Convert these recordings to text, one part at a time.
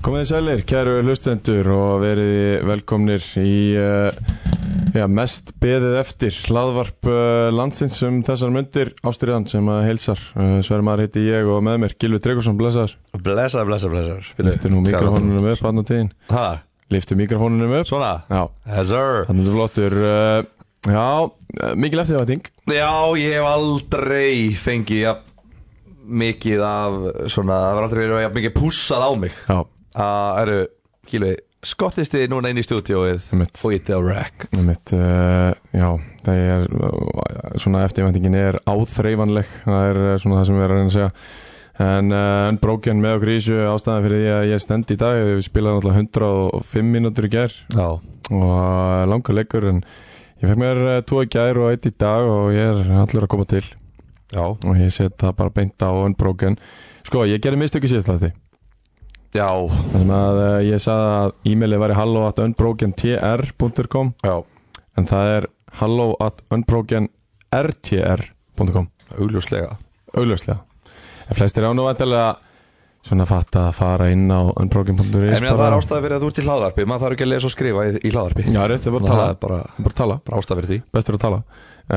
Komið þið sælir, kæru hlustendur og verið velkomnir í uh, já, mest beðið eftir hlaðvarp uh, landsins um þessar myndir ástriðan sem að heilsar uh, Sverri Mar heiti ég og með mér Gilvi Tryggvason blessaður, Blessa, blessa, blessa liftu nú mikrofónunum upp hann á tíðin, Hæ, liftu mikrofónunum upp svona Já, Yes sir þannig er flottur uh, Já, uh, mikil eftir það ting Já, ég hef aldrei fengið ja, mikið af svona, það var aldrei verið ja, mikið pússað á mig Já, Það eru, kílu, skottist þið núna inn í stúdíóið Einmitt. og ítið á rack mitt, uh, já það er, uh, svona eftirvæntingin er áþreifanleg, það er uh, svona það sem við erum að reyna að segja en uh, Unbroken með okkur í þessu ástæðan fyrir því að ég stend í dag, við spilaðum náttúrulega 105 mínútur í gær Já og uh, langar leikur en ég fekk mér uh, tvo í gær og eitt í dag og ég er allur að koma til Já, og ég set það bara beint á Unbroken sko, ég gerði mistökki síðastlætti já, þar sem að uh, ég sagði að e-mailið væri hello at unbrokentr.com já en það er hello at unbrokenrtr.com augljóslega augljóslega en flestir án og vantilega svona fatt að fara inn á unbroken.is En meðan það er ástæði fyrir að þú ert í hlaðarpi, maður þarf ekki að lesa og skrifa í, í hlaðarpi já, rétt, það er bara að Það tala, er bara, bara að tala bara ástæði fyrir því bestur að tala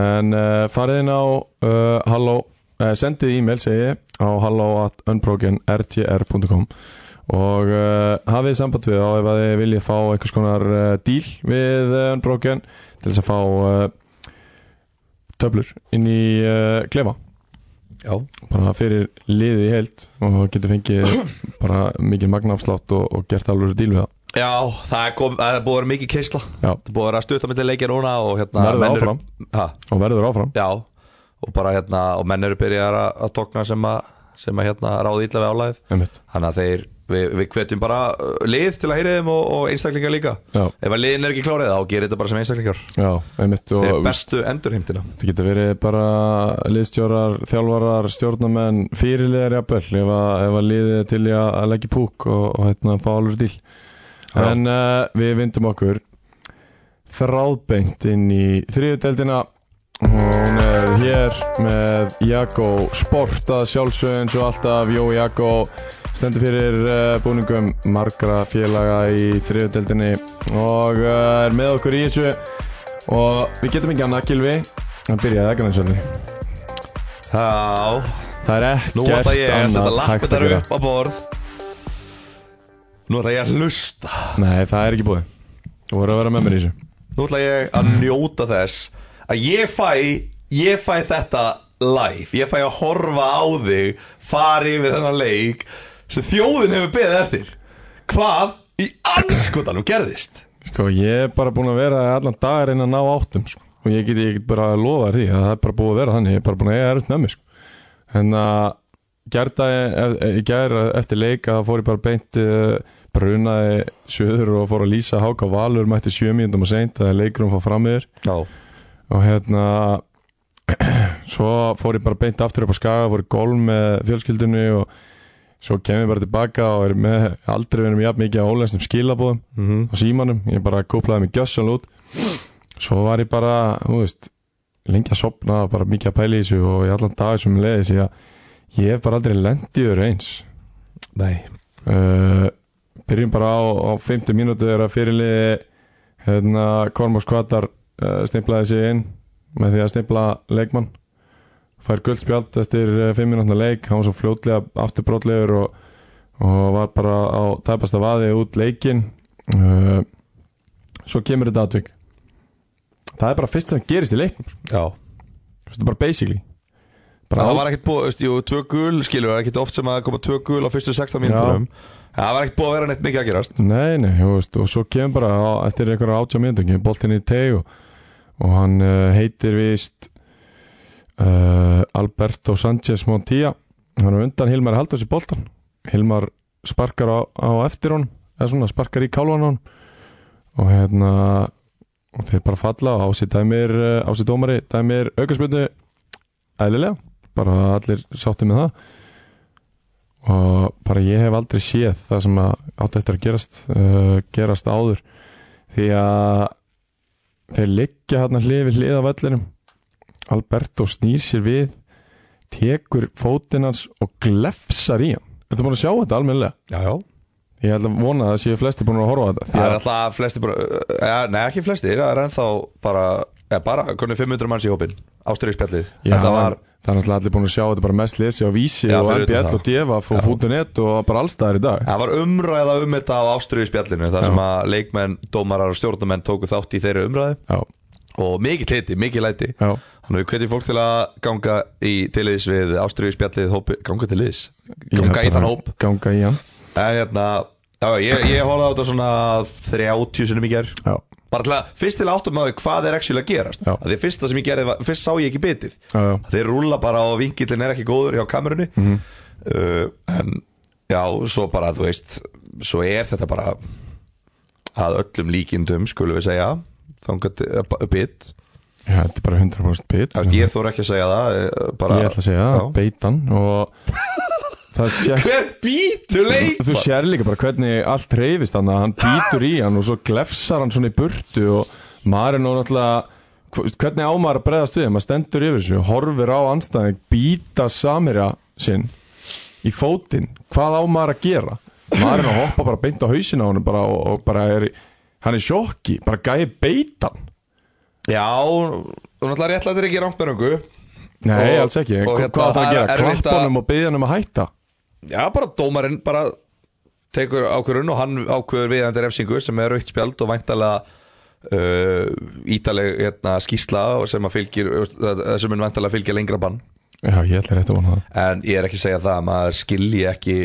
en uh, farið inn á uh, hello, uh, sendið e-mail segi ég á hello at unbrokenrtr.com og uh, hafið samband við á ef að þið viljið fá einhvers konar uh, díl við uh, unbroken til þess að fá uh, töflur inn í uh, klefa Já, bara fyrir liðið í heilt og getur fengið bara mikið magnafslátt og, og gert alveg díl við það já það, er kom, það er búið að vera mikið keisla Já. Það er búið að vera stutt á milli leikja núna og hérna verður menn eru- áfram Ha, og verður áfram Já, og bara hérna og menn eru byrjar að, að tókna sem að sem að hérna ráði illa við álæðið einmitt þannig að þeir, við, við hvetjum bara uh, lið til að heyri þeim og, og einstaklingar líka já, ef að liðin er ekki klárið þá gerir þetta bara sem einstaklingar já, einmitt þeir og eru bestu endurheimtina það getur verið bara liðstjórar, þjálfarar, stjórnamenn fyrirliðar jafnvel ef að, ef að liðið er til í að, að leggja púk og, og hérna fá alveg díl Já. en uh, við vindum okkur þráðbeint inn í þriðudeldina hún er hér með Jakko Sport að sjálfsögðu eins og alltaf Jó Jakko stendur fyrir uh, búningum margra félaga í þriðudeldinni og uh, er með okkur í þessu og við getum ekki annað Gilvi að byrja það ekki eins Já, það er ekkert nú ætla ég að setja annað hægt að lappinnar gera upp á borð Nú ætla ég að hlusta nei það er ekki búið þú voru að vera með mér í þessu Nú ætla ég að njóta þess að ég fæ, ég fæ þetta live, ég fæ að horfa á þig fari yfir þennan leik sem þjóðin hefur beðið eftir hvað í anskotanum gerðist sko ég er bara búin að vera allan dagar inn að ná áttum sko. og ég get, ég get bara að lofa þér því að það er bara búið að vera þannig ég er bara búin að eiga erut með mér sko. en að eh, gerða ég gerða eftir leik að fór ég bara beint eh, brunaði söður og fór að lýsa háka valur mætti sjömiðundum og seint að leikurum fá fram yfir Já, og hérna svo fór ég bara beint aftur upp á skaga fór í golf með fjölskyldinu og svo kem ég bara tilbaka og er með aldrei verið mér jafn mikið á ólensnum skilabóðum mm -hmm. á símanum, ég bara kúplaði mig gjössan út svo var ég bara, þú veist lengi að sopna, bara mikið að pæla í þessu og í allan dag sem leiði því að ég hef bara aldrei lendið öru eins nei uh, byrjum bara á, á 50 mínútu þegar að fyrirliði hérna Kormos Kvatar uh, stimplaði sig inn með því að stimpla leikmann fær guldspjald eftir 5 mínútna leik hann var svo fljótlega afturbrótlegur og, og var bara á tæpasta vaði út leikin uh, svo kemur þetta atvik það er bara fyrst sem gerist í leiknum sko. Já, Þetta er bara basically það bara var ekkert búið, veist, jú, tvö gul skilur, það er ekkert oft sem að koma tvö gul á fyrstu 16 mínúturum Það var ekkert búið að vera neitt mikið að gerast Nei, nei, þú veist, og svo kemur bara á, eftir einhverja átjá mínútur, kemur boltinn í teg og, og hann uh, heitir vist uh, Alberto Sanchez Montilla hann er undan Hilmar Haldurs í boltan Hilmar sparkar á, á eftir honum eða svona sparkar í kálvan honum og hérna og þeir bara falla og ásitt dæmir eh, ásitt dómari dæmir aukaspjöndu eðlilega, bara allir sáttu með það og bara ég hef aldrei séð það sem að átt eftir að gerast uh, gerast áður því að þeir liggja hérna hlið við hlið af vellinum Alberto snýr sér við tekur fótinn hans og glefsar í hann Þetta er búin að sjá þetta almennilega Já, já Ég held að vona að það séu flesti búin að horfa á þetta því Það er að alltaf flesti bara, ja, nei ekki flesti, það er ennþá bara, ja, bara, hvernig 500 manns í hópin, ástyrjökspjallið. Já, Þetta var, það er náttúrulega allir búin að sjá þetta bara mest lesi á Vísi Já, og fyrir utan MBL það. og DF og Fútunett og bara allstaðar í dag það var umræða um þetta á ástyrjökspjallinu, þar sem að leikmenn, dómarar og stjórnumenn tóku þátt í þeirri umræðu Já, og mikið liti, mikið læti. já, Þannig að við hvetjum fólk til að ganga í tiliðis við ástyrjökspjallið, hópi, ganga til liðs, ganga Já, í þann bara hóp. Ganga í hann En hérna, já, ég, ég horfði á þetta svona 30 sinum í gerð. Já, Bara til að, fyrst til að áttum að hvað er actually að gerast. Já. Af Því að fyrsta sem ég gerði, var- fyrst sá ég ekki bitið. já, já, þeir rúla bara og vingillin er ekki góður hjá kamerunni Mhm. uh, en já, svo bara þú veist, svo er þetta bara að öllum líkindum skulum við segja þangat bit, já Þetta er bara 100% bit Eftir, ég þóra ekki að segja það eh, bara, Mhm. Ég ætla að segja það, Já. beitan og það sést hver býtu leik Þú sér líka bara hvernig allt reyfist hann hann býtur í hann og svo glefsar hann svona í burtu og maður er nú náttúrulega hv- hvernig á maður að bregðast við maður stendur yfir þessu, horfir á anstæðing býta samirja sinn í fótinn, hvað á maður að gera maður er að hoppa bara beint á hausin á hann bara, og, og bara er í- hann er í sjokki, bara gæði beitan já, þú náttúrulega réttlættir ekki rámperingu Nei, Og- alls ekki, og Hva- hérna, hvað það að það er gera erfitt klappa að- honum og byggja honum að hætta já, bara dómarinn bara tekur ákvörun og hann ákvörur við hann til refsingu sem er raukt spjald og væntalega uh, ítaleg hérna, skýsla sem að fylgir eh, sem er væntalega fylgja lengra bann Já, ég ætla rétt að vona það en ég er ekki að segja það að maður skilji ekki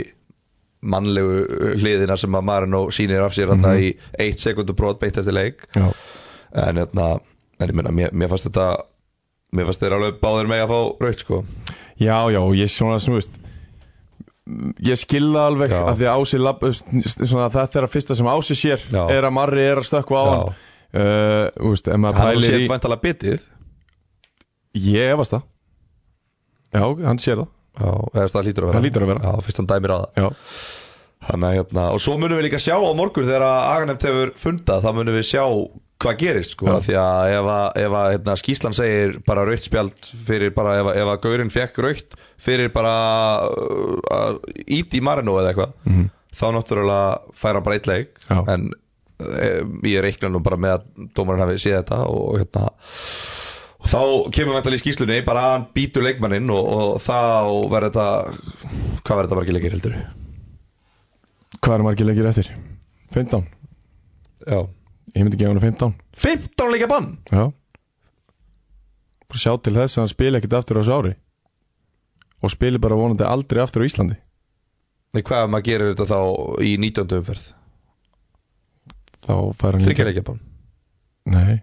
mannlegu uh, hliðina sem að Marino sýnir af sér Mhm. þarna í eitt sekundu brot beitt eftir leik Já, en, hérna, en ég meina, mér, mér fannst þetta mér fannst þetta alveg báðir mig að fá raukt sko Já, já, og ég svona sem þú veist Ég skilða alveg Já. að því að Ási lab, svona, þetta er að fyrsta sem Ási sér Já. er að Marri er að stökkva á Já. hann uh, Þú veist, ef maður hann pælir sé í væntalega bitið Ég efast það Já, hann sér það, Já, eða þú veist, það lítur að vera það lítur að vera Já, fyrst hann dæmir á það Já, Þannig, að, hérna, og svo munum við líka sjá á morgun þegar að Aganeft hefur fundað þá munum við sjá hvað gerist sko, Já. af því að ef, að, ef að, hérna, skýslan segir bara raukt spjald fyrir bara ef, að- ef að gaurinn fekk raukt fyrir bara uh, að íti í Marino eða eitthvað þá náttúrulega fær hann bara eitt leik Mhm. Já. en eh, ég reikna nú bara með að dómarinn hafi séð þetta og hérna og þá kemur vantal í skýslunni bara að hann býtur leikmanninn og, og þá verður þetta hvað verður þetta margir leikir heldur hvað er margir leikir eftir? 15, Já ég myndi gefa hann 15 15 leikja bann Já Bara sjá til þess að hann spili ekkert aftur á þessu ári og spili bara vonandi aldrei aftur á Íslandi Nei, hvað ef maður gerir þetta þá í 19. umferð þá fær hann Þryggja leikja bann Nei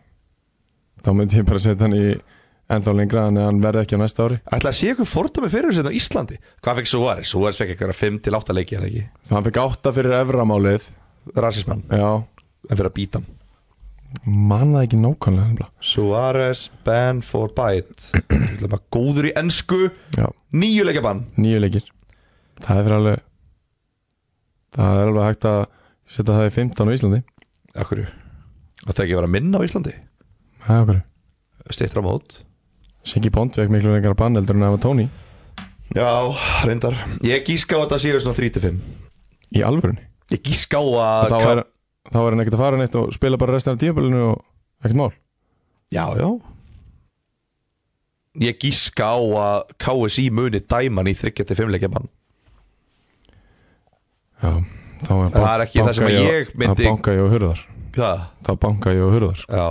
Þá myndi ég bara setja hann í ennþá lengra en hann verði ekki á næsta ári Ætla að sé ykkur fordæmi fyrir þessu hérna á Íslandi Hvað fekk Suárez? Suárez fekk eitthvað 5-8 leiki eða ekki Það hann fekk átta fyrir evramálið Rasismann, Já en fyrir að býta hann Man það ekki nákvæmlega nefnilega. Suárez, Ben for bite Ég ætla bara Góður í ensku Já Nýju leikja bann Nýju leikir Það er fyrir alveg Það er alveg hægt að setja það í 15 á Íslandi Akkur Það ekki að vera minna á Íslandi Það er okkur Stittra mót Siggi Bond fekk miklu lengra bann heldur en það var Tony Já, reyndar Ég gíska á að þetta séu svona 3-5 Í alvörunni Ég gíska á Og að Þá er, þá er hann ekkert að fara neitt og spila bara restina af tímabölinu og ekkert mál Já, já Ég gíska á að KSI muni dæman í 35 leikja bann Já Þá er Það er ekki það sem banka í ég á- myndi- Þá banka ég á hurðar Það, Þá banka ég á hurðar sko. já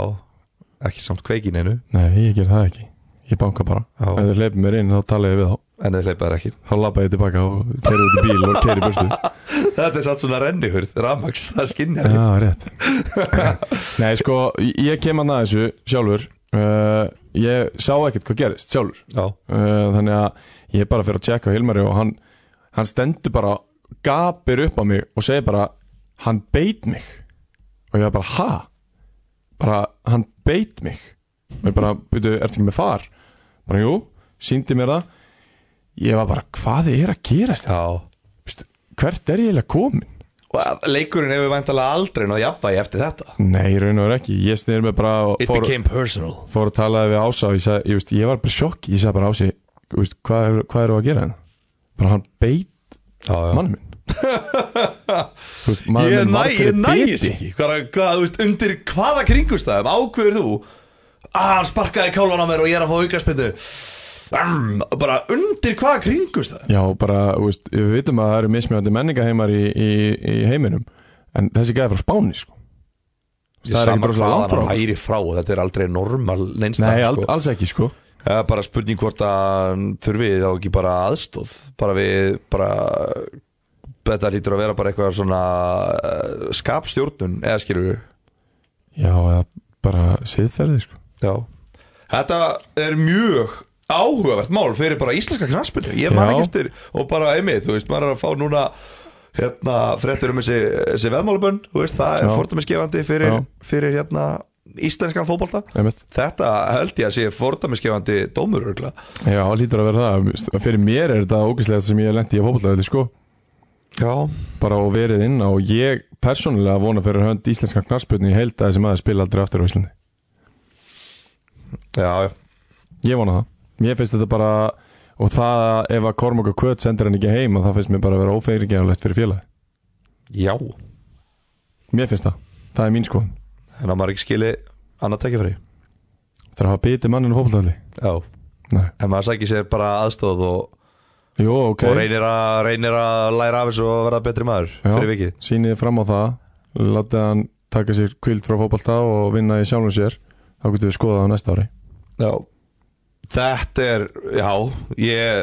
Ekki samt kveikin einu Nei, ég ger það ekki Ég banka bara Já. Ef þau leipir mér inn þá tala ég við þá En þeir hleypa þær ekki Þá labba ég tilbaka og kerði út í bíl og kerði burtu Þetta er satt svona rennihurð, rafmaks, það skinnja Já, rétt Nei, sko, ég kem að naða þessu sjálfur uh, Ég sá ekkert hvað gerist sjálfur Já, uh, Þannig að ég er bara fyrir að tjekka á Hilmari og hann, hann stendur bara gapir upp á mig og segir bara Hann beit mig Og ég var bara, ha? bara, hann beit mig og ég bara, byrju, ertu ekki með far? bara, jú, síndi mér það ég var bara, hvað er að gerast? Já Veistu, hvert er ég eiginlega komin? Og að- leikurinn hefur væntalega aldrei náð jafnvægi eftir þetta nei, í raun og verið ekki, ég snýr mig bara og It fór, became personal fór að tala við Ása og ég, sag, ég, veist, ég var bara í sjokki, ég sagði bara Ási þú veist, hvað eru hvað eru að gera hérna? bara hann beit Já, já mann minn Þú veist, maður Ég minn næ, varð ég fyrir nægis biti. ekki hvað, hvað, þú veist, Undir hvaða kringustæðum ákveður þú að hann sparkaði kálvan á mér og ég er að fá aukaspindu mm, Bara undir hvaða kringustæðum Já, bara, þú veist, við vitum að það eru mismjöndi menningaheimar í, í, í heiminum en þessi gæði frá Spáni, sko Það er ekkert rosalega langt frá okkur. Hæri frá, þetta er aldrei normal Nei, neinstak al, sko. alls ekki, sko Það er bara spurning hvort að hann þurfi þá ekki bara aðstóð bara við, bara þetta hlýtur að vera bara eitthvað svona uh, skapstjórnun, eða skilur við Já, eða bara siðferði, sko Já Þetta er mjög áhugavert mál fyrir bara íslenska knaspinu Ég man Já. ekki eftir og bara einmitt, þú veist, maður er að fá núna hérna fréttur um þessi, þessi veðmálabönn, þú veist, það er Já. fordæmisgefandi fyrir, Já. fyrir hérna íslenskan fótbolta Einmitt. Þetta held ég að sé fordæmisgefandi dómur örgla Já, lítur að vera það veist, Fyrir mér er þetta ógæslega sem ég lendi í að fótboltaðið, sko Já, bara og verið inn á og ég persónulega vona fyrir hönd íslenska knarspjörni í held að þessi maður spila aldrei aftur á Íslandi já, Ég vona það Mér finnst þetta bara og það ef að Kormok og Kvöt sendir hann ekki heim og það finnst mér bara að vera ófeyrigjarnlegt fyrir félagi já Mér finnst það, það er mín skoðun Þannig að maður ekki skili annað tækifæri Það er að hafa bitið manninu fótbollalli Já, Nei en maður sækir sér bara aðstóð og, Jó, ok og reynir, að, reynir að læra af þessu og verða betri maður Já. fyrir vikið Sýnið fram á það Látið hann taka sér kvild frá fótbolta og vinna í sjálfum sér Þá getum við skoðað á næsta ári Já Þetta er, já Ég,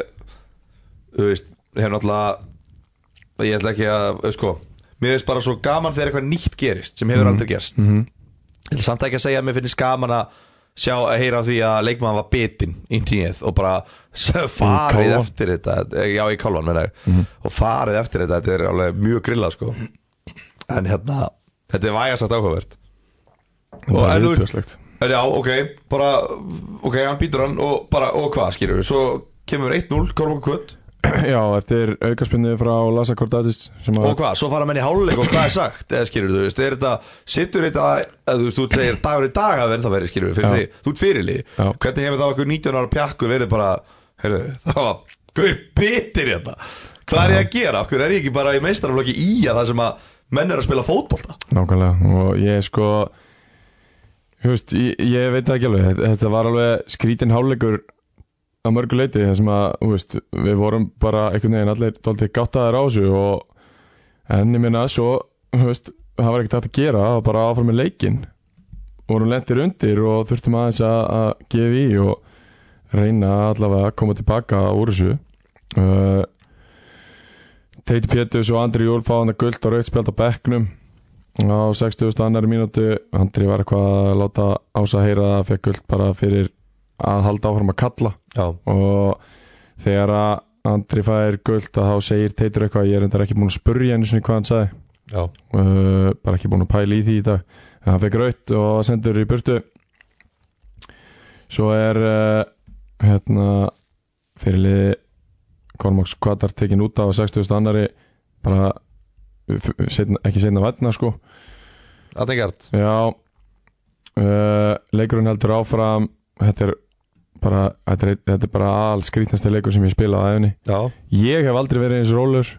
þú veist Hef náttúrulega Ég ætla ekki að, sko Mér finnst bara svo gaman þegar eitthvað nýtt gerist Sem hefur aldrei gerst mm Mhm. Ég ætla samt ekki að segja að mér finnst gaman að Sjá að heyra af því að leikmann var bitinn Í tíð og bara s- Farið kálfann. Mhm. eftir þetta Eh, Já, í kálvan meina ég Og farið eftir þetta, þetta er alveg mjög grillað, sko En hérna, þetta er vægasagt áhugavert En Og það er en þú veist- viðbjörslegt En Já, ok, bara Ok, hann býtur hann og bara, og hvað skýrur við Svo kemur 1-0, Kormáka Kvöt Já, eftir aukarspinnu frá Lassa Kordatis sem Og að hvað, svo fara menn í háluleik og hvað er sagt Eða skýrur þú, veist, er þetta Sittur þetta, eða þú veist, þú segir dagur í dag að verða það verið skýrur við fyrir Já. því, þú ert fyrirlið Já. Hvernig hefur þá okkur 19 ára pjakkur verið bara Heyrðu, það var, hver bitir þetta Hvað er ég að gera, okkur er ég ekki bara í meistaraflokki í að það sem að Menn er að spila fótbolta Nákvæmlega og ég sko þú veist, ég, ég veit það ekki alveg þetta, þetta var alveg skrítin háleikur á mörgu leiti þar sem að þú veist, við vorum bara einhvern veginn allir dóltið gáttaðir á þessu og en ég minna svo þú veist, það var ekkert hægt að gera það var bara áfram með leikin vorum lendir undir og þurftum aðeins að, að gefa í og reyna allavega að koma tilbaka úr þessu uh, Teiti Pétus og Andri Júl fá hann að guld og rauðspjald á bekknum á 60. annari mínútu Andri var eitthvað að láta ása heyra það fekk guld bara fyrir að halda áfram að kalla Já, og þegar að Andri fær guld að þá segir Teitur eitthvað ég er endar ekki búin að spurja henni svona hvað hann sagði já, uh, bara ekki búin að pæla í því í dag en hann fekk raut og sendur í burtu svo er uh, hérna fyrirliði Kormáks Kvatar tekin út af á 60. annari bara f- seinna, ekki seinna vatna sko Atningard Já uh, Leikurinn heldur áfram Þetta er bara Þetta er, þetta er bara all skrítnasti leikur sem ég spila á aðeins Já, Ég hef aldrei verið eins rólur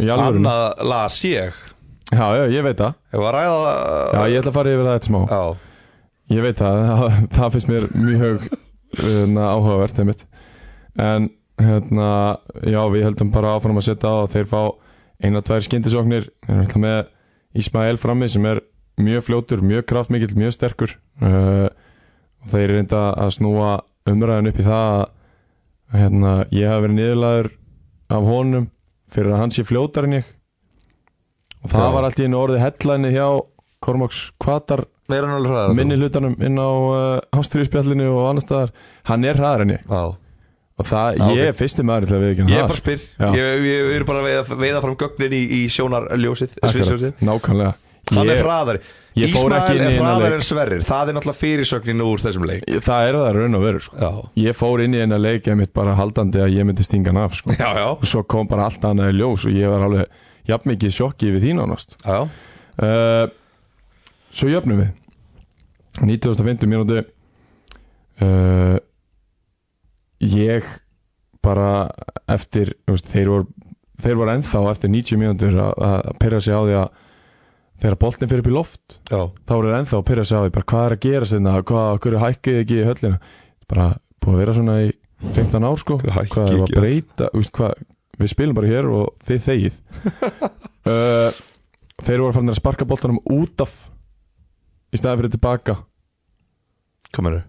Í alvörun annað las ég Já, já, ég veit það Ég var að ræða Já, ég ætla að fara yfir það eitt smá Já, Ég veit það, það, það finnst mér mjög na, áhugavert einmitt en hérna, já við heldum bara áfram að setja á og þeir fá eina, tvær skyndisóknir þeir eru alltaf með Ismael frammi sem er mjög fljótur, mjög kraftmikill, mjög sterkur uh, og þeir reynda að snúa umræðan upp í það að hérna, ég hafi verið niðurlaður af honum fyrir að hann sé fljótar en ég og það Já. var allt í einu orðið hellæni hjá Kormáks Kvatar meira en alveg hræðar minni hlutanum inn á uh, hástríðspjallinu og annar staðar hann er hraðar en ég Já og það, Já, ég er fyrsti maður til að sko. við ekki Ah, Ég er bara spyr, Já. ég, ég, ég er bara að veiða, veiða fram gögnin í, í sjónarljósið sviðsljósið. nákvæmlega Hann ég, er hraðari Ég fór ekki inn í Ísmael er þennan hraðar leik. en Sverrir Það er náttúrulega fyrirsögnin úr þessum leik það er það raun og veru sko. Já, ég fór inn í eina leik ég mitt bara haldandi að ég myndi stinga hann af sko. já, já, og svo kom bara allt annað í ljós og ég var alveg jafn mikið í sjokki við þín ánast já. uh, svo jöfnum við 1950 mínúti uh, ég bara eftir þú veist, þeir, voru, þeir voru ennþá eftir 90 mínútur að- að pyrra sig á því að þegar boltin fyrir upp í loft já. þá eru þeir ennþá að pyrra sig á því bara, hvað er að gera sinna, hvað, hverju hækkið þið ekki í höllina bara búið að vera svona í 15 ár sko, Hverju hækkið hvað er að ekki í höll? breyta þú veist, hvað, við spilum bara hér og þið þegið uh, þeir voru farin að sparka boltanum út af í staði fyrir tilbaka Kominu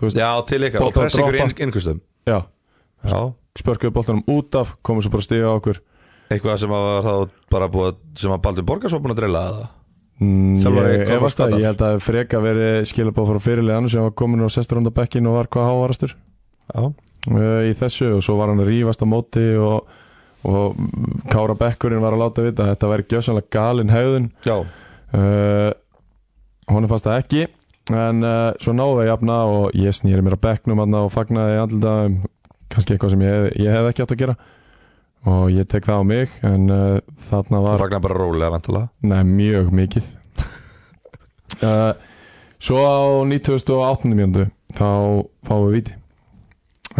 Þú veist, Já, til ykkar Og boltar pressa ykkur í droppa. inn- innkvistum já, Já spörkuðu boltanum út af komum svo bara að stiga á okkur Eitthvað sem að var þá bara búið að- Sem að Baldur Borgars var búin að drilla það Mm, Þjálfari ég, Kolbeins efast það, Gautar. ég held að freka verið skilabóð frá fyrirleganu sem var komin á sestur ánda bekkin og var hvað hávarastur Já uh, í þessu og svo var hann að rífast á móti og, og Kára Bekkurinn var að láta vita að þetta væri gjössanlega galin hegðun Já, uh, honum fannst það ekki en uh, svo náðu við að jafna og ég snýri mér að bekknum hann og fagnaði andlitaðum kannski eitthvað sem ég, hef- ég hef ekki átt að gera og ég tek það á mig en uh, þarna þú var fagnar bara rólega vantala Nei, mjög mikið uh, Svo á 2008. mjöndu þá fáum við viti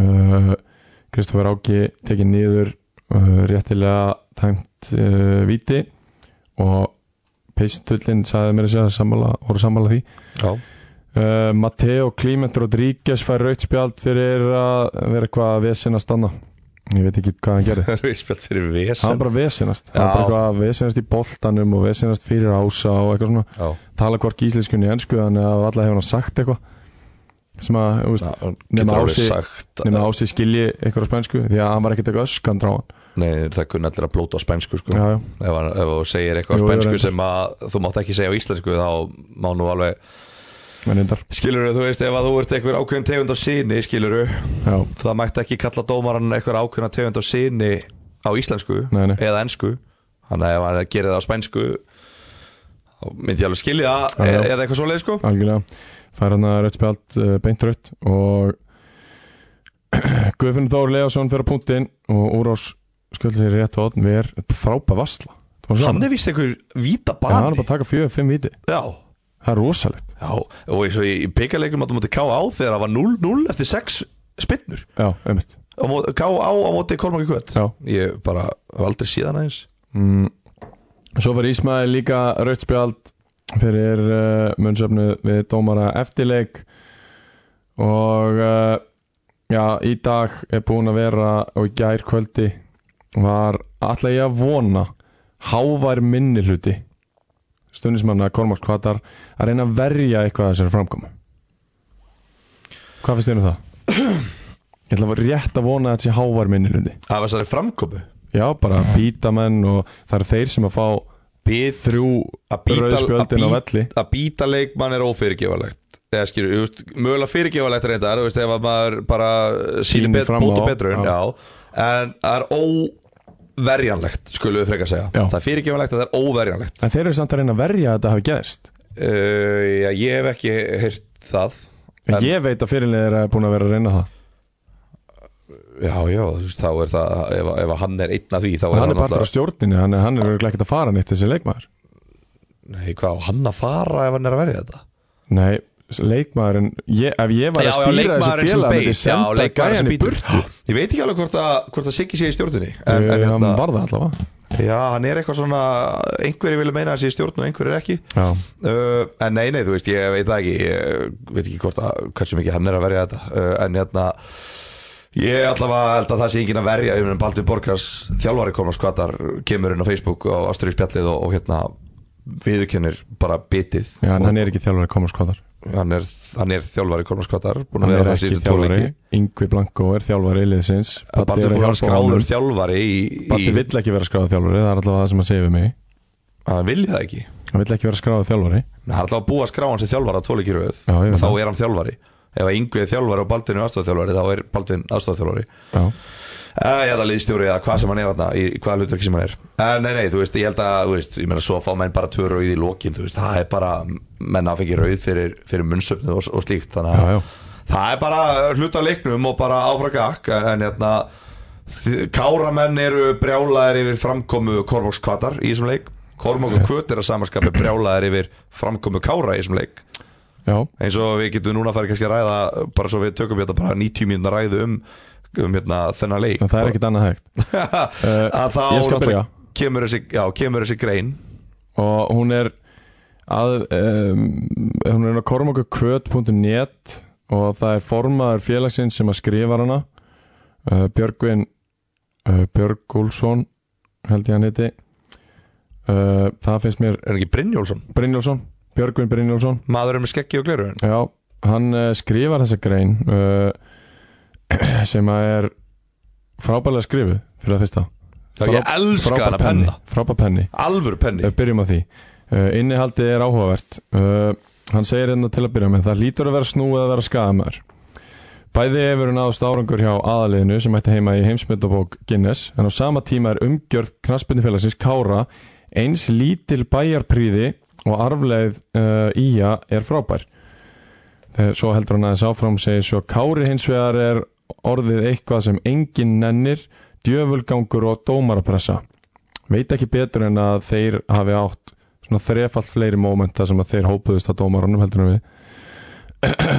uh, Kristoffer Áki tekið niður uh, réttilega tæmt uh, viti og peistullin sagði mér að segja sammála, voru sammála því Já uh, Matteo Klíment Rodríguez fær raut spjald fyrir að vera eitthvað vesen að stanna ég veit ekki hvað hann gerði Rauðspjöld fyrir hann vesen bara vesenast, hann bara Já. eitthvað vesenast í boltanum og vesenast fyrir ása og eitthvað svona Já tala hvorki íslenskunni ennsku þannig að alla hefur hann sagt eitthvað sem að, þú veist, nema Getur alveg ási, sagt nema ási skilji eitthvað á spænsku því að hann var ekkert eitthvað öskandrá hann Nei, það kunna allir að blóta á spænsku sko. já, já. ef, hann- ef þú segir eitthvað á Jú, jú, spænsku reyndar. sem að þú mátt ekki segja á íslensku þá má nú alveg en reyndar. skilur þú veist ef að þú ert einhver ákveðin tegund á síni skilur já, það mætti ekki kalla dómaran einhver ákveðin tegund á síni á íslensku Nei, nei. eða ensku þannig að ef hann gerir það á spænsku þá myndi ég alveg skilja Já, já. eða, eða eitthvað svoleið sko algjörlega fær hann að rautt spjald uh, beint rautt og Guðfinn Þór Leásson fyrir punktinn og Úrás sköldi sér rétt á odn við er frápa vassla hann er vist einhver víta bara hann er bani bara að taka fjöðu fimm viti já, það er rosalegt já og eins og í pikaleikum að þú mútti ká á þegar það var 0-0 eftir 6 spinnur já, einmitt á móti- ká á á móti Kormáki Kvöt já. ég bara hef aldrei síðan aðeins Mm. Svo var Ísmaði líka rautt spjald fyrir uh, munnsöfnu við dómara eftirleik og uh, já, í dag er búin að vera og í gær kvöldi var alltaf ég að vona hávær minni hluti stundismanna Kormars Kvatar að reyna að verja eitthvað að þessari framkomu Hvað finnst þér um það? Ég ætla að vera rétt að vona að þetta sé hávær minni hluti af þessari framkomu Já, bara býta menn og það eru þeir sem að fá Bið þrjú Að bíta- rauðspjöldin á að bíta- velli að býta leikmann er ófyrirgevalegt eða skilur, þú veist, mögulega fyrirgevalegt reyndar, þú veist, ef að maður bara síni Sýnir bet, fram bóti á, betrun, já. já. en það er óverjanlegt skulum við frekar segja, Já. það er fyrirgevalegt en það er óverjanlegt En þeir eru samt að reyna að verja að þetta hafi gerst uh, já, ég hef ekki heyrt það En En- ég veit að fyrirlegir er búin að vera að reyna það já, já, þú veist, þá er það ef, ef að hann er einn af því, þá er Og hann er það bara alltaf á stjórninu, hann er, hann er örugglega ekkert að fara neitt þessi leikmaður nei, hvað á hann að fara ef hann er að verja þetta Nei, leikmaðurinn, ég, ef ég var að stýra þessu félag myndi senda gæjan í burtu Eh, Ég veit ekki alveg hvort að, hvort að Siggi sé í stjórninni en, en, Hann hérna, var það allavega Já, hann er eitthvað svona einhverjir vilja meina að hann sé í stjórn og einhverjir ekki Já, uh, En nei, nei, þú veist, ég veit það ekki Ég veit ekki hvort að, hversu mikið hann er að verja þetta uh, En hérna Ég allavega held að það sé enginn að verja Ég meina Baldur Borgars þjálfari kom að skvatar Kemur inn á Facebook og Astrid Spjallið og, og hérna viðurkennir bara bitið já en Og hann er ekki þjálfari komast kvotar hann, er, hann er þjálfari Kormaskvatar búin Hann að er vera það ekki síðan þjálfari tóleiki Yngvi Blanko er þjálfari liðsins Patti er Baldur að búin að vera hjálpa honum. skráður þjálfari í, í, Patti vill ekki vera skráður þjálfari Það er allavega það sem að segja við mig hann vilja það ekki Hann vill ekki vera skráður þjálfari Menn, hann er alltaf að búa að skrá hann sem þjálfara á tvoleikiröð Já, ég veit og þá það. er hann þjálfari ef að yngvið er þjálfari og Baldvin er aðstofþjálfari þá er Baldvin aðstofþjálfari Já, uh, eða liðstjóri eða hvað sem hann er þarna í í hvaða hlutverki sem hann er uh, nei, nei, þú veist, ég held að, þú veist, ég meina svo fá menn bara tvö rauð í lokin, þú veist, það er bara menn að fengi rauð fyrir, fyrir munnsöfnu og, og slíkt, þannig að Já, já. það er bara hlut af leiknum og bara áfragak en hérna þi- káramenn eru brjálaðir yfir framkomu Kormókskvatar í þessum leik Kormókur kvöt er að samanskapi brjálaðir yfir framkomu kára í þessum leik já, eins og við getum núna farið kannski að ræða bara svo við tökum hérna bara 90 mínúna ræðu um, um hérna, þennan leik en það er ekkit annað hægt Eh, að þá ég skal byrja. kemur, þessi, já, kemur þessi grein og hún er að, um, hún er á kormakukvöt.net og það er formaður félagsins sem að skrifar hana uh, Björgvin uh, Björg Úlsson held ég hann heiti uh, það finnst mér er hann ekki Brynjólfsson, Brynjálsson Björgvin Brynjálsson maðurinn með skeggi og gleru Já, hann uh, skrifar þessa grein uh, sem að er frábælega skrifuð fyrir að fyrsta ég Frá- elska frábær hann að penna Frábær penni, alvöru penni uh, byrjum á því uh, Innihaldið er áhugavert uh, Hann segir hérna til að byrja með Það lítur að vera snúið að vera skagamæður Bæði hefur hann áðust árangur hjá aðaliðinu sem ætti heima í heimsmyndabók Guinness en á sama tíma er umgjörð knassbyndifélagsins Kára eins lítil bæjarpríði og arfleið uh, íja er frábær Þegar svo heldur hann aðeins áfram segir svo Kári hins vegar er orðið eitthvað sem enginn nennir djöfulgangur og dómarapressa veit ekki betur en að þeir hafi átt svona þrefalt fleiri mómenta sem að þeir hópuðust að dómarunum heldur en við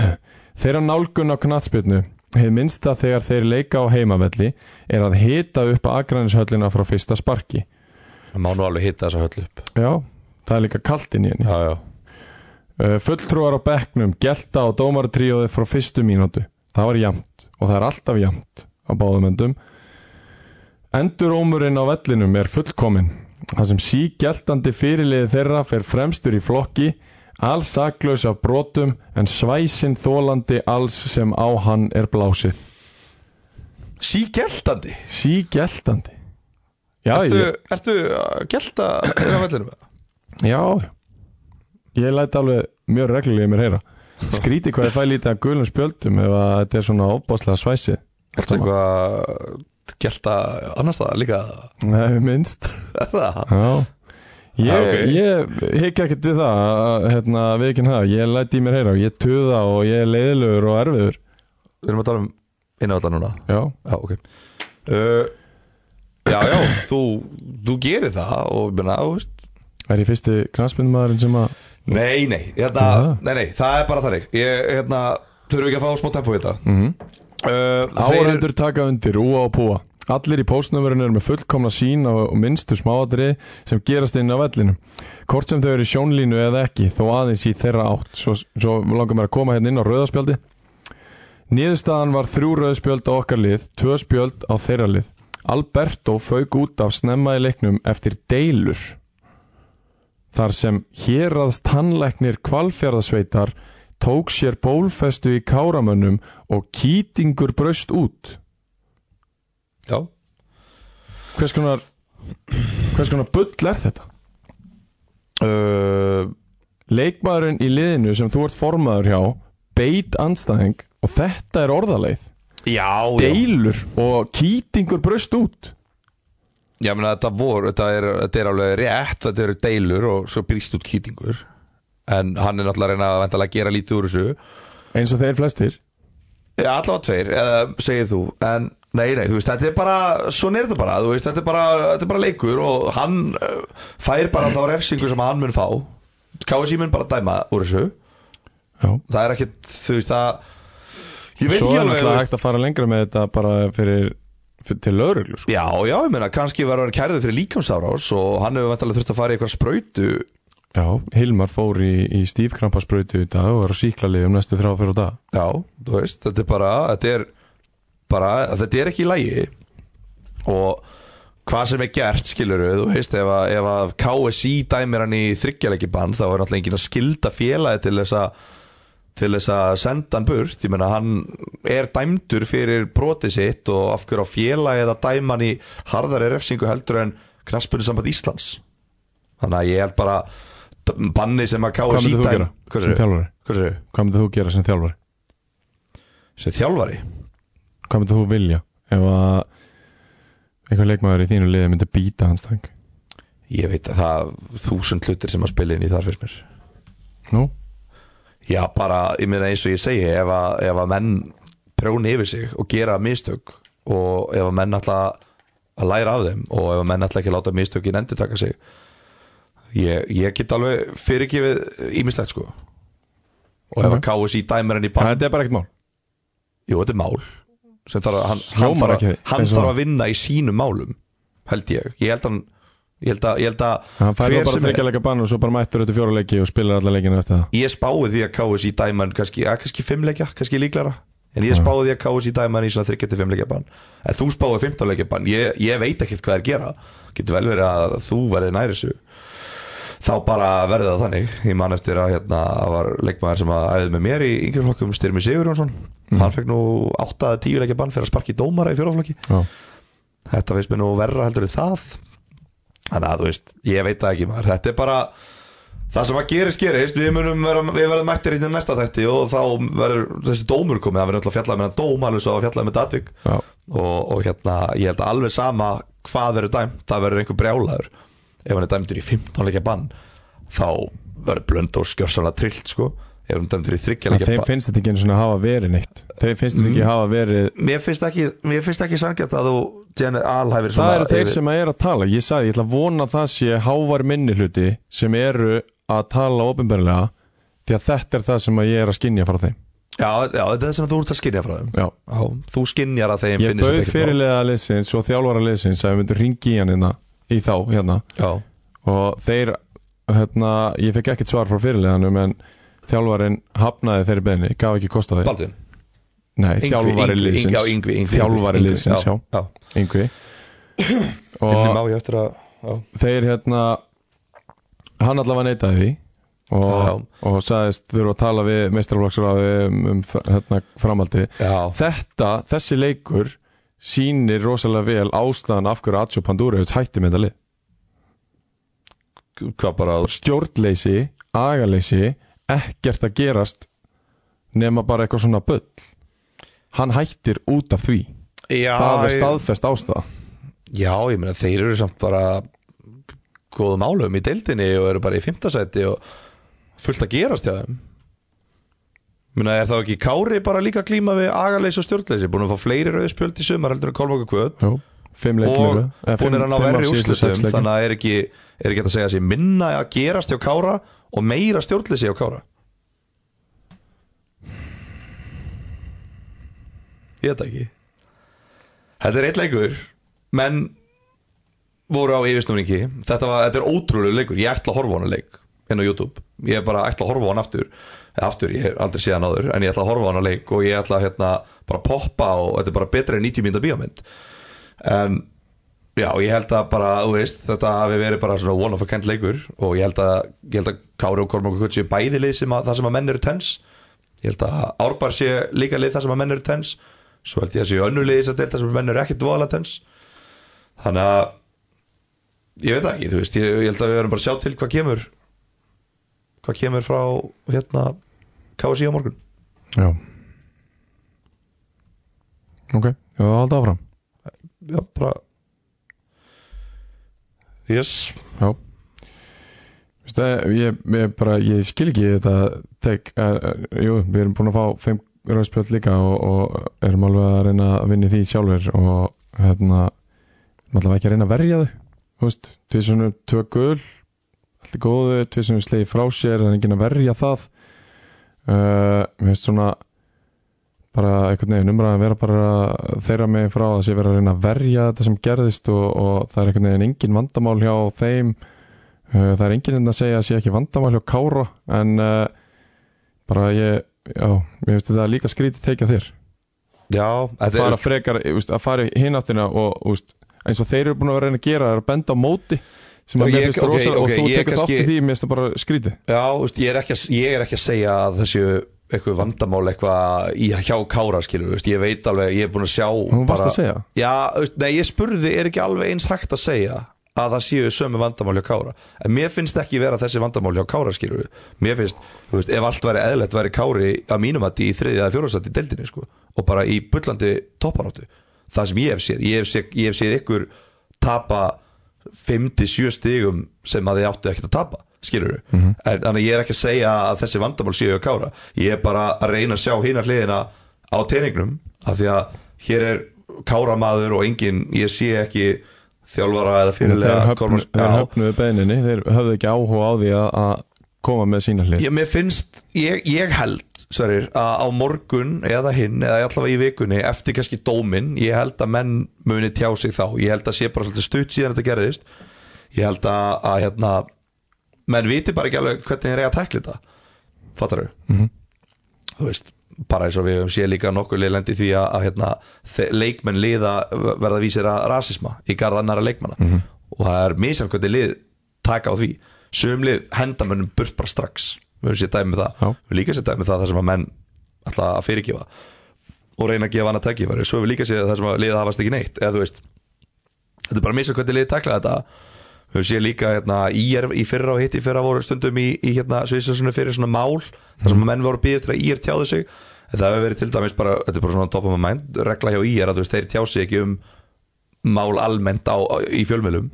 Þeirra nálgun á knattspyrnu hefur minnsta þegar þeir leika á heimavelli er að hita upp agrænishöllina frá fyrsta sparki hann má nú alveg hitta þessa höll upp Já, það er líka kalt hérna. inn í henni já, já. Uh, Fulltrúar á bekknum, gelta og dómaratríóði frá fyrstu mínútu. Það var jæmt og það er alltaf jæmt á báðum endum. Endurómurinn á vellinum er fullkominn. Það sem sígjeltandi fyrirliði þeirra fer fremstur í flokki, alls saklaus af brotum en svæsin þólandi alls sem á hann er blásið. sígeltandi Sígjeltandi. Já, ertu, ég, ertu að gelta þeirra vellinum já, ég læt alveg mjög reglulega í mér heyra. Skríti hvað ég fæ lítið að gulum spjöldum ef að þetta er svona ofbáslega svæsið. ertu eitthvað að gelta annars það líka Nei, minnst er það Já Ég, Ah, ok. ég hekja ekkert við það að, hérna, við ekki það, ég læti í mér heyra og ég tuða og ég er leiðilegur og erfiður við erum að tala um innavalla núna Já, já, ok uh, já, já, þú, þú gerir það og menna, þú veist er ég fyrsti knastmyndmaðurinn sem að Nei, nei, hérna, Já. nei, nei, það er bara þannig Ég, hérna, þurfum við ekki að fá smá tempo í þetta mm -hmm. uh, þeir- áhendur taka undir, úa og púa Allir í póstnumurinn eru með fullkomna sín og og minnstu smáadri sem gerast inn á vellinu Hvort sem þau eru í sjónlínu eða ekki, þó aðeins í þeirra átt Svo, svo langar mér að koma hérna inn á rauðaspjaldi Niðurstaðan var þrjú rauðspjöld á okkar lið, tvö spjöld á þeirra lið Alberto fauk út af snemma í leiknum eftir deilur þar sem héraðst tannleiknir kvalfjörðasveitar tók sér bólfestu í káramönnum og kýtingur braust út Já, hvers konar hvers konar bull er þetta? uh, Leikmaðurinn í liðinu sem þú ert formaður hjá beit anstæðing og þetta er orðaleið já, já. deilur og kýtingur braust út Já, menna, þetta vor, þetta er, þetta er alveg rétt Þetta eru deilur og svo brýst út kýtingur En hann er náttúrulega að reyna að væntanlega gera lítið úr þessu eins og þeir flestir Já, allavega tveir, uh, segir þú En nei, nei, þú veist, þetta er bara Svona er þetta bara, þú veist, þetta er bara, þetta er bara leikur Og hann uh, fær bara þá refsingu sem hann mun fá KSI mun bara dæma úr þessu Já. Það er ekkit, þú veist, það Ég veit svo ekki er alveg, þú náttúrulega veist hægt að fara lengra með þetta bara fyrir, fyrir til lögreglu sko. Já, já, ég meina, kannski verður hann kærður fyrir líkamsárás og hann hefur vantarlega þurft að fara í eitthvað sprautu Já, Hilmar fór í, í stífkrampasprautu í dag og er á síklarliðum næstu þrjá fyrir dag Já, þú veist, þetta er bara þetta er, bara, þetta er ekki í lægi og hvað sem er gert, skilur þú veist, ef að, ef að KSI dæmir hann í þryggjaleiki bann, þá er náttúrulega enginn að skilda félagi til þess að til þess að senda hann burt ég meina hann er dæmdur fyrir broti sitt og af hverju á félagið að dæma hann í harðari refsingu heldur en knaspunni samband Íslands þannig að ég held bara d- banni sem að Hvað KSI myndir þú dæm- gera Hvað sem segirðu? þjálfari? Hvað segirðu? Hvað myndir þú gera sem þjálfari? sem þjálfari Hvað myndir þú vilja? Ef að einhver leikmaður í þínu liði myndi býta hans tang Ég veit að það þúsund hlutir sem að spila inn í þar fyrir mér Nú? Já, bara, ég meina eins og ég segi ef að, ef að menn prjóni yfir sig og gera mistök og ef að menn alltaf að læra af þeim og ef að menn alltaf ekki láta mistökin endur taka sig ég, ég get alveg fyrirgefið ímislegt sko og ef að Ok. KSI dæmir henni í bann Þetta er bara ekkert mál Jú, þetta Mhm. er mál sem þarf að, hann, hann, Hljómar þarf, ekki að, hann eins og þarf það. að vinna í sínum málum held ég, ég held að hann ég held að, ég held að Hann fær hver þá bara sem er- þryggja leika bann og svo bara mættur þetta fjóra leiki og spilar alla leikina eftir það ég spáði því að KS í dæman kannski, ja, kannski fimmleikja, kannski líklara en ég spáði því að KS í dæman í svona 3-5 leikja bann en þú spáði 15 leikja bann ég, ég veit ekkert hvað er gera getur vel verið að þú verði næri þessu þá bara verði það þannig ég man eftir að hérna það var leikmaður sem að æðið með mér í yngri flokkum Styrmi Sigurjónsson hann fekk nú 8-10 leikja bann fyrir að sparki dómara í fjóraflokki Já, þetta finnst mér nú verra heldur en það þannig að þú veist, ég veit það ekki maður þetta er bara, það sem að gerist gerist við munum vera, við verðum mættir inn í næsta þætti og þá verður þessi dómur komið, það verður alltaf fjallað með hann dóm alveg svo að fjallað með datvik já, og, og hérna, ég held að alveg sama hvað verður dæmt, það verður einhver brjálaður ef hann er dæmtur í 15 leikja bann þá verður blönd og skjörsamlega trillt sko, ef hann er dæmtur í 3 að leikja þeim bann finnst þetta ekki einu svona hafa verið neitt Þeim finnst þetta ekki hafa verið mér finnst ekki, mér finnst ekki sangjart að þú Jenner alhæfir Það svona eru þeir yfir- sem er að tala Ég sagði, ég ætla að vona að það sé hávar minni hluti sem eru að tala ofinbærilega því að þetta er það sem að ég er að skinja frá þeim Já, já, þetta er það sem þú ert að skinja frá þeim Já, Já, þú skinjar að þeim ég finnist bauð þetta ekkert fyrirlega liðsins og þjálfara liðsins að við myndum ringi í hann hérna í þá hérna nóg. og þeir hérna, ég fekk ekkert svar frá fyrirleganum en þjálfarin hafnaði þeirri beðinni, gaf ekki kost á Já, þeir Baldvin Nei, þjálfari Já, liðsins yngvi, yngvi Þjálfari Yngvi, liðsins, já. já. Yngvi Minni og má ég eftir að já. þeir hérna hann allavega neitaði því Já. og, og sagðist þurfa að tala við meistarflokksráði um, um hérna, framhaldi já, þetta, þessi leikur sýnir rosalega vel ástæðan af hverju Atsjó Pandúrevits hætti með þetta lið hvað bara stjórnleysi, agaleysi ekkert að gerast nema bara eitthvað svona bull hann hættir út af því já, það er ég- staðfest ástæða Já, ég meina þeir eru samt bara góðum álum í deildinni og eru bara í fimmtasæti og fullt að gerast hjá þeim Ég meina, er þá ekki Kári bara líka klíma við agaleysi og stjórnleysi búin að fá fleiri rauðspjöld í sumar heldur en Kolmóka Kvöt Jú, fimm og leikir hún er að ná verri úrslutum þannig að er ekki, er ekki hægt að segja að sé minna að gerast hjá Kára og meira stjórnleysi hjá Kára ég veit það ekki þetta er eitt leikur menn voru á yfirsnúringi þetta, var, þetta er ótrúlega leikur, ég ætla að horfa á hana leik inn á YouTube, ég er bara ætla að horfa á hana aftur eða aftur, ég hef aldrei séð hann áður en ég ætla að horfa á hana leik og ég ætla að hérna, bara poppa og þetta er bara betra en 90 mínúta bíómynd en já, ég held að bara, þú veist, þetta hafi verið bara svona one of a kind leikur og ég held að, ég held að Kári og Kormáku Kutsi bæði lið sem að, það sem að menn eru tens ég held að Árbar sé líka lið það sem að menn eru tens svo held ég að sé önnu lið þess að delta sem að menn eru ekki dvala tens þannig að ég veit það ekki, þú veist, ég, ég held að við verðum bara að sjá til hvað kemur hvað kemur frá hérna KSI á morgun já ok, já, halda áfram já, bara yes, já Veistu, ég, ég, bara, ég skil ekki þetta tek, uh, jú, við erum búin að fá fimm rauðspjöld líka og, og erum alveg að reyna að vinna í því sjálfur og hérna allavega ekki að reyna að verja þau þú veist, tvisinu tvö gul allt er góðu, tvisinu slegi frá sér en enginn að verja það uh, mér finnst svona bara einhvern veginn umræðan vera bara þeirra mig frá að sé vera að reyna að verja þetta sem gerðist og, og það er einhvern veginn engin vandamál hjá þeim Uh, Það er enginn enn að segja að sé ekki vandamál hjá Kára en uh, bara ég, já, ég veist þetta er líka skrítið teikja þér já þetta fara frekar, ég veist, að fara hináttina og þú veist, eins og þeir eru búin að vera að reyna að gera er að benda á móti sem Já, að mér ég- finnst ok, rosa ok, og þú ég tekur þátt í kannski- því, mér finnst það bara skrítið Já, veist, ég, er ekki að, ég er ekki að segja að það séu eitthvað vandamál eitthvað í hjá Kára skilur, veist, ég veit alveg, ég er búin að sjá Hún varst að segja? Já, veist, nei, ég spurði, er ekki alveg eins hægt að segja að það séu sömu vandamál hjá Kára en mér finnst ekki vera þessi vandamál hjá Kára skilur mér finnst, þú veist, ef allt væri eðlegt væri Kári að mínum að í þriðið eða fjórastætti í deildinni sko, og bara í bullandi toppanáttu það sem ég hef séð ég hef séð, ég hef séð ykkur tapa 5-7 stigum sem að þið áttu ekkert að tapa skilur við, mm en þannig að ég er ekki að segja að þessi vandamál séu að kára ég er bara að reyna að sjá hína hliðina á teiningnum, af því að hér er káramaður og engin ég sé ekki þjálfara eða Þeir fyrirlega höfnu- Kormans- þeir Já. höfnuðu beininni, þeir höfðu ekki áhuga á því að, að koma með sína hlið Ég, mér finnst, ég, ég held sverir, að á morgun eða hinn eða allavega í vikunni, eftir kannski dómin ég held að menn muni tjá sig þá ég held að sé bara svolítið stutt síðan þetta gerðist ég held að, að hérna, menn viti bara ekki alveg hvernig þeir eiga að tekla þetta fattar þau? Mm -hmm. þú veist, bara eins og við höfum séð líka nokkur leiðlendi því að, að hérna, þe- leikmenn liða verða vísir að rasisma í garð annara leikmanna og það er misjafn hvernig lið taka á því sömlið hendamönnum burt bara strax við höfum séð dæmið það Já. við höfum líka séð dæmið það þar sem að menn ætla að fyrirgefa og reyna að gefa annað tækifæri svo höfum við líka séð það sem að liða hafast ekki neitt eða þú veist, þetta er bara misjafn hvernig liðið takla þetta Við höfum séð líka hérna, IR í fyrra og hitt í fyrra voru stundum í, í hérna, Sviðsjónsunni fyrir svona mál þar sem menn voru býðið til að IR tjáðu sig en það hefur verið til dæmis bara, þetta er bara svona top of my mind regla hjá IR að þú veist, þeir tjá sig ekki um mál almennt á, á, í fjölmjölum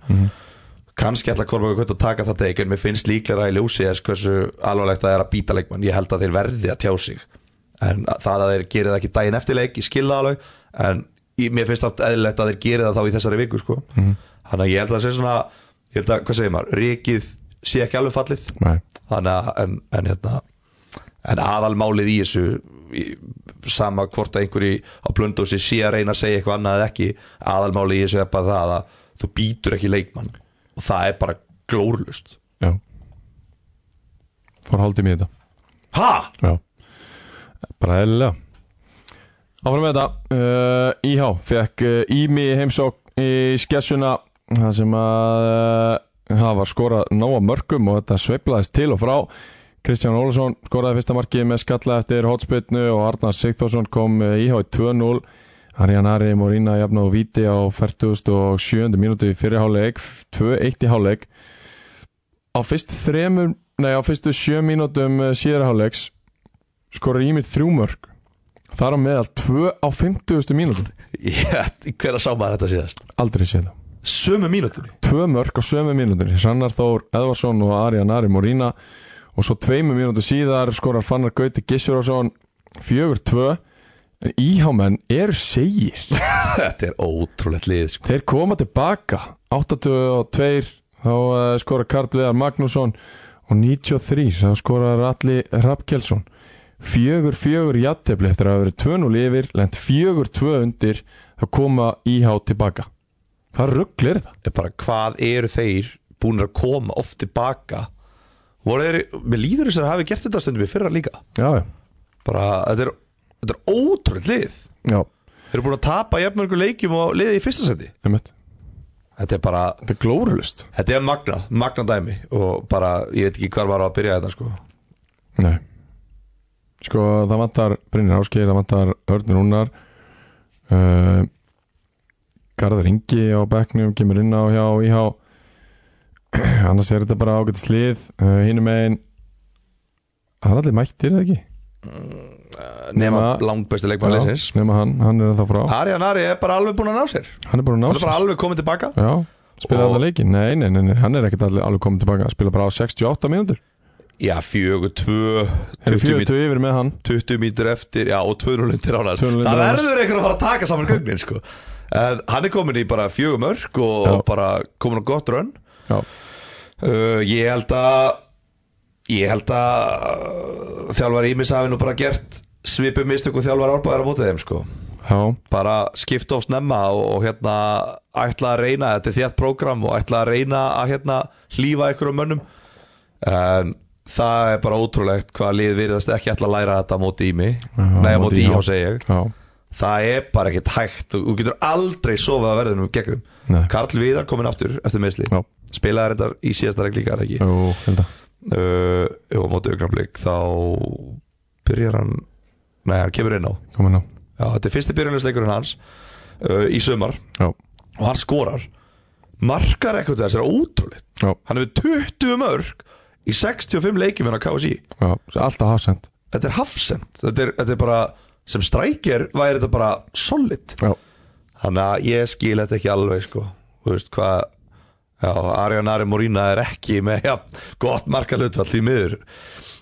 kannski ætla Kormáka Kvöld að taka þetta ekki en mér finnst líklega í ljósi þess hversu alvarlegt það er að býta leikmann ég held að þeir verði að tjá sig en að- það að þeir gerir það ekki daginn eftir leik ég skil það alveg en í- mér finnst það eðlilegt að þeir gerir það þá í þessari viku sko. þannig að ég held að það sé svona ég held að, hvað segir maður, rikið sé ekki alveg fallið Nei, þannig að en, en, hérna, en aðalmálið í þessu í, sama hvort að einhverji á blöndósi sé að reyna að segja eitthvað annað eða ekki aðalmálið í þessu er bara það að þú býtur ekki leikmann og það er bara glórlust já Fór haldið mér þetta ha? Já Bara eðlilega Áfram með þetta uh, IH fekk uh, Ími í heimsókn í skessuna Það sem að uh, Það var skorað nóga mörgum og þetta sveiflaðist til og frá Kristján Ólafsson skoraði fyrsta markið með skalla eftir hotspilnu og Arnar Sigþórsson kom eh, IH í 2-0 Arjan Ari Morína jafna og Víti á 47. mínútu í fyrirháleik 2-1 í háleik Á fyrst þremur Nei, á fyrstu sjö mínútum eh, síðarháleiks skorar Ímir þrjú mörg þar á meðal tvö á 50. mínútu Ég- hver að sá maður þetta síðast? aldrei séð það sömu mínútunni tvö mörg á sömu mínútur Sannar Þór, Edvarsson og Arjan Ari Morína og svo tveimu mínútu síðar skorar Fannar Gauti Gissurásson fjögur tvö en íhámenn eru segir þetta er ótrúlegt lið sko. Þeir koma tilbaka 82 þá uh, skora Karl Viðar Magnússon og 93 þá skora Alli Rappkjelsson 4-4 jattefli eftir að hafa verið 2-0 yfir lent 4-2 undir þá koma IH tilbaka Hvað ruggl er það? er bara hvað eru þeir búin að koma oft tilbaka voru þeir, með líður þess að hafi gert þetta stundum í fyrra líka Já, já, bara, þetta er, þetta er ótrúlegt lið já, Þeir eru búin að tapa jafnmörgur leikjum og liðið í fyrsta seti einmitt Þetta er bara, Þetta er glórulust þetta er magnað, magnað dæmi og bara, ég veit ekki hvar var á að byrja þetta sko Nei Sko það vantar Brynjar Áskeið, það vantar Örnir Unnar uh, Garðar Ingi á bekknum kemur inn á hjá IH annars er þetta bara ágætt slið uh, hinum megin það er allir mættir eða ekki Nema Nema- langbæsti leikmann leysins Já, nema hann, hann er það frá Arjan Ari er bara alveg búin að ná sér hann er bara Hann er nátt bara alveg komið tilbaka já, spila Og- alltaf leikin nei, nei, nei, nei, hann er ekkert allir alveg komin tilbaka spila bara á 68 mínútur Já, fjögur, tvö, þeir eru 20 mít- 40 yfir með hann 20 mítur eftir, já, og 200 lundir á hann 200 undir Það á hans. verður einhver að fara að taka saman gögnin sko En hann er komin í bara fjögur mörg og, Já. og bara komin á gott rönn já, Uh, ég held að ég held að uh, þjálfar Ímis hafi nú bara gert svipum mistök og þjálfar árbæðar á mótið þeim sko. já, bara skipta of snemma og, og hérna ætla að reyna, þetta er þétt prógram og ætla að reyna að hérna hlýfa ykkur um mönnum en það er bara ótrúlegt hvað lið virðast ekki ætla að læra þetta á móti Ími Já, nei, á móti móti IH. Íhá segi ég já, það er bara ekkert hægt þú þú getur aldrei sofað að verðinum gegn þeim nei Karl Viðar komin aftur eftir meðsli já, spilaði þetta í síðasta regl líka er það ekki jú, held að uh, og á móti augnablik þá byrjar hann nei, hann kemur inn á komin á, já, þetta er fyrsti byrjunlegsleikurinn hans uh, í sumar já og hann skorar markar ekkert þess er ótrúleitt Já, hann hefur 20 mörg í 65 leikjum hérna á KSI já, alltaf hafsend þetta er hafsend þetta er, þetta er bara sem strækir væri þetta bara solid Já, Þannig að ég skil þetta ekki alveg sko Þú veist hvað Já, Arjan Ari Morína er ekki með ja, gott markalutfall því miður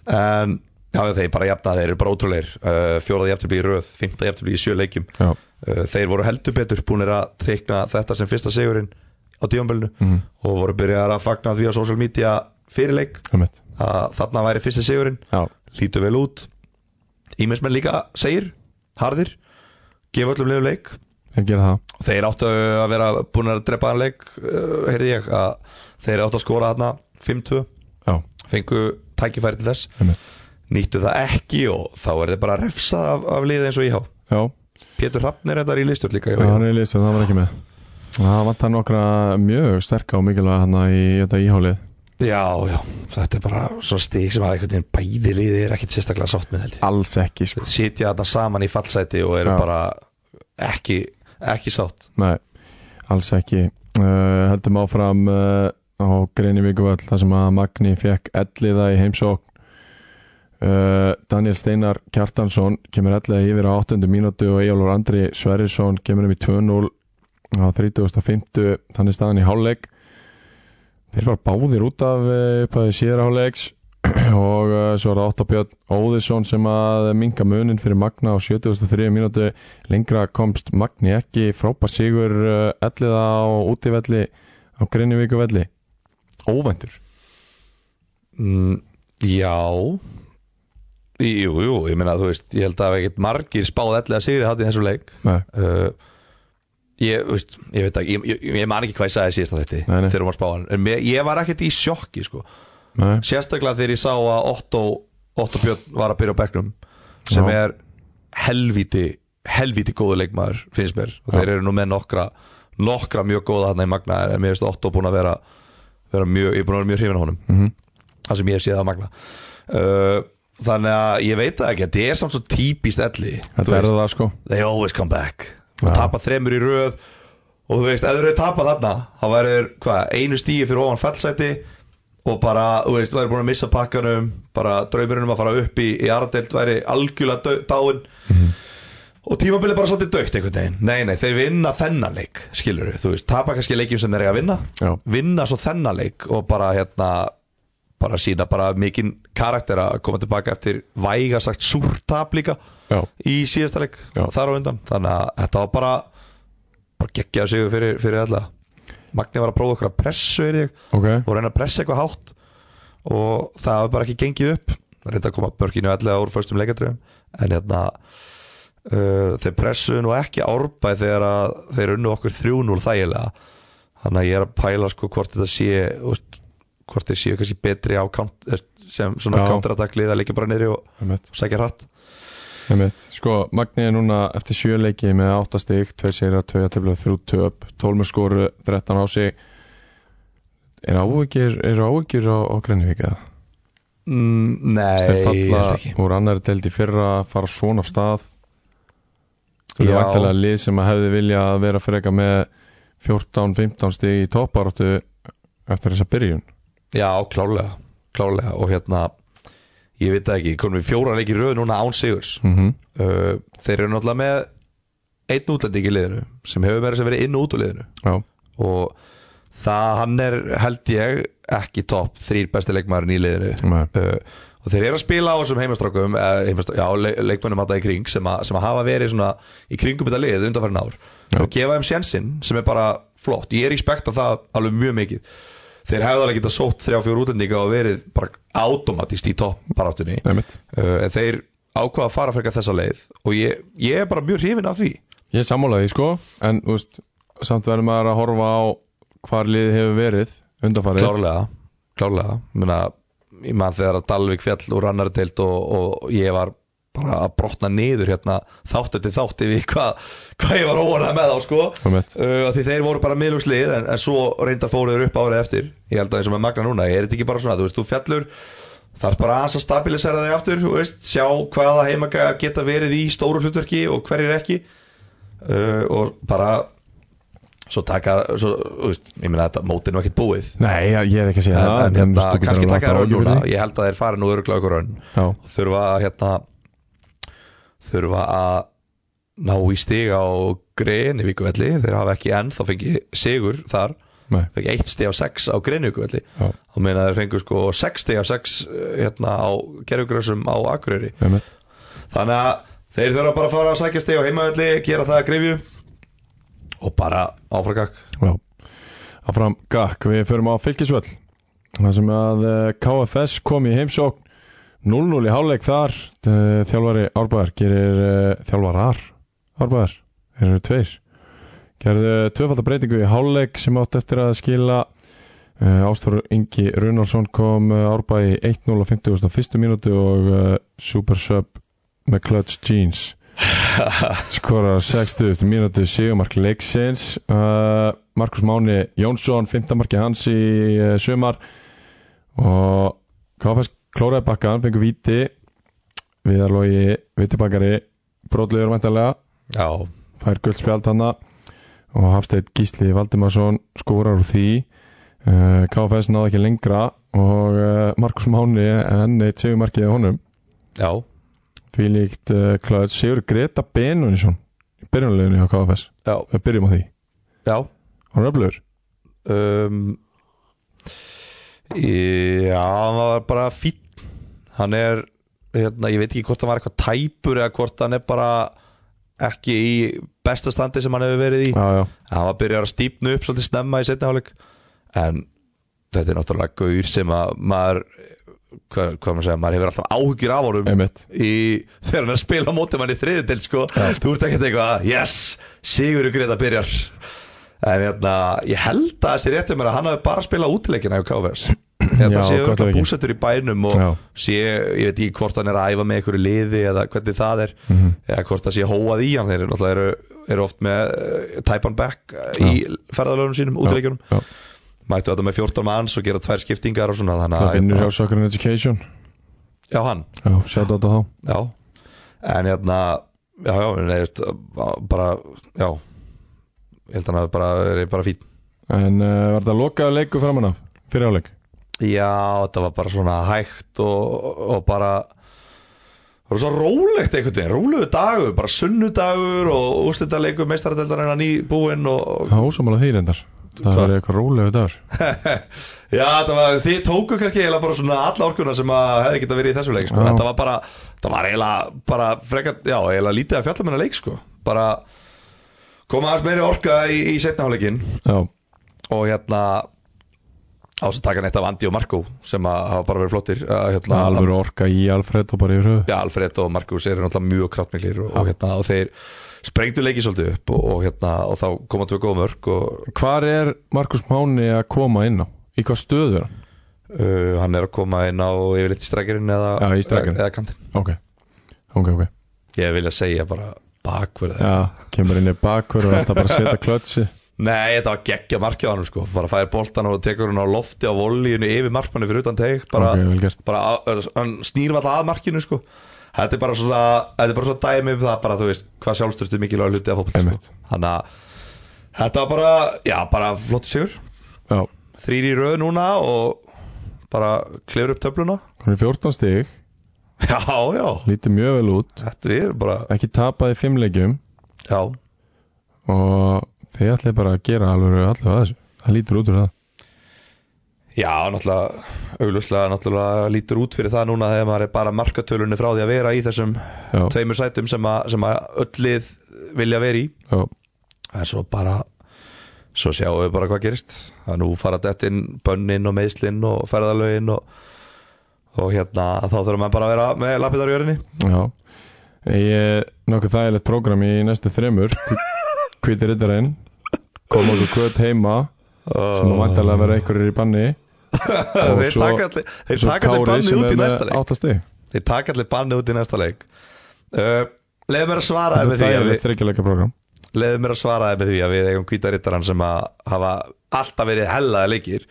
En já, þeir bara jafna þeir eru bara ótrúleir uh, Fjóraða jafntöfli í röð, fymta jafntöfli í sjö leikjum Já. uh, Þeir voru heldur betur búinir að teikna þetta sem fyrsta sigurinn á díumbölinu Mhm, og voru byrjar að fagna því á social media fyrirleik einmitt. að þarna væri fyrsti sigurinn Já, lítur vel út Ímesmenn líka segir, harðir gefa öllum liðu leik þeir gera það og þeir áttu að vera búin að drepa hann leik uh, heyrði ég að þeir áttu að skora þarna 5-2 Já, fengu tækifæri til þess einmitt nýttu það ekki og þá er þeir bara refsað af, af liði eins og íhá Já, Pétur Hrafn er þetta í listur líka hjá já, IH. hann er í listu, það var ekki með Það vantar nokkra mjög sterka og mikilvæga hann í þetta íhálið Já, já, þetta er bara svona stig sem að einhvern veginn bæði liði er ekkit sérstaklega sátt með held ég Alls ekki, sko Þeir sitja þarna saman í fallsæti og eru Já. bara ekki, ekki sátt Nei, alls ekki uh, Heldum áfram uh, á Greinivíkuvöll þar sem að Magni fekk elliða í heimsókn uh, Daniel Steinar Kjartansson kemur elliða yfir á 8. mínútu og Eyjólfur Andri Sverrisson kemur um í 2-0 á 30.50 þannig staðan í hálfleik Þeir var báðir út af upphæði síðra hálfleiks og uh, svo er það 8. Björn Óðisson sem að minga munin fyrir Magna á 73 mínútu lengra komst Magni ekki frápa sigur uh, elliða á útivelli á Grinnivíku velli óvæntur mm, Já Jú, jú, ég meina þú veist ég held að ekkert margir spáð ellega sigri þarna í þessum leik nei, uh, ég, þú veist, ég veit ekki, ég, ég, ég man ekki hvað ég sagði síðast á þetta Nei, nei. þegar hún var spáðan, en mér, ég var ekkert í sjokki sko. nei, sérstaklega þegar ég sá að Otto, Otto Björn var að byrja á bekknum sem Já. er helvíti helvíti góðu leikmaður, finnst mér og Já. þeir eru nú með nokkra nokkra mjög góða þarna í Magna, en mér finnst Otto búin að vera, vera mjög, ég er búin að vera mjög hrifin á honum Mhm. það sem ég hef séð að Magna uh, þannig að ég veit það ekki, þetta er samt svo típist elli þú þetta veist er það sko they always come back Já. og tapa þremur í röð og þú veist, ef þú eru tapað þarna þá væri þeir, hvað, einu stíi fyrir ofan fellsæti og bara, þú veist, væri búin að missa pakkanum bara draumurinn um að fara upp í, í Aradelt væri algjörlega dau- dáinn og tímabilið bara svolítið dögt einhvern veginn nei, nei, þeir vinna þennan leik skilur þú veist, tapa kannski leikjum sem þeir eiga að vinna já, vinna svo þennan leik og bara hérna bara sína bara mikinn karakter að koma tilbaka eftir væga sagt súrtap líka já, í síðasta leik Já. og þar á undan þannig að þetta var bara bara geggjað sigur fyrir, fyrir alla Magni var að prófa okkur að pressu er ég ok og reyna að pressa eitthvað hátt og það var bara ekki gengið upp reynda að koma börkinu allega úr föstum leikadröfum en hérna uh, þeir pressuðu nú ekki árbæð þegar að þeir unnu okkur 3-0 þægilega þannig að ég er að pæla sko hvort þetta sé úst, hvort þeir séu kannski betri á count, eh, sem svona Já. counterattack-lið að leikja bara niðri og einmitt, sækja hratt einmitt. sko, Magni er núna eftir sjöleiki með 8 stig, 2 séra, 2 jættiflega 3 töp, 12 skoru 13 á sig er áhugir, er áhugir á, á Grinnivík eða? Mm, nei, þeir ég falla held ekki úr annari deild í fyrra fara svona af stað þú Já. eru væntalega lið sem að hefði vilja að vera fyrir eitthvað með 14-15 stig í topparáttu eftir þessa byrjun Já, klálega, klálega og hérna ég veit það ekki, konum við fjóra leikir í röð núna án sigurs mm -hmm. uh, Þeir eru náttúrulega með einn útlending í liðinu sem hefur verið sem verið inn og út úr liðinu já, og það hann er held ég ekki topp þrýr besti leikmaðurinn í liðinu Nei. uh, og þeir eru að spila á þessum heimastrákum eh, heimastrák, já, le leikmönnum alltaf í kring sem, að, sem að hafa verið svona í kringum þetta lið undanfærin ár Já. og gefa þeim sjensinn sem er bara flott ég er í spekt af það alveg mjög mikið þeir hefðu alveg getað sótt þrjá fjóru útlendinga og verið bara automatist í topp baráttunni nefnitt uh, en þeir ákvaða að fara fyrir þessa leið og ég, ég er bara mjög hrifin af því ég sammálaði sko, en úst, samt verður maður að horfa á hvar lið hefur verið undanfarið klárlega, klárlega Muna, ég man þegar að Dalvik fjall úr annar deild og, og ég var bara að brotna niður hérna þátt eftir þátt yfir hvað hva ég var óanað með þá sko Einmitt. uh, af því þeir voru bara miðlugslið en, en svo reyndar fóruður upp árið eftir ég held að eins og með Magna núna, er þetta ekki bara svona þú veist, þú fjallur þarf bara aðeins að stabilisera þig aftur þú veist, sjá hvaða heimagæjar geta verið í stóru hlutverki og hverjir ekki uh, og bara svo taka svo, þú veist, ég meina þetta móti er nú ekkert búið nei, ég ég er ekki að segja en, það en hérna, þú getur kannski alveg taka haft raun áhyggjur núna fyrir því. ég held að þeir fara nú öruglega ykkur raun já, þurfa að hérna þurfa að ná í stig á Grenivíkuvelli þeir hafa ekki enn þá fengið sigur þar Nei, fengið eitt stig á sex á Grenivíkuvelli já, þá meina þeir fengu sko sex stig á sex eh, hérna á gerðugrössum á Akureyri einmitt þannig að þeir þurfa bara að fara að sækja stig á heimavelli gera það að grefju og bara áfrakak Já, áfram gakk, við förum á fylgisvöll Það sem að eh, KFS kom í heimsókn 0-0 í hálfleik þar Eh, Þjálfari Árbæðar gerir eh, Þjálfarar Árbæðar, þeir eru tveir Gerðu tvöfaldabreitingu í hálfleik sem átt eftir að skila Ástóru Ingi Runarsson kom eh, Árbæði 1-0 á 50. fyrstu mínútu og eh, Super Sub með Clutch Jeans skorar á 60. mínútu sigumark leiksins uh, Markus Máni Jónsson 15 marki hans í uh, sumar og KFS klóraði bakkan, fengur víti viðarlogi vitibakari brotlegur væntalega já, fær guldspjald hana og Hafsteinn Gísli Valdimarsson skorar úr því uh, KFS náði ekki lengra og uh, Markus Máni enn eitt sigumarkið á honum já, því líkt uh, klæðið Sigur Greta Benuninsson í byrjunleginu hjá KFS já, við byrjum á því, já hann er öflugur um, Já, hann var bara fín Hann er, hérna, ég veit ekki hvort hann var eitthvað tæpur eða hvort hann er bara ekki í besta standi sem hann hefur verið í já, já, Hann var byrjar að stípnu upp svolítið snemma í setni hálfleik En þetta er náttúrulega gaur sem að maður hvað, hvað maður segja, maður hefur alltaf áhyggjur af honum einmitt í, þegar hann er að spila á móti manni í þriðutil sko, þú ert ekkert eitthvað yes, Sigurður Greta byrjar en hérna, ég held að þessi réttum er að hann hafi bara spilað útileikina hjá KFS Já, hérna Sigurður gott ef er ekki. búsettur í bænum og já, sé, ég veit ekki hvort hann er að æfa með einhverju liði eða hvernig það er mm eða hvort það sé hóað í hann þeir eru náttúrulega eru, eru oft með uh, tæpan back uh, í ferðalöfum sínum, útileikjunum já. mættu þetta með 14 manns og gera tvær skiptingar og svona þannig það vinnur hjá að, Soccer and Education já hann já, sjátt á þá Já, en hérna Já, já, nei, veist, bara Já Ég held hann að bara, er bara fín en uh, var þetta lokaðu leiku framan af fyrir áleik, Já, þetta var bara svona hægt og, og bara Það var svo rólegt einhvern veginn, rólegur dagur, bara sunnudagur og úrslitaleikur meistaradeldarinnan í búinn og það var ósámála því reyndar það Hvað? var eitthvað rólegu dagur Já, það var, þið tóku kannski eiginlega bara svona alla orkuna sem að hefði geta verið í þessum leik sko. Já. Þetta var bara, það var eiginlega bara frekar, já, eiginlega lítið að fjalla meina leik sko. bara koma aðeins meiri orka í, í setna hálfleikin já, og hérna ás að taka neitt af Andi og Marko sem að hafa bara verið flottir uh, hérna, alveg orka í Alfred og bara í röðu ja, Alfred og Marko eru náttúrulega mjög kraftmiklir og, og, hérna, og þeir sprengdu leikið svolítið upp og, og, hérna, og þá koma tvö góð mörg og hvar er Markus Máni að koma inn á í hvað stöðu er hann? uh, hann er að koma inn á yfirleitt í strækirinn eða, Já, í strækjarinn. eða kantinn ok, ok, ok ég vilja segja bara bakverð já, kemur inn í bakkur og alltaf bara að setja klötsi Nei, þetta var geggja markið á hann sko. bara færi boltan og tekur hann á lofti á vollíinu yfir markmanni fyrir utan teg bara, ok, vel gert bara að- hann snýr alltaf að markinu sko. þetta er bara svona þetta er bara svona dæmi um það bara þú veist hvað sjálfstöðstu mikilvæg hluti af fótboll Einmitt. sko. þannig að þetta var bara já bara flott sigur já, þrýri í röð núna og bara klefur upp töfluna hann er 14 stig já já lítið mjög vel út, þetta er bara ekki tapaði fimmleikjum já og þið ætlið bara að gera alveg allavega að þessu, það lítur út úr það Já, náttúrulega, auglustlega náttúrulega lítur út fyrir það núna þegar maður er bara markatölunni frá því að vera í þessum Já. tveimur sætum sem að, sem að öll lið vilja vera í já, en svo bara svo sjáum við bara hvað gerist að nú fara þetta inn bönnin og meðslinn og ferðalögin og, og hérna þá þurfum við bara að vera með lappið á jörinni já ég er nokkuð þægilegt prógram í næstu þremur hvíti riddarinn kom okkur kvöt heima sem að vantarlega vera einhverjir í banni og þeir svo- taka allir, þeir svo taka allir Kári bannið sem út er í með næsta leik átta stig þeir taka allir bannið út í næsta leik uh, leiðum mér að svara þetta með er því að þægilegt við, þryggjuleika prógram leiðum mér að svara með því að við eigum kvítarittarhann sem að hafa alltaf verið hellaði leikir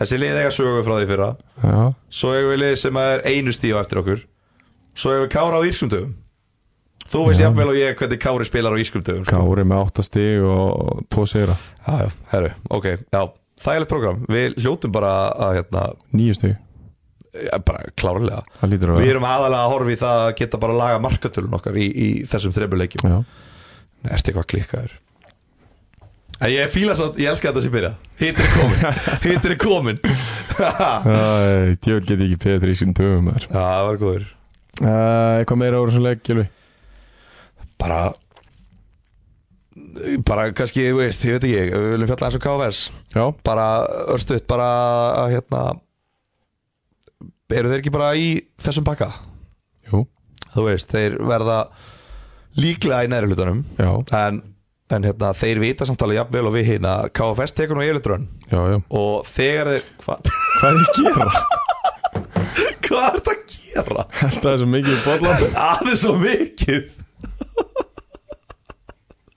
þessi lið eiga sögu frá því fyrra já, Svo eigum við lið sem er einu stíu eftir okkur Svo eigum við Kára á Írskumdöfum Þú veist Já. jafnvel og ég hvernig Kári spilar á Írskumdöfum Kári með átta stig og tvo sigra, Já, já, herru, ok, já Þægilegt program, við hljótum bara að hérna nýju stig ja, bara klárlega það lítur að Við vera erum aðalega að horfa í það að geta bara að laga markatölun okkar í, í þessum þrejbuleikjum Já. Ertu eitthvað klikkaður? En ég fíla svo, ég elska þetta sem byrjað Hittir er komin, hittir er komin Já, Æ, djöfull get ég ekki P3 í sínum töfum þar það var uh, góður Eitthvað meira úr þessum leik, Gilvi? Bara bara kannski, ég veist, ég veit ekki við viljum fjalla um eins og KFS Já, bara örstuðt, bara að hérna eru þeir ekki bara í þessum bakka? jú, Þú veist, þeir verða líklega í næri hlutunum já, en, en hérna, þeir vita samtala jafnvel og við hinn að KFS tekur nú yfirleitrun já, já og þegar þeir hvað Hvað er ég að gera? hva er þetta að gera? Þetta er svo mikið bolla aðeins svo mikið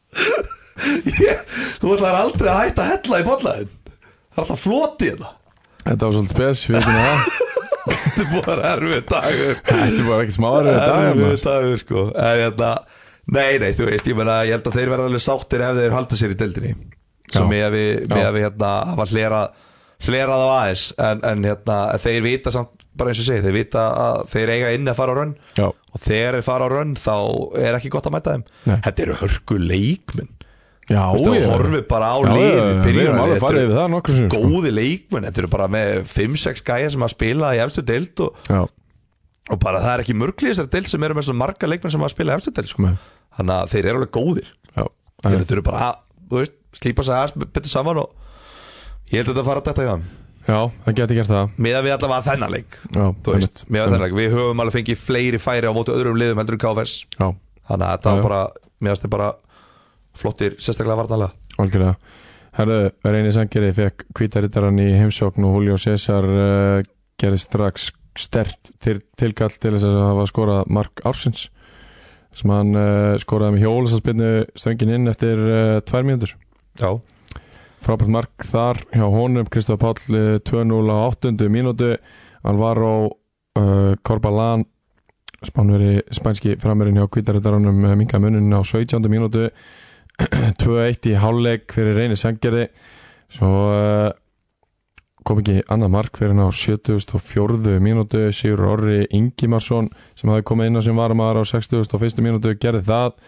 ég, þú ætlar aldrei að hætta að hella í bollaðin það er alltaf floti þetta Þetta var svolítið spes, við veitum það þetta er bara erfið dagur Þetta var ekki smáður þetta erfið dagur sko en hérna Nei, nei, þú veist, ég meina, ég held að þeir verða alveg sáttir ef þeir halda sér í deildinni Já. sem ég að við, Já. með að við hérna hafa hlerað hlerað á aðeins en, en hérna, þeir vita samt bara eins og ég segi, þeir vita að þeir eiga inni að fara á raun Já, og þegar þeir fara á raun þá er ekki gott að mæta þeim Nei. þetta eru hörku leikmenn já, Þú já horfið bara á Já, já, liðið já, Við byrjunarlið. erum alveg Þetta farið eru yfir það sko. nokkur sem góði leikmenn, þetta eru bara með 5-6 gæja sem að spila í efstu deild og, Já, og bara það er ekki mörglið þessar deild sem eru með svona marga leikmenn sem að spila í efstu deild sko. Nei. þannig að þeir eru alveg góðir já, þeir þurfu bara að, þú veist, slípa sig aðeins betur saman og ég held að þetta fara að þetta hjá þeim. já, það geti gert það miðað við allavega þennan leik Já, þú veist, einmitt, miðað við þennan leik, við höfum alveg fengið fleiri færi á móti öðrum liðum heldur en KFS Já, Þannig að Já, þetta var já. bara, mér finnst þetta bara flottir, sérstaklega vartanlega algjörlega Herðu, Reyni Sangeri fekk kvítarittarhann í heimsókn og Julio César uh, gerði strax stert til, tilkall til þess að hafa skorað mark ársins sem hann uh, skoraði með hjól sem spilnu stöngin inn eftir uh, tvær mínútur Já, frábært mark þar hjá honum Kristof Páll eh, 2-0 á 8. mínútu Alvaro uh, Corbalán spánveri spænski framurinn hjá kvítaritaranum minga munin á 17. mínútu 2-1 í hálfleik fyrir reyni sangeri svo uh, kom ekki annað mark fyrir hann á 74. mínútu Sigur Orri Ingimarsson sem hafði komið inn á sem varamæður á 61. mínútu gerði það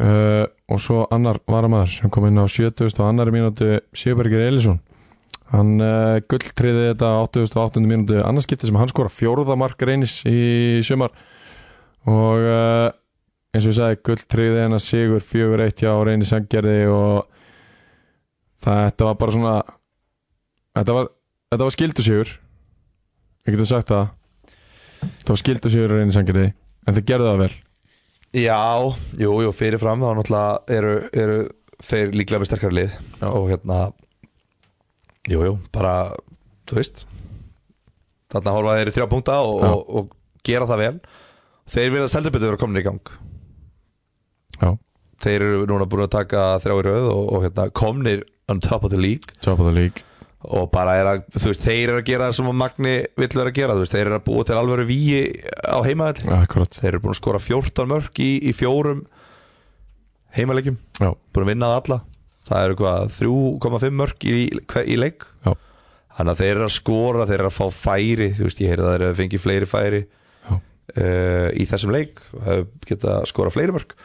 uh, og svo annar varamæður sem kom inn á 70. og annari mínútu Sigurbergir Elisson hann uh, gulltriði þetta á 88. mínútu annarskipti sem hann skora fjórða mark reynis í sumar og uh, eins og ég sagði gulltriði hennar Sigur 4-1 hjá reynis sangjarði og það, þetta var bara svona þetta var, þetta var skildu Sigur ég getum sagt það þetta var skildu Sigur reynis sangjarði en þið gerðu það vel jú, jú, fyrirfram þá náttúrulega eru, eru þeir líklega með sterkari lið Já. og hérna Jú, jú, bara, þú veist Þarna horfa þeir í þrjá punkta og, Já. og, og gera það vel Þeir vilja seldubitur vera komin í gang já, Þeir eru núna búin að taka þrjá í röð og, og hérna, komnir on top of the league top of the league og bara er að, þú veist, þeir eru að gera það sem að Magni vill vera að gera, þú veist, þeir eru að búa til alvöru víi á heimaðall Akkurat, þeir eru búin að skora 14 mörg í, í fjórum heimaleikjum já, búin að vinna það alla það eru hvað, 3,5 mörg í, hve- í leik Já. þannig að þeir eru að skora, þeir eru að fá færi þú veist, ég heyrði að þeir eru að fengi fleiri færi Já. uh, í þessum leik og hafa geta skora fleiri mörg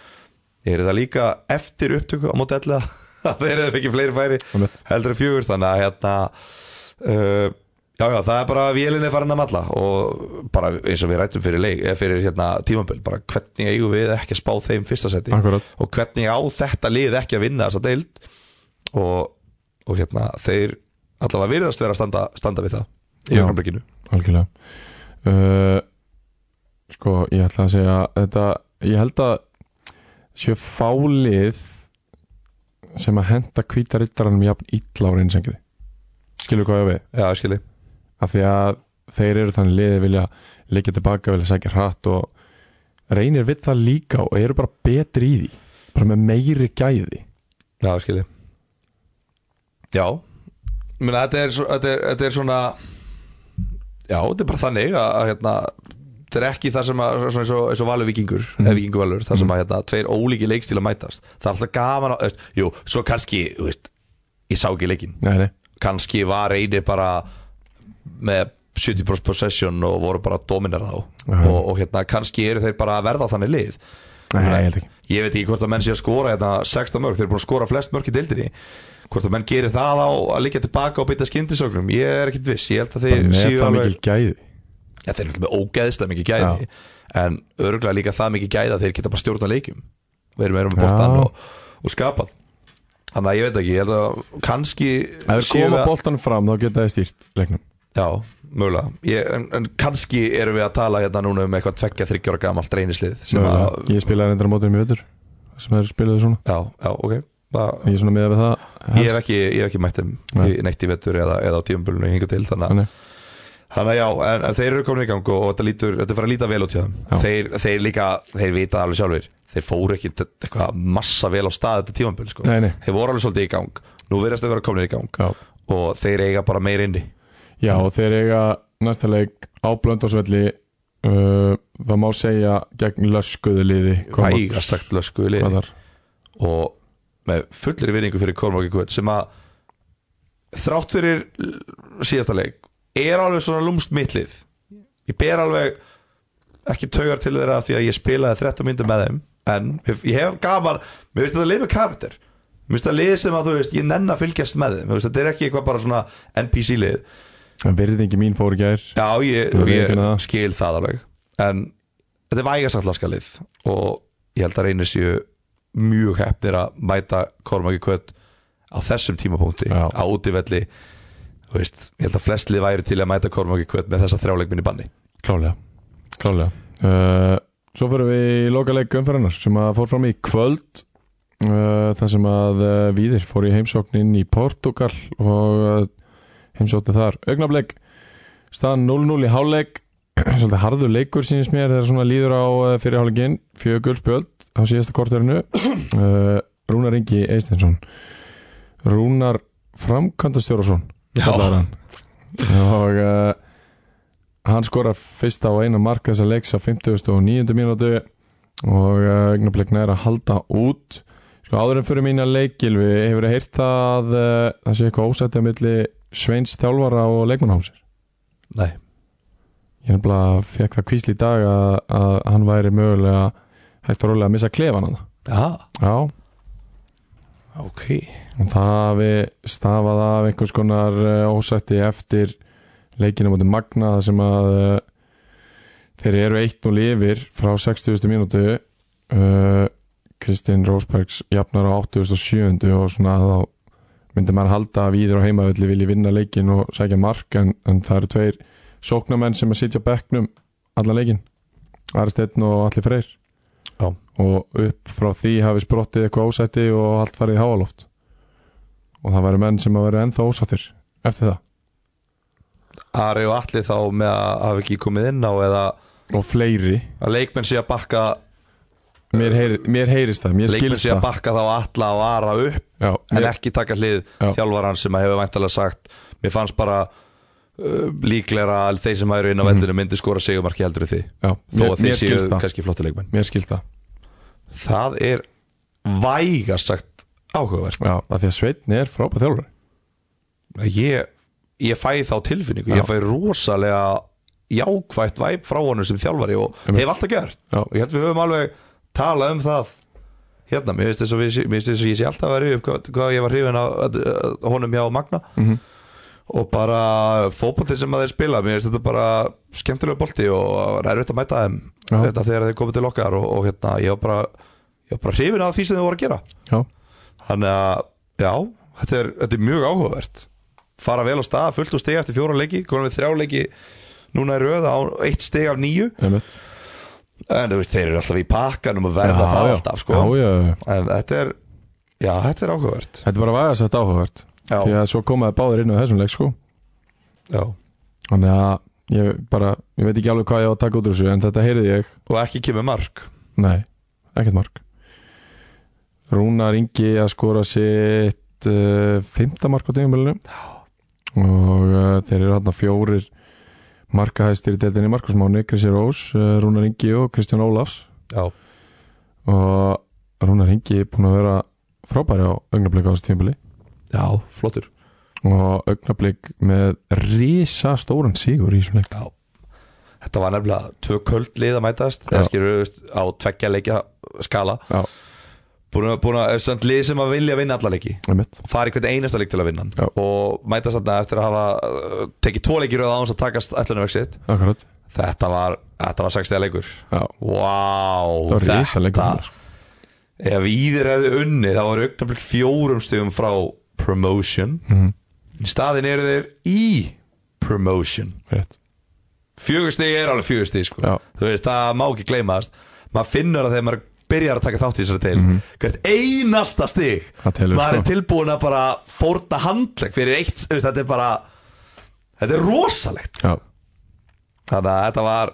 ég heyrði það líka eftir upptöku á móti alla að þeir eru að fengi fleiri færi einmitt heldur en fjögur þannig að hérna uh, já já það er bara vélinni farin að malla og bara eins og við rættum fyrir, leik, eh, fyrir hérna, tímambil bara hvernig eigum við ekki að spá þeim fyrsta seti Akkurat, og hvernig á þetta lið ekki að vinna þessa deild og, og hérna þeir allavega virðast vera að standa, standa við það í Já. augnablikinu algjörlega uh, Sko, ég ætla að segja þetta, ég held að sjö fálið sem að henda hvíta rittaranum jafn illa á reynsengri Skilur hvað ég á við já skilji af því að þeir eru þannig liðið vilja liggja tilbaka, vilja sækja hratt og reynir við það líka og eru bara betri í því bara með meiri gæði já skilji já Mena, þetta, er, svo- þetta, er, þetta er svona já þetta er bara þannig að, að hérna þetta er ekki það sem að svona eins og, eins og valur vikingur mm. eða vikingur valur, það sem að hérna tveir ólíki leikstíla mætast, það er alltaf gaman að, veist, jú, svo kannski, þú veist ég sá ekki leikin, Nei, nei, kannski var reynir bara með 70% possession og voru bara dominera þá Já. og, og hérna kannski eru þeir bara að verða þannig lið Nei, ég held ekki ég veit ekki hvort að menn sé að skora hérna 16 mörg, þeir eru búin að skora flest mörg í deildinni hvort að menn gerir það á að liggja tilbaka og bytta skyndisögnum, ég er ekkit viss ég held að Bara þeir með séu það alveg mikil gæði Já, þeir eru náttúrulega með ógeðslega mikið gæði En örgulega líka það mikið gæði að þeir geta bara stjórna leikjum Við erum meira með Já. boltan og, og skapað Þannig að ég veit ekki, ég held að kannski Ef þeir séu koma við- boltanum fram þá geta þeir stýrt leiknum Já, mögulega ég, en, en kannski erum við að tala hérna núna um eitthvað tveggja, þryggjóra gamalt reynislið sem Mögulega. að, Ég spilaði reyndar á mótum í vettur sem þeir spilaði svona Já, já, ok það, Ég er svona með við það Ég hef helst. ekki, ég hef ekki mætt þeim Nei. í- neitt í vettur eða, eða á tíumbölinu hinga til Þannig að Þannig, Þannig að já, en, en þeir eru komin í gang og, og þetta, lítur, þetta er farið að líta vel út hjá Já. þeim þeir, þeir líka, þeir vita það alveg sjálfur Þeir fóru ekki t- eitthvað massa vel á stað þetta tímambil sko. Nei, nei. Þeir voru alveg svolítið í gang Nú verðast þeir vera komin í gang já Og þeir eiga bara meir inni Já, og þeir eiga næsta leik á blöndásvelli uh, það má segja gegn löskuðu liði Hægast sagt lösku í liði Kvartar. Og með fullri vinningu fyrir Kormáki Kvöld Sem að þrátt fyrir l- síðasta leik Er alveg svona lúmst mittlið Ég ber alveg ekki taugar til þeirra því að ég spilaði 13 myndir með þeim en ég ég hef gaman mér finnst þetta lið með karakter mér finnst þetta lið sem að þú veist, ég nenn að fylgjast með þeim Þú veist, þetta er ekki eitthvað bara svona NPC lið En virðingi mín fór í gær já, ég, Þú veitir ég það. skil það alveg en þetta er vægasatlaska lið og ég held að reynir séu mjög hefnir að mæta Kormaki Kvöt á þessum tímapunkti Já. á útivelli þú veist, ég held að flest lið væri til að mæta Kormaki Kvöt með þessa þrjáleikminni banni Klálega, Klálega. Uh, Svo fyrir við í lokaleik umferðarnar sem að fór fram í kvöld uh, þar sem að uh, Víðir fór í heimsókn inn í Portugal og uh, heimsótti þar augnableik staðan 0-0 í hálfleik svolítið harður leikur sínist mér þegar svona líður á uh, fyrirháleikinn fjögur spjöld á síðasta korterinu uh, Rúnar Ingi Eistensson Rúnar Framkantastjórasson kallar hann og uh, hann skorar fyrsta og eina mark þessa leiks á 59. mínútu og uh, eignablikna er að halda út sko áður en fyrir mína leikil við hefur að heyrta að uh, það sé eitthvað ósættið á milli Sveins þjálfara og leikmannhámsir Nei, ég nefnilega fekk það kvísli í dag að, að hann væri mögulega hægt og rólega að missa klefan hann já, já, ok Og það hafi stafað af einhvers konar eh, ósætti eftir leikinu mútið Magna þar sem að eh, þeir eru eitt og lifir frá 60. mínútu uh, Kristinn Rósbergs jafnar á 87. og svona þá myndi maður halda að víður á heimavelli vilji vinna leikin og sækja mark en, en það eru tveir sóknamenn sem að sitja á bekknum allan leikin Aristeinn og Alli Freyr Já. og upp frá því hafi sprottið eitthvað ósætti og allt farið í háaloft og það væri menn sem að vera ennþá ósattir eftir það Ari og Alli þá með að hafa ekki komið inn á eða og fleiri, að leikmenn sé að bakka mér, heyr, mér heyrist það mér leikmenn skilst sé að það bakka þá Alla og Ara upp já, en mér, ekki taka hlið Já. þjálfaran sem að hefur væntalega sagt mér fannst bara uh, líklega að þeir sem eru inn á vellinu myndi skora segumarki heldur en þið já, þó Mhm. mér, að þeir mér séu skilst það kannski flotti leikmenn mér skilst það, það er vægast sagt áhugavert já, af því að Sveitn er frábæð þjálfur ég, ég fæ þá tilfinningu Já. ég fæ rosalega jákvætt væp frá honum sem þjálfari og Einmitt. hef alltaf gert Já. og ég held við höfum alveg talað um það hérna, mér finnst þess að, við, sé- mér finnst þess að ég sé alltaf að vera upp hvað, hvað ég var hrifin af að- að- honum hjá Magna Mhm. og bara fótbolti sem að þeir spila mér finnst þetta bara skemmtilega bolti og það er auðvitað að mæta þeim Já. þetta, þegar þeir komið til okkar og, og hérna, ég var bara, ég var bara hrifin af því sem þeir voru að gera já, þannig að, já, þetta er, þetta er mjög áhugavert fara vel á stað, fullt og stiga eftir fjóra leiki konum við þrjá leiki núna í röða á eitt stig af nýju einmitt en þú veist, þeir eru alltaf í pakkanum og verða já, það já. alltaf sko. já, já, já. en þetta er já, þetta er áhugavert þetta er bara vægasett áhugavert því já, að svo komaði báðir inn á þessum leik sko já. þannig að ég bara, ég veit ekki alveg hvað ég á að taka út úr þessu en þetta heyrði ég og ekki kemur mark Nei, ekkert mark Rúnar Ingi að skora sitt uh, fymta mark á tímabölinu og uh, þeir eru hann fjórir markahæstir í deildinni Markusmáni, Krissi Rós, uh, Rúnar Ingi og Kristján Ólafs já, og Rúnar Ingi er búin að vera frábæri á augnablik á þessu tímaböli já, flottur og augnablík með risa stóran sigur í svona leik Já Þetta var nefnilega tvö köld lið að mætast Það Já. skilur við á tveggja leikja skala Já, Búin að, búin að, samt lið sem að vilja vinna alla leiki einmitt og fara í hvern einasta leik til að vinna hann Já. og mætast þarna eftir að hafa uh, tekið tvo leikir og aðeins að takast ætlunum exit Akkurat, Þetta var, þetta var 60 leikur já Vá Það var risa leikur Ef Íðir hefði unni þá var augnablik fjórum stegum frá promotion Mhm. Í staðin eru þeir í promotion Rétt, Fjögur stegi er alveg fjögur stegi sko já, þú veist, það má ekki gleymast maður finnur það þegar maður byrjar að taka þátt í þessari deil hvert einasta stig Mhm. það telur maður er sko tilbúin að bara fórna handleg fyrir eitt, þú veist, þetta er bara þetta er rosalegt Já, þannig að þetta var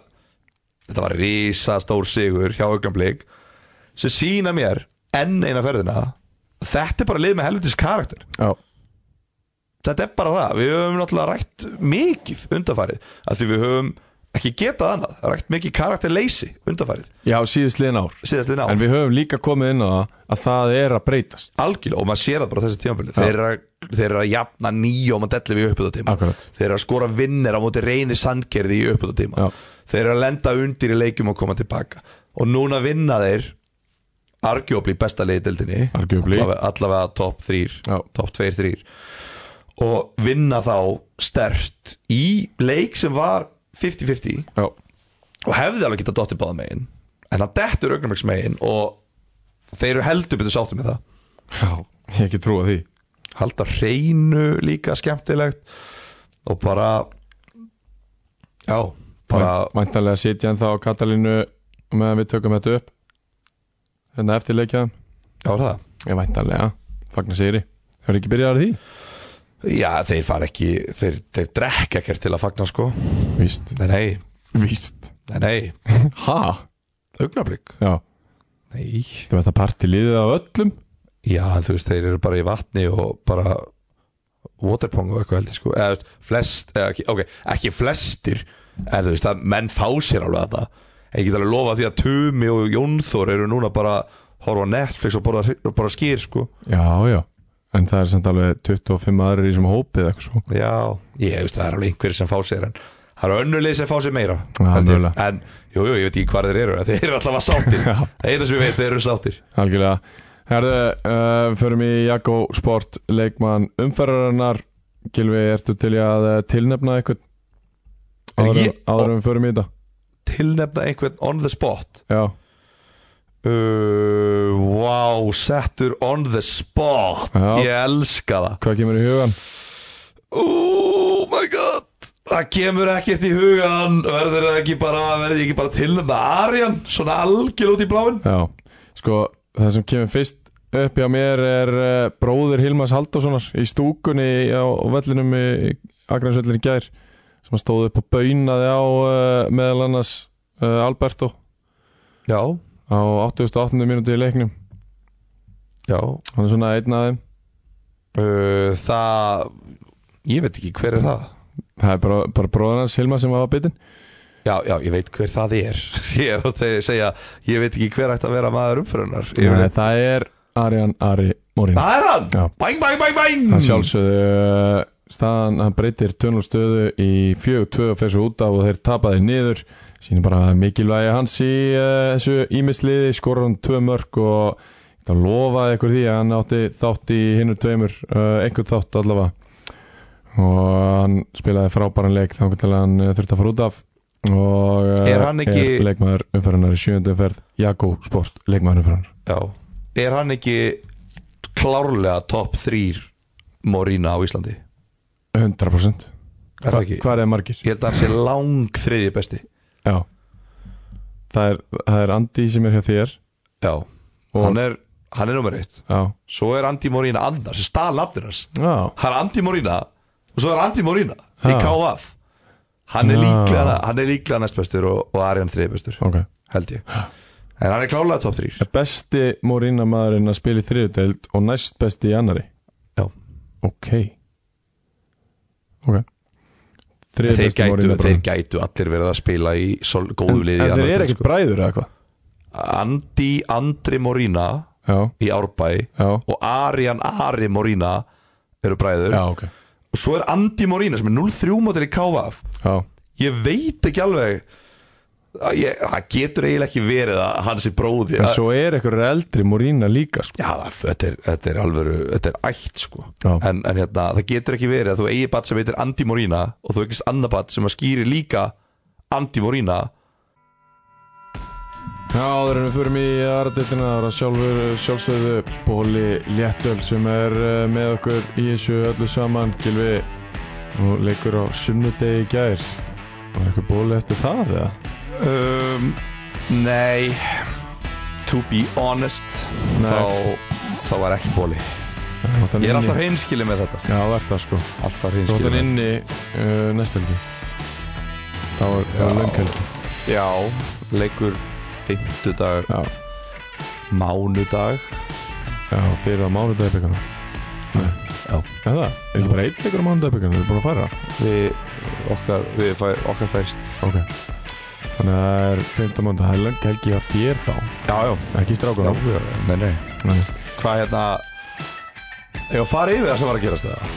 þetta var rísa stór sigur hjá augnablik sem sína mér enn eina ferðina þetta er bara lið með helvitis karakter já, þetta er bara það, við höfum náttúrulega rætt mikið undanfarið, af því við höfum ekki getað annað, rætt mikið karakterleysi undanfarið, já síðust liðin ár síðast við ná En við höfum líka komið inn á það að það er að breytast algjörlega og maður sér það bara á þessu tímanbili þeir, eru að- þeir eru að jafna nýjum að delli við uppbúta tíma Akkurat, þeir eru að skora vinnir á móti reyni sandgerði í uppbúta tíma já, þeir eru að lenda undir í leikjum og koma tilbaka og núna vinna þeir argjófli besta liði dildinni Arguably. allavega, allavega top 3 já, top 2-3 og vinna þá stert í leik sem var 50-50 já, og hefði alveg getað dottið báða megin en hann dettur augnumvegs megin og þeir eru heldur betur sáttum með það já Ég ekki trúa því halda hreinu líka skemmtilegt og bara já, bara Væntanlega sitja en þá á Katalínu meðan við tökum þetta upp Þetta eftir leikjaðum já, er það Ég væntanlega, fagnar sigri Það er ekki byrjaðar því? já, þeir fara ekki, þeir, þeir drekka ekkert til að fagna sko, Víst nei, nei, Víst nei, nei Ha? augnablík, Já, nei þú veist að parti liðið á öllum já, en þú veist, þeir eru bara í vatni og bara waterpong og eitthvað heldur sko, eða þú veist, flest eða, ekki, ok, ekki flestir eða þú veist, að menn fá sér alveg þetta en ég get alveg lofa því að Tumi og Jónþór eru núna bara að horfa á Netflix og borða, borða skýr sko Já, já En það er samt alveg 25 aðrir í sem hópið eða eitthvað svo Já, ég veist það er alveg einhverjir sem fá sér en það eru önnulegi sem fá sér meira Já, held ég. mögulega. en jú, jú, ég veit ekki hvað þeir eru en þeir eru alltaf að sáttir Já. það er það sem ég veit, þeir eru sáttir Algjörlega Herðu, uh, förum í Jakko Sport leikmann umferðarinnar Gilvi, ertu til í að eh, tilnefna eitthvað Er áður, ég- áður en við förum í þetta? Tilnefna einhvern on the spot Já, uh, Wow, settur on the spot Já. Ég elska það hvað kemur í hugan? Oh my god Það kemur ekkert í hugan verður það ekki bara, verður ég ekki bara tilnefna Arjan, svona algjör út í bláin Já, sko það sem kemur fyrst upp hjá mér er uh, bróðir Hilmas Halldórssonar í stúkunni á vellinum í Akransvöllinni gær sem stóð upp og baunaði á uh, meðal annars uh, Alberto Já, á 88. mínúti í leiknum já hann er svona einn af þeim uh, Það, ég veit ekki hver er það það er bara, bara bróðir hans Hilma sem var bitinn Já, já, ég veit hver það er Ég er að te- segja, ég veit ekki hver ætti að vera maður umfyrunar Nei, Það það er Arjan Ari Morin er hann! Já. Bæng, bæng, bæng, bæng! hann sjálfsögðu uh, staðan, hann breytir tunnelstöðu í 4-2 og fer svo út af og þeir tapaði niður sínir bara mikilvægi hans í uh, þessu ímisliði, skorur hann tvö mörg og það lofaði ykkur því að hann átti þátt í hinnur tveimur uh, einhvern þátt allavega og hann spilaði frábæran leik þá til að hann uh, þurfti að fara út af og uh, Er hann ekki- er leikmaður umferðanar í sjöndu umferð Jakko Sport, leikmaður umferðanar Já, er hann ekki klárlega topp þrýr Morína á Íslandi? 100% Er það ekki? hvað er margir? Ég held að hann sé lang þriðji besti Já Það er, það er Andi sem er hjá þér Já, og, hann er, hann er nummer eitt Já, Svo er Andi Morína annar, sem stað lafnir hans já, Það er Andi Morína og svo er Andi Morína í Já. KF Hann er Já. líklega, hann er líklega næstbestur og, og Arjan þriðbestur, ok held ég En hann er klárlega topp þrýr Er Besti Morína maðurinn að spila í þriðuteld og næst besti í annari Já. Ok Ok Þriðju þeir besti gætu, Mourinho þeir bara. gætu allir verið að spila í sol, góðu En, liði en þeir eru ekkert bræður eða hvað Andi Andri Morína Já, í Árbæ já, og Arian Ari Morína eru bræður já, ok og svo er Andi Morína sem er 0-3 mótil í KVF já, ég veit ekki alveg að ég, það getur eiginlega ekki verið að hans er bróði en svo er einhverjur eldri Morína líka sko. Já, þetta er, þetta er alvöru, þetta er ætt sko Já. En, en hérna, það getur ekki verið að þú eigi bat sem heitir Andi Morína og þú eigist annað bat sem að skýri líka Andi Morína Já, áður en við förum í aðra dildina það er að sjálfur, sjálfsögðu Bóli Léttöl sem er eh, með okkur í þessu öllu saman Gilvi, nú leikur á sunnudegi í gær Var eitthvað bóli eftir það eða? um, Nei To be honest Nei. Þá, þá var ekki bóli Þú átt hann Ég er alltaf inni- hreinskilið með þetta Já, það er það sko Alltaf Þú átt hreinskilið hann með inni uh, næsta helgi Það var, það var Já. lönghelgi þetta Já, leikur fimmtudag, Já, mánudag já, þeir eru á mánudagbyggana Nei Já. Er það? Er ekki bara eitt leikur á mánudagbyggana? Við erum búin að fara Við okkar, við fæ, okkar fæst Ok Þannig að það er 15 mánudag Það er lönghelgi að þér þá Já, já, Ekki já, strákunum já, nei, nei Nei, hvað hérna Ég var farið yfir það sem var að gerast það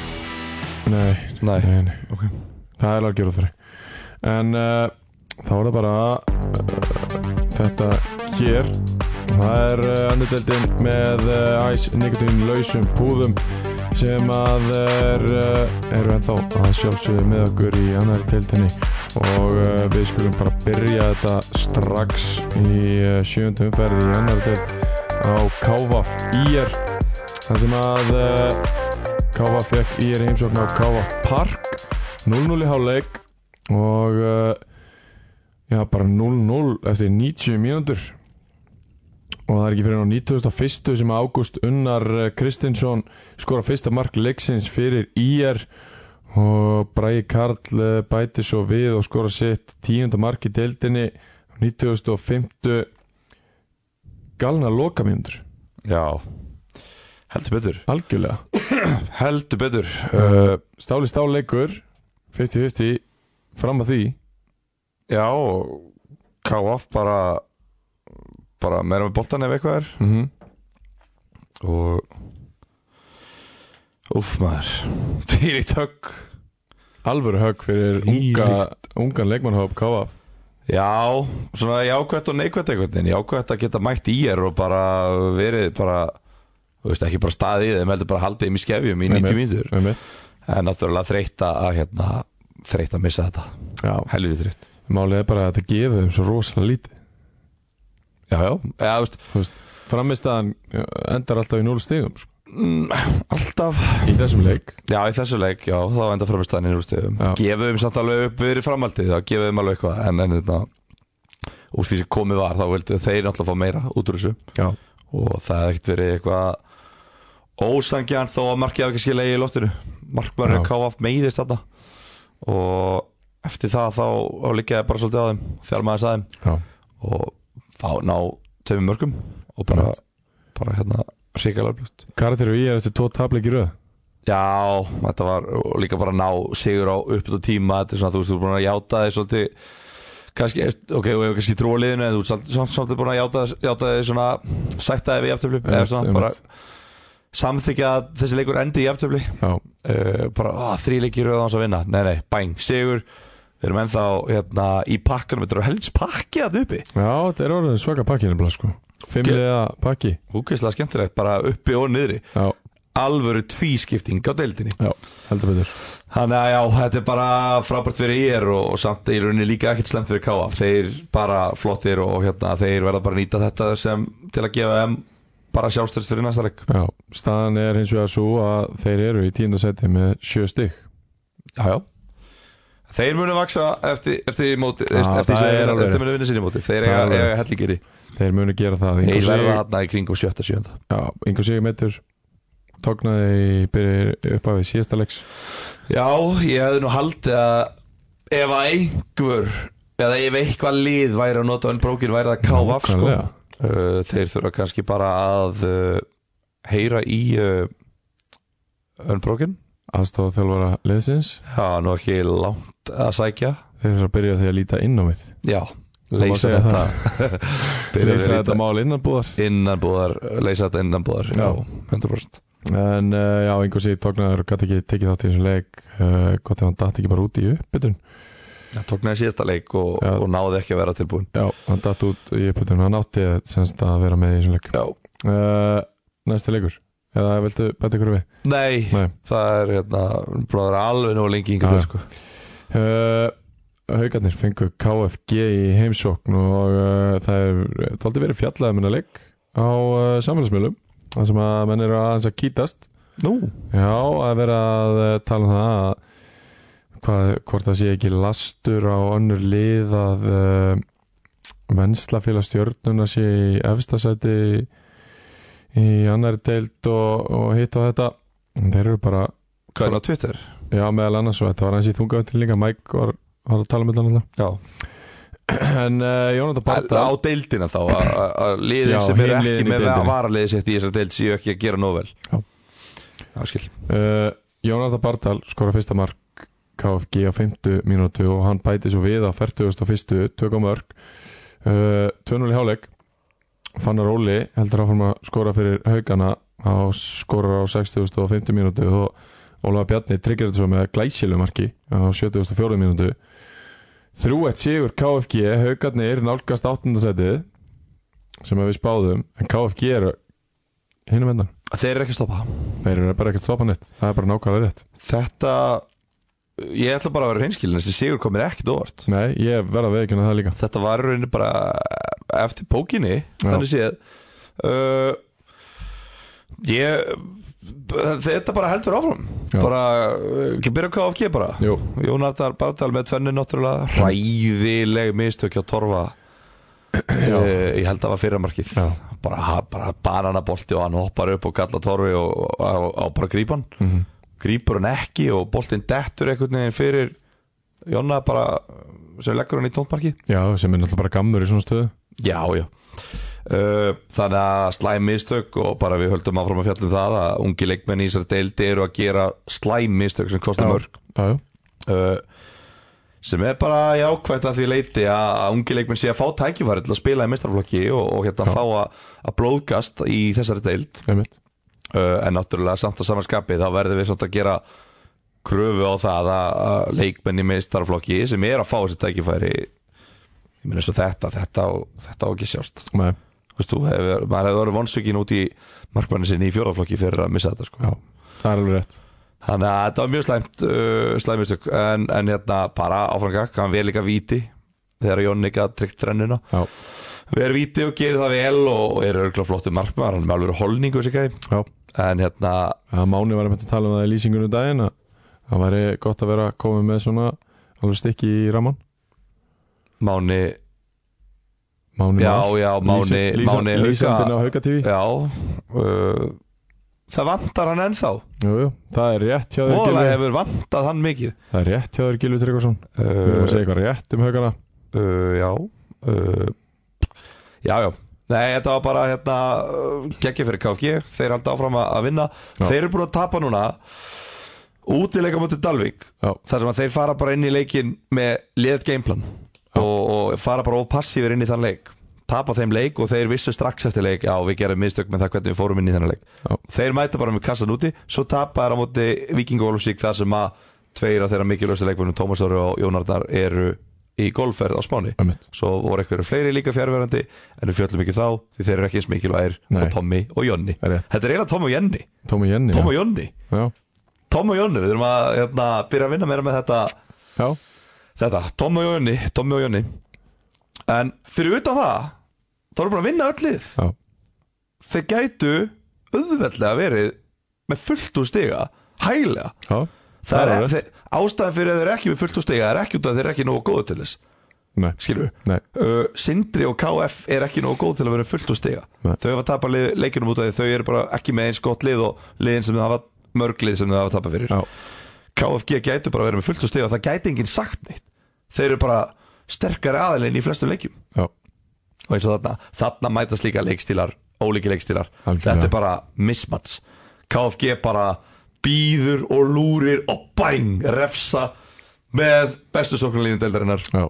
nei, Nei, nei, nei. ok Það er algjör úr þeirri En uh, þá er það bara uh, Þetta hér Það er uh, andeldin með uh, æs nikotín lausum púðum sem að er, uh, eru ennþá að sjálfsögðu með okkur í annari deildinni og uh, við skulum bara byrja þetta strax í uh, sjöundu umferði í annari deild á Kávaf IR þar sem að uh, Kávaf fekk IR í heimsókn á Kávaf Park 0-0 í háleik og uh, já, bara 0-0 eftir 90 mínútur og það er ekki fyrir ná 91. sem að Ágúst Unnar eh, Kristinsson skora fyrsta mark leiksins fyrir IR og Bræði Karl eh, bæti svo við og skora sitt tíunda mark í deildinni 95. galna lokamjöndur Já, heldur betur algjörlega Heldur betur uh, uh, stáli stáleikur 50-50 fram að því Já, KF bara bara meira með boltan ef eitthvað er mm -hmm. og Úff maður Fyrir tökk alvöru högg fyrir unga, ungan leikmannhóp KF Já, svona jákvætt og neikvætt einhvern veginn Jákvætt að geta mætt í er og bara verið bara þú veist, ekki bara staðið, þeim heldur bara haldið þeim í skefjum í 90 mínútur Einmitt. en náttúrulega þreytta að hérna, þreytta að missa þetta Já, helviti þreytt málið er bara að þetta gefið þeim svo rosalega lítið já, já, eða, þú veist, framistæðan endar alltaf í 0 stigum sko. mm, alltaf í þessum leik já, í þessu leik, já, þá enda framistæðan í rústegum Já. gefum þeim samt alveg upp fyrir framhaldið þá gefum þeim alveg eitthvað en, en þetta, úr því sem komið var þá vildu þeir náttúrulega fá meira út úr þessu já, og það hefði ekkert verið eitthvað ósangjarn þó að markið hafi ekki skilja í loftinu markmæður Já. KF meiðist þetta og eftir það þá, þá líkaði bara svolítið á þeim þegar maður sagði þeim já, og fá ná tveimur mörgum og bara, Einmitt. bara hérna ríkalega blútt karakteru í er eftir tvo tapleik í röð Já, þetta var og líka bara ná sigur á uppið á tíma þetta er svona, þú veist, þú er búin að játa þig svolítið kannski, ok, þú hefur kannski tróliðinu en þú ert samt- samt svolítið búin að játa, játa þig svona sætta þig við jafntöflu eða Einmitt, svona, bara einmitt. samþykja að þessi leikur endi í jafntöflu já, uh, bara þrýleikir auðvans að vinna nei, nei, bæng, sigur við erum ennþá hérna, í pakkanum þetta er helds pakki að uppi já, þetta er orðin svaka pakki nefnilega sko, fimmlega pakki húkislega skemmtilegt, bara uppi og niðri já, alvöru tvískipting á deildinni já, heldur betur þannig að já, þetta er bara frábært fyrir ég og, og samt í rauninni líka ekkert slemt fyrir K.A. þeir bara flottir og hérna, þeir verða bara að nýta þetta sem til að gefa þeim bara sjálfstörst fyrir næsta leik já, staðan er hins vegar svo að þeir eru í tíndasæti með sjö stygg já, já Þeir munu vaksa eftir, eftir, móti, Já, eftir, eftir, það sem- er alveg eftir rétt. munu vinna sinni móti Það er Þeir eiga, alveg eiga rétt. helligeri þeir munu gera það Þeir verða Sig- þarna í kringum 7-7 já, yngur sigur meittur tóknaði byrjir upp af því síðasta leiks Já, ég hefði nú haldið að ef að einhver eða ef eitthvað lið væri að nota unbrókin væri það KVF sko Nákvæmlega. Uh, þeir þurfa kannski bara að uh, heyra í uh, Unbroken aðstofa þjálfara leðsins Já, nú ekki langt að sækja þeir eru að byrja á því að líta inn á við Já, má leysa segja þetta Byrja leysa að þetta rita mál innanbúðar innanbúðar Leysa þetta innanbúðar Já. Já, 100% en uh, já, einhver sér tóknaður gæti ekki tekið þátt í þessum leik uh, gott ef hann datt ekki bara út í uppbytun hann tóknaði síðasta leik og, Já. og náði ekki að vera tilbúin já, hann datt út í uppbytun hann átti eh, semst að vera með í þessum leik Já, uh, næsti leikur eða viltu bæta ykkur við nei, Nei. það er hérna bróður alveg nú lengi yngi Já. ja. sko. Uh, Haukarnir fengu KFG í heimsókn og uh, það er tóldi verið fjallað um hennar leik á uh, samfélagsmiðlum þar sem að menn eru aðeins að kýtast Nú, Já, að vera að uh, tala um það að hvað, hvort það sé ekki lastur á önnur lið að uh, venslafélag stjörnuna sé í efstasæti í annari deild og, og hitt og þetta þeir eru bara hvað er á Twitter? Já, meðal annars og þetta var hans í þungavöndin líka Mike var, var að tala um með þannig Já, En uh, Jónata Barta á deildina þá að- að að liðin Já, sem eru hin ekki liðin í með deildinni. að vara liðið sitt í þessar deild séu ekki að gera nóg vel Já. Já, skil uh, Jónata Bartal skora fyrsta mark KFG á 50 mínútu og hann bæti svo við á 41. tökum mörg uh, 2-0 í hálfleik Fannar Óli heldur áfram að skora fyrir haugana á skorar á 60. og 50 mínútu og Ólafa Bjarni tryggir þetta svo með glæsilu marki á 74. mínútu 3-1 sigur KFG haugarnir nálgast 8. setið sem að við spáðum en KFG eru hinum endan Þeir eru ekki að stoppa Þeir eru bara ekkert stoppa neitt, það er bara nákvæmlega rétt Þetta, ég ætla bara að vera hreinskilin þessi sigur komir ekkit óvart Nei, ég verða að veikjuna það líka Þetta var í rauninni bara eftir pókinni Þannig séð uh, Ég Þetta bara heldur áfram Já. Bara, uh, ekki byrja KFG bara Jú, Jónardar Bardal með tvenni náttúrulega Ræðileg mistök hjá Torfa Já. Eh, Ég held að það var fyrramarkið Já. bara, ha- bara bananabolti og hann hoppar upp og kallar Torfi og, og, og, og bara grípan mm Grípur hann ekki og boltinn dettur einhvern veginn fyrir Jonna bara sem leggur hann í tóntmarkið já, sem er náttúrulega bara gammur í svona stöðu Já, já Uh, þannig að slæm mistök og bara við höldum áfram að fjallum það að ungi leikmenn í þessari deildi eru að gera slæm mistök sem kostar Já. mörg Já, já, uh, sem er bara jákvæmt að því leiti að, að ungi leikmenn sé að fá tækifæri til að spila í mestarflokki og, og hérna Já. fá að, að blóðgast í þessari deild einmitt uh, en náttúrulega samt að samanskapi þá verðum við svolítið að gera kröfu á það að, að leikmenn í mestarflokki sem er að fá þessi tækifæri ég meina eins og þetta, þetta og þetta á ekki að sjást Nei, Veist, þú, hef, maður hefur verið vonsvikinn út í markmanni sinni í fjóraflokki fyrir að missa þetta sko. já, það er alveg rétt Þannig að þetta var mjög slæmt uh, slæmistök en, en hérna bara áframgak hann vel líka víti þegar Jonni gæði tryggt trennuna Já, Ver víti og gerir það vel og, og er örgulega flottu markmaður hann er með alveg holningu sér gæði já, en hérna að Máni var einmitt að tala um það í lýsingunum daginn að það væri gott að vera komið með svona alveg stykki í raman Máni Máni já Már. já Máni Lýsi- lýsa- Máni Lýsandinn Hauka á Hauka TV já uh, það vantar hann ennþá Jú, jú, það er rétt hjá þér Vola Gilvi hefur vantað hann mikið Það er rétt hjá þér Gilvi Tryggvason Við erum að segja eitthvað rétt um haugana uh, já uh, já, já Nei, þetta var bara hérna geggja fyrir KFG, þeir haldi áfram að að vinna Já. þeir eru búin að tapa núna útileika mútið Dalvík Já. þar sem að þeir fara bara inn í leikin með liðt gameplan Já. og, og fara bara ópassífur inn í þann leik tapa þeim leik og þeir vissu strax eftir leik já, við gerum mistök með það hvernig við fórum inn í þennan leik Já. þeir mæta bara með kassan úti svo tapa þeir á móti Viking og Olfsík þar sem að tveir af þeirra mikilvægstu leikmennum Tómas Ári og Jónardar eru í golfferð á Spáni Einmitt, svo voru einhverju fleiri líka fjárverandi en við fjöllum ekki þá því þeir eru ekki eins mikilvægir Nei. og Tommy og Jonni það er rétt þetta er eiginlega Tommy og Jenny Tómi Jenny Tommy og Jonni já. Já. Tommy og Jonni við erum að hérna, byrja að vinna meira með þetta já, þetta Tommy og Jonni Tommy og Jonni en fyrir utan það þá erum við búin að vinna öll lið já, þeir gætu auðveldlega verið með fullt úr stiga hæglega já það Það er er, þeir, ástæðan fyrir að þeir eru ekki með fullt úr stiga er ekki út af að þeir eru ekki nógu góðu til þess Nei, skilur nei, uh, Sindri og KF er ekki nógu góð til að vera fullt úr stiga Nei. þau hafa tapað lið- leikunum út af því þau eru bara ekki með eins gott lið og liðin sem þau hafa mörg lið sem þau hafa tapað fyrir já, KFG gætu bara að vera með fullt úr stiga og það gæti enginn sagt neitt þeir eru bara sterkari aðilinn í flestum leikjum já og eins og þarna, þarna mætast líka leikstílar ólíki leikstílar, Algjörlega. þetta er bara mismats, KFG bara býður og lúrir og bæng, refsa með bestu sóknarlínu deildarinnar Já,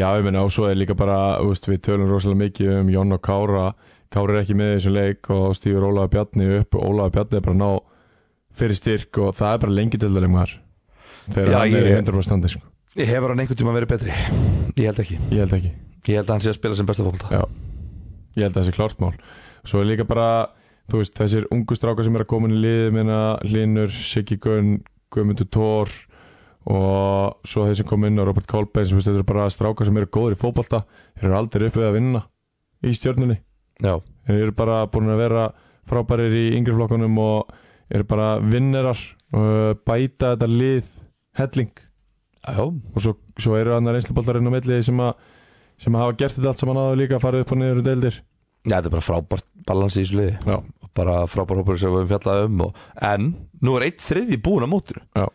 já ég meina og svo er líka bara, þú veist, við tölum rosalega mikið um Jón og Kára Kári er ekki með í þessum leik og stýur Ólaða Bjarni upp og Ólaða Bjarni er bara að ná fyrir styrk og það er bara lengi dildar um þar þegar Já, hann er í ég- 100% standi sko. Ég hefur hann einhvern tíma verið betri Ég held ekki ég held ekki Ég held að hann sé að spila sem besta fólta Já, ég held að það sé klárt mál Svo er líka bara, þú veist, þessir ungu strákar sem er að koma inn í liðið minna Linur, Siggi Gunn, Guðmundur Thor og svo þeir sem kom inn á Robert Kolbeins, þú veist, þetta eru bara strákar sem eru góðir í fótbolta, þeir eru aldrei upp við að vinna í stjörnunni, Já, þeir eru bara búin að vera frábærir í yngri flokkunum og eru bara vinnerar og bæta þetta lið helling já, og svo, svo eru annar einsluboltarinn á milli sem að, sem að hafa gert þetta allt saman áður líka, farið upp og niður um deildir Já, þetta er bara frábært balans í þessu liði Já, og bara frábær hópur sem við höfum fjallað um og, en nú er eitt þriði búin á mótinu Já.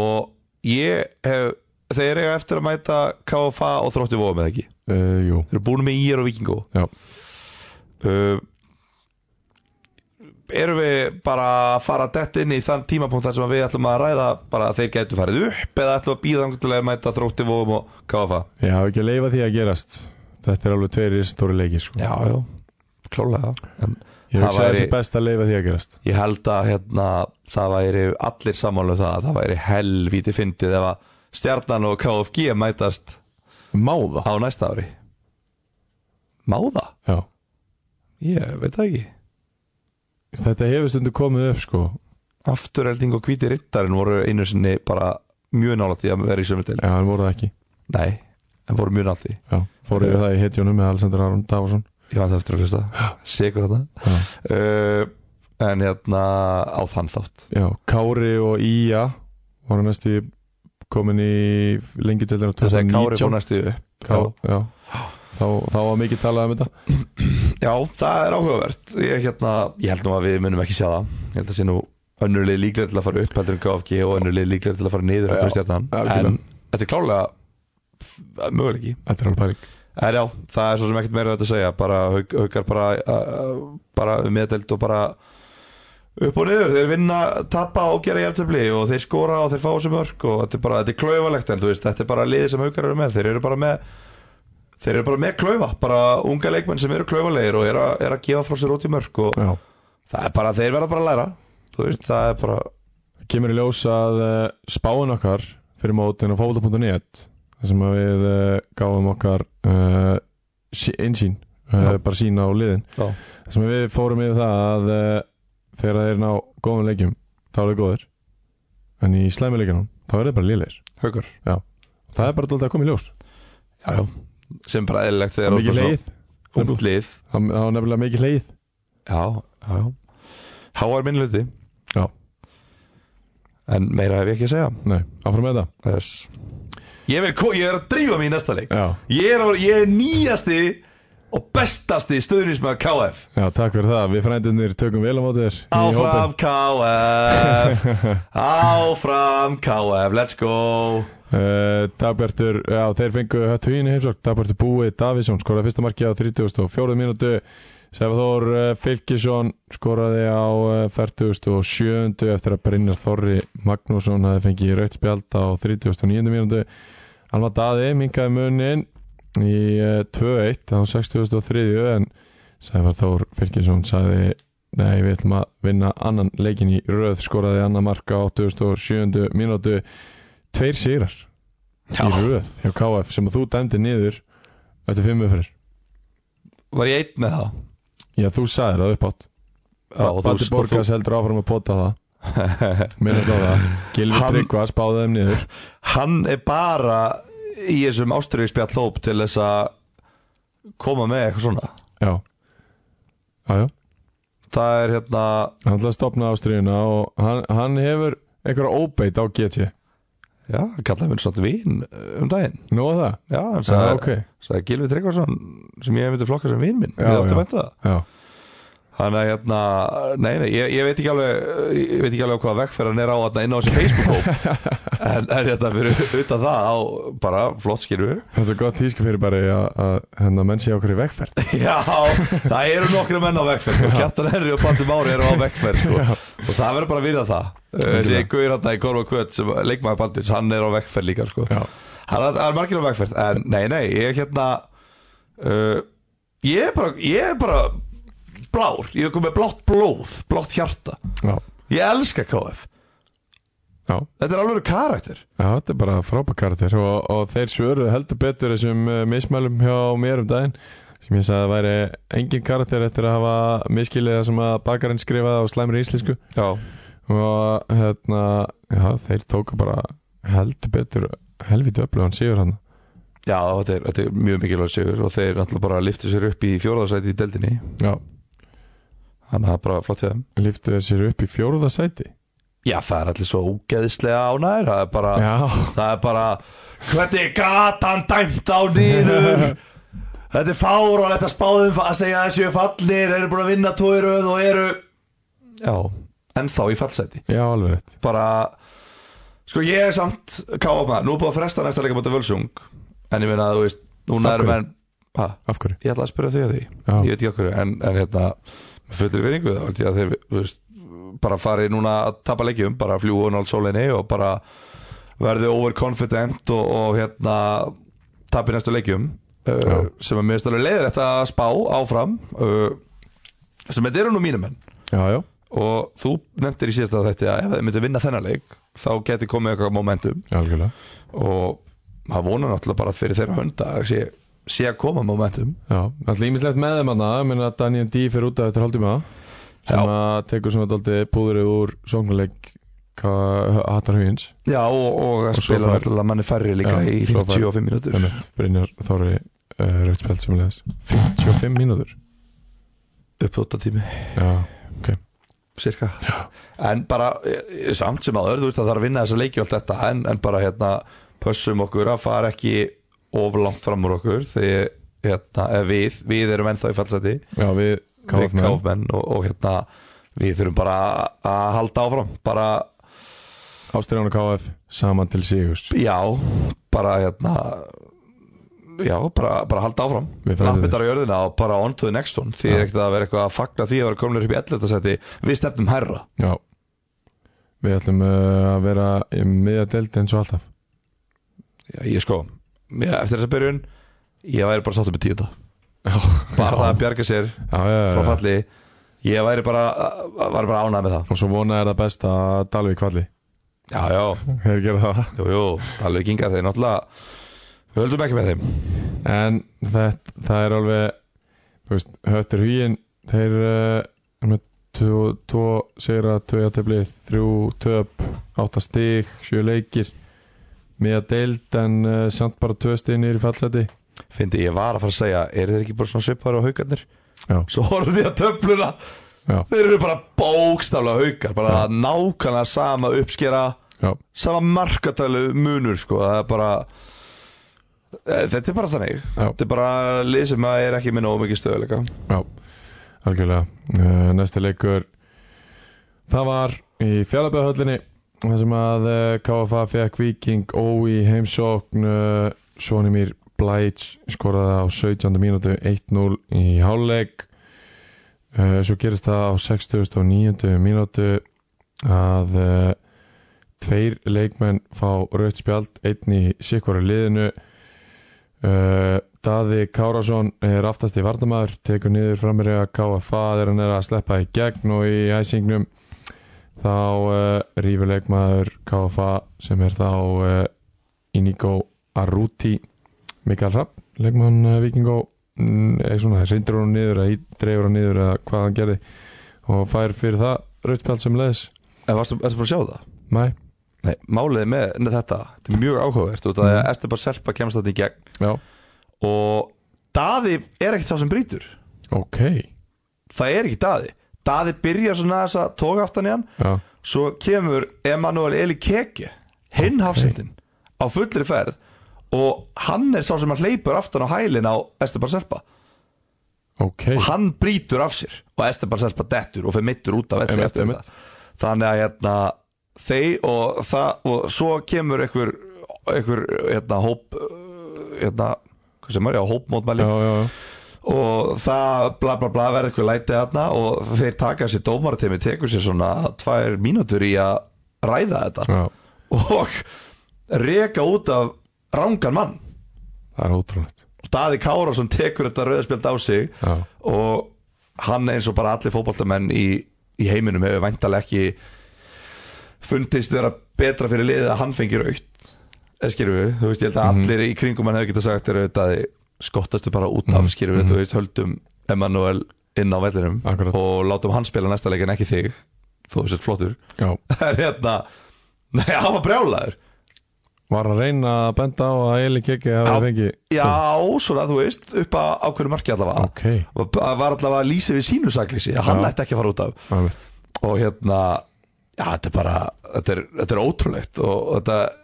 og ég hef þeir eru eftir að mæta KFA og þrótti vóðum eða ekki Uh, jú, þeir eru búin með ír og vikingó Já. uh, erum við bara að fara dett inn í þann tímapunkt þar sem við ætlum að ræða bara að þeir getur farið upp eða ætlum við að býða þangur til að mæta þrótti vóðum og KFA ég hafa ekki að leifa því að gerast Þetta er alveg tveiri stóri leiki sko. já, já, klálega en Ég hugsa það að væri- það sé best að leifa því að gerast Ég held að hérna, það væri allir sammála um það að það væri helvíti fyndið ef að Stjarnan og KFG mætast Máða á næsta ári Má það? Já. Ég veit það ekki Þetta hefur stundu komið upp sko. Afturhelding og hvíti rittarinn voru einu sinni bara mjög nálægt í að vera í sömu deil Já, hann voru það ekki Nei, það voru mjög nálægt í Já, fór yfir það í hetjónum með Alexander Aron Davosson Ég vant eftir að hlusta, segur þetta uh, En hérna á þann þátt Já, Kári og Ía voru næstu komin í lengi tildin á Þegar Kári fór 2019 næstu upp Ká, já. Þá, þá var mikið talað um þetta Já, það er áhugavert ég, hérna, ég held nú að við munum ekki sjá það Ég held að sé nú önnurlið líklega til að fara upp heldur en KFG og önnurlið líklega til að fara niður heldur en stjarnan algjörlega. En þetta er klálega f- möguleiki Þetta er alveg pæling En já, það er svo sem ekkert meira um þetta að segja bara hauk- haukar bara, uh, bara um meðdelt og bara upp og niður, þeir vinna, tappa og gera hjálptöfli og þeir skora og þeir fá þessu mörg og þetta er bara, þetta er klaufalegt en þú veist, þetta er bara liðið sem haukar eru með, þeir eru bara með þeir eru bara með klaufa, bara unga leikmenn sem eru klaufalegir og eru að, er að gefa frá sér út í mörg og Já það er bara, þeir verða bara að læra þú veist, það er bara kemur í ljós að uh, spáin okkar fyrir mótin á fókbalta.net þar sem að við uh, gáfum okkar uh, sí- innsýn uh, Já. bara sín á liðin Já. þar sem við fórum yfir það að uh, þegar þeir ná góðum leikjum þá eru þeir góðir en í slæmi leikjunum þá eru þeir bara lélir haukar, það er bara dálítið að koma í ljós já, já, sem bara eðlilegt það er þegar mikið leið umt lið það það var nefnilega mikið leið Já, já, já Háar minnluti Já. En meira hef ég ekki að segja nei, áfram með það yes. ég, vil, ko- ég er að drífa mig í næsta leik já, Ég er, á- ég er nýjasti og bestasti stöðnismæð KF já, takk fyrir það við frændunir tökum vel á móti þér í hópinn. Áfram KF Áfram KF Let's go Uh, Dagbjartur, já þeir fengu höttu hýni heimsókn, Dagbjartur Búi, Davísson skoraði fyrsta markið á 34. mínútu Sæfathór uh, Fylkisson skoraði á uh, 47. eftir að Brynjar Þorri Magnússon hafði fengið rautt spjald á 39. mínútu Alma Daði minkaði munin í uh, 2-1 á 63. en Sæfathór Fylkisson sagði nei við ætlum að vinna annan leikin í röð skoraði annan marka á 87. mínútu tveir sigrar Já. í röð hjá KF sem að þú dæmdi niður eftir fimm öfrir Var ég einn með það? Já, þú sagðir það uppátt Já, og þú- Batti og Borgas heldur áfram að pota það Minnast á það Gilvi Hann- Tryggva spáði þeim niður Hann er bara í þessum ástriðspjall hóp til þess að koma með eitthvað svona Já Já, já Það er hérna Hann ætlaði að stopna ástriðuna og hann, hann hefur einhverja óbeit á GT Já, hann kallaði mér svona vin uh, um daginn Nú að það? Já, hann Já, sagði, ok sagði Gilvi Tryggvarsson sem ég myndi flokka sem vin minn Já, Við áttum já. að vænta það. Já, Þannig að hérna, nei, nei, ég, ég veit ekki alveg ég veit ekki alveg á hvaða vegferðan er á þarna inn á þessi Facebook-hóp en, en hérna fyrir utan það á bara flott skilur það er svo gott tísku fyrir bara að, að hennar menn sé okkur í vegferð Já, það eru nokkri menn á vegferð sko. Kjartan Henry og Patti Mári eru á vegferð sko. og það verður bara að virða það Uh, þessi guður hérna í Korfa Kvöt sem leikmaður Patti, hann er á vegferð líka sko. Já, Það er, það er margir á vegferð En nei, nei, ég er hérna uh, Ég er bara, ég er bara blár, ég er komið með blátt blóð, blátt hjarta Já, Ég elska KF, já, þetta er alveg karakter já þetta er bara frábakartir og, og þeir svöruðu heldur betur þessum eh, mismælum hjá mér um daginn sem ég sagði að væri engin karakter eftir að hafa miskilið það sem að bakarinn skrifaði á slæmri íslensku Já, og hérna, já, þeir tóku bara heldur betur helviti öflugan síður hann Já þetta, er, þetta er mjög mikilvægt sigur og þeir náttúrulega bara liftu sér upp í fjóraðarsæti í deldinni Já, Þannig að það er bara flott hjá þeim liftu þeir sér upp í fjórða sæti Já, það er allir svo ógeðislega ánæður Það er bara, Já, það er bara Hvernig gat hann dæmt á nýður Þetta er fáránlegt að spáðum að segja að þessu fallir eru búin að vinna tóiröð og eru Já, ennþá í fallsæti já, alveg rétt Bara, sko ég er samt Káma, nú er búin að fresta næsta leika búin að völsung En ég meina að þú veist, núna Af erum hverju? enn Hæ? Af hverju? Ég ætla að spyrja þig að því Já. Ég veit ekki okkur En, en hérna Með fullir veringu þá held ég að þeir þú veist, Bara fari núna að tapa leikjum Bara fljú og nált sólinni Og bara verði overconfident Og, og hérna Tapi næstu leikjum Já. uh, Sem er mjög stölu leiðir þetta spá áfram uh, Sem þetta eru nú mínum menn Já, já, Og þú nefndir í síðasta þetta að ef þið myndir vinna þennan leik Þá geti komið eitthvað momentum algjörlega Og maður vonar náttúrulega bara fyrir þeirra hönda Sé, sé að koma momentum Já, alltaf ímislegt með þeim hana Mér að Daniel D fyrir út af þetta haldið með sem Já. að tekur svona dálítið púðrið úr sóknuleik Hattar Hugins Já og, og að svo spila fær- náttúrulega manni færri líka Já, í svo fær- 55 mínútur Emmett, Brynjar Þóri uh, Rauðspjald sem leðis 55 mínútur upp 8 tími Já, cirka en bara eh, samt sem áður þú veist að það er að vinna þessa leiki og allt þetta en, en bara hérna pössum okkur að fara ekki of langt fram úr okkur þegar hérna, eh, við, við erum ennþá í fallseti já við við KF menn káfmenn og, og hérna við þurfum bara að halda áfram bara Ástriðan og KF saman til Sigurs já bara hérna já bara, bara halda áfram Við frændum lappindar á jörðina og bara on to the next one því Já. er ekkert að vera eitthvað að fagna því að vera komin upp í 11. seti við stefnum hærra Já Við ætlum uh, að vera í miðja deild eins og alltaf já, ég sko, já, eftir þessa byrjun ég væri bara sáttum með tíunda Já, bara það já, að bjarga sér já, já, frá já. falli ég væri bara, var bara ánægð með það Og svo vona er það best að Dalvík falli já, já, Þeir gera það jú, jú, alveg gingar þeir náttúrulega við höldum ekki með þeim En það, það er alveg þú veist, Höttur Hugin þeir uh, með tvo, tvo sigra, tvö játefli þrjú töp, átta stig sjö leikir með að deild en uh, samt bara tvö stig nýri fallseti fyndi ég var að fara að segja, eru þeir ekki bara svona svipaður á haugarnir Já. svo horfði ég að töfluna Já. þeir eru bara bókstaflega haukar bara nákvæmlega sama uppskera Já, sama markatölu munur sko, það er bara Eh, þetta er bara þannig Já. þetta er bara lið sem að er ekki með nógu mikið stöðuleika já, algjörlega uh, Næsti leikur það var í fjallabæðhöllinni þar sem að uh, KFA fekk Viking ó í heimsókn uh, Svonimir Blæts skoraði á 17. mínútu 1-0 í hálfleik uh, svo gerist það á 69. mínútu að uh, tveir leikmenn fá rautt spjald einn í sikkvara liðinu uh, Daði Kárasson er aftast í vardamaður tekur niður framir að KFA þegar hann er að sleppa í gegn og í æsingnum þá uh, rífur leikmaður KFA sem er þá uh, Inigo Arruti Mikael Rapp, leikmann uh, Vikingó mm, eða svona, reyndur hún niður eða ít- dreifur hún niður eða hvað hann gerði og fær fyrir það rautspjald sem leðis en varstu, varstu bara að sjá það? Nei, Nei, málið með nei, þetta, þetta er mjög áhugavert út af því að Mhm. Esteban Selpa kemst þarna í gegn já, og Daði er ekkert sá sem brýtur ok það er ekki Daði Daði byrjar svona þess að toga aftan í hann Já, svo kemur Emanuel Eli Keke hinn Ok. hafsendin á fullri ferð og hann er sá sem hann hleypur aftan á hælinn á Esteban Selpa ok og hann brýtur af sér og Esteban Selpa dettur og fer mittur út af velli Einmitt, eftir einmitt. þetta. þannig að hérna, þeir og, það, og svo kemur einhver, einhver hérna, hóp uh, hérna, hvað sem er, já, Já, hópmótmæli já, já, og það bla bla bla verður eitthvað lætið hérna og þeir taka sér dómaratemi tekur sér svona tvær mínútur í að ræða þetta já. og reka út af rangan mann það er ótrúlegt Daði Kárásson tekur þetta rauðspjöld á sig Já. og hann eins og bara allir fótboltamenn í, í heiminum hefur væntalega ekki fundist vera betra fyrir liðið að hann fengi raukt eða skýrðu við, þú veist, ég held að allir í kringum hann hefur getað sagt þér auðvitað skottastu bara út af, skýrðu við, þú veist, höldum Emanuel inn á vellinum Akkurat. og látum hann spila næsta leik en ekki þig þú veist, flottur já, það er hérna, nei, hann var brjálaður var að reyna að benda á að Eli Kiki hafi fengið já, svona, þú veist, upp að ákveðinu marki allavega ok, og það var allavega að lýsa við sínu sakleysi að hann Já. ætti ekki að fara út af það er mitt og hérna, já, þetta er bara þetta er, þetta er ótrúlegt og, og þetta,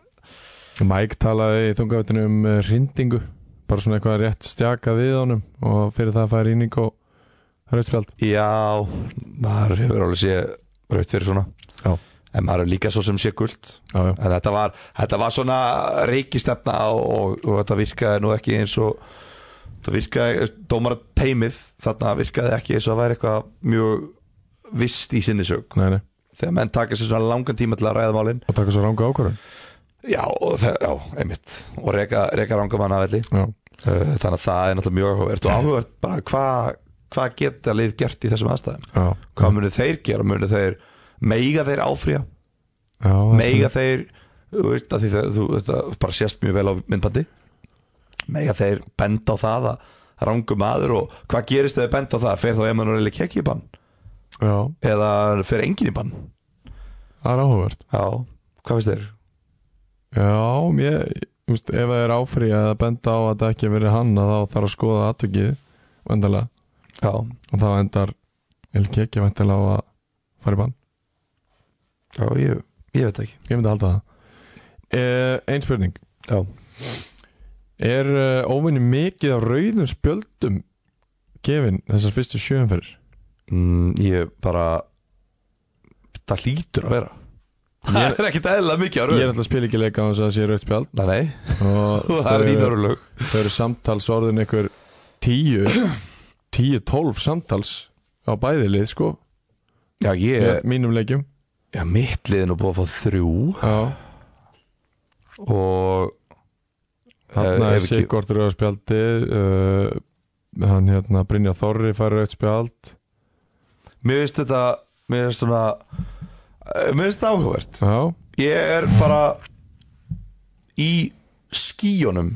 Mike talaði í þungavitinu um eh, hrindingu bara svona eitthvað rétt stjaka við honum og fyrir það fær íning og rauðspjald já maður hefur alveg séð raut fyrir svona Já. en maður er líka svo sem sé guld já, já, en þetta var, þetta var svona reikistefna og, og, og þetta virkaði nú ekki eins og þetta virkaði, dómar teimið þarna virkaði ekki eins og það væri eitthvað mjög vist í sinni sög nei, nei þegar menn taka sér svona langan tíma til að ræða málin og taka svo ranga ákvörðun já, og það, já, einmitt og reka, reka rangum hann aðvelli já, Eh, þannig að það er náttúrulega mjög áhugavert og áhugavert bara hvað hva geta lið gert í þessum aðstæðum já, hvað munu þeir gera, munu þeir meiga þeir áfrýja já það meiga spurning. þeir þú veist að því það, þú, þetta bara sést mjög vel á myndbandi meiga þeir benda á það að rangum aður og hvað gerist þegar þeir benda á það fer þá Emanuel Kekki í bann já, eða fer engin í bann það er áhugavert já, hvað finnst þeir? já, ég, þú veist, ef það er áfrí að benda á að það ekki verið hann að þá þarf að skoða atvökið vendarlega Já, og þá endar Eli Kiki vendarlega á að fara í bann já ég, ég veit það ekki ég myndi að halda það eh, ein spurning já. Er uh, óvinni mikið á rauðum spjöldum gefin þessar fyrstu sjöumferðir? Mm, ég bara það hlýtur að vera Ég- það er ekkit eðlilega mikið á Ég er rauð alltaf spil ekki leika á þess að það sé rauðt spjald Nei, nei, og það er þau- þín örlög Þau eru samtals orðin ykkur 10 10-12 samtals á bæði lið sko Já, yeah. ég, mínum leikjum já, mitt liðin og búið að fá þrjú Já, og þarna Eh, er ef ekki- Sigurd rauðt spjaldi uh, hann hérna Brynja Þorri fær rauðt spjald Mér finnst þetta Mér finnst svona eh, Mér finnst þetta áhugavert Já, Ég er bara Í skíunum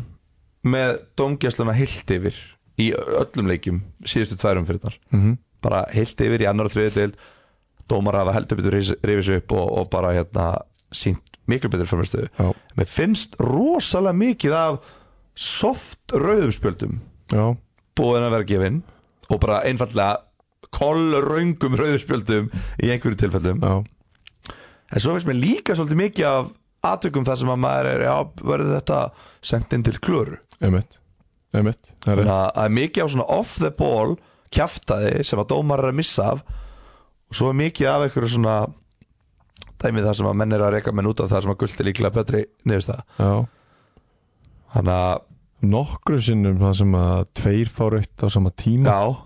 Með dómgjasluna heilt yfir Í öllum leikjum Síðustu tværum fyrir þar mhm Bara heilt yfir í annar og þriði deild Dómar hafa heldur betur rifis upp og, og bara hérna sínt miklu betur framstöðu Já, Mér finnst rosalega mikið af Soft rauðum spjöldum já, búin að vera gefin og bara einfallega kollröngum rauðspjöldum í einhverju tilfellum já, en svo veist mér líka svolítið mikið af atvikum þar sem að maður er já, verður þetta sendt inn til klöru emitt Emitt, það er þannig rétt að það er mikið af svona off the ball kjaftaði sem að dómar er að missa af og svo er mikið af einhverju svona dæmið þar sem að menn er að reka menn út af það sem að gulti líklega betri niðurst það Já þannig að nokkru sinnum það sem að tveir fá rautt á sama tíma já,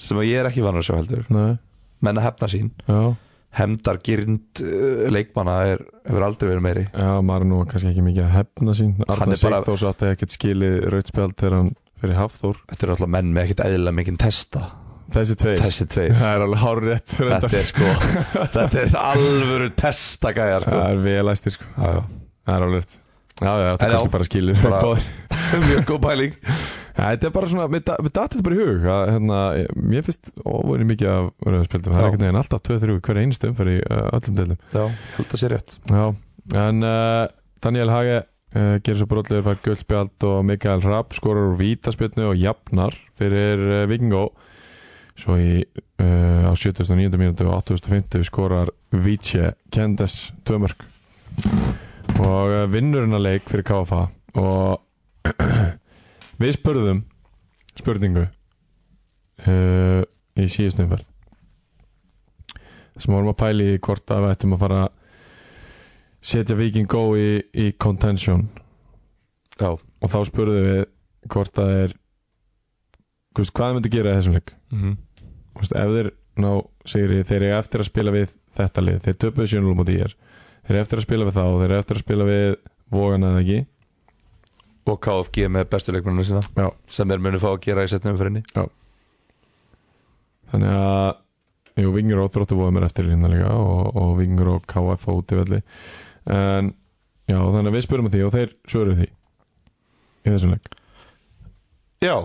sem að ég er ekki vanur að sjá heldur Nei, menn að hefna sín já, hemdargirnd uh, leikmanna er, hefur aldrei verið meiri já, maður er nú kannski ekki mikið að hefna sín Hann Arna er bara- Sigþórs átti ekkert skilið rautspjald þegar hann fyrir Hafþór þetta eru alltaf menn með ekkert eðlilega mikinn testa Þessi tveir, þessi tveir það er alveg hár rétt þetta reyndar. er sko þetta er alvöru testagæjar sko. Það er vel æstir sko, já, já. það er alveg rétt Já, já, þetta En er já, kannski bara skilið bara- bara... mjög góð pæling Þetta er bara svona, við datið bara í hug að, hérna, Mér finnst óværi mikið af rautspjaldum, það er Já. einhvern veginn alltaf 2-3 hver einstu umferð í uh, öllum deildum já, held að sé rétt Já, en uh, Daniel Hage uh, gerir svo brotlegur fær guldspjald og Mikael Rapp skorur úr vítaspjaldnu og jafnar fyrir uh, Vingó svo í uh, á 79. mínútu og 8050 skorar Vítsje Kendes tvömörk og uh, vinnur hennar leik fyrir KFA og við spurðum spurningu uh, í síðustum umferð sem vorum að pæli hvort að við ættum að fara setja Viking Go í, í contention já, og þá spurðum við hvort að þeir þú veist, hvað þeir myndi gera í þessum leik mhm. Þú veist, ef þeir ná sigri þeir eru eftir að spila við þetta lið þeir töpuðu sjónulum á dýjar þeir eru eftir að spila við þá þeir eru eftir að spila við vogana eða ekki og KFG með bestu leikmenninu sína já, sem þeir munu fá að gera í setnum fyrir henni já þannig að jú, vingur og þróttu voru mér eftir lína líka og, og vingur og KF á útivelli en já, þannig að við spurum að því og þeir svöruðu því í þessum leik Já,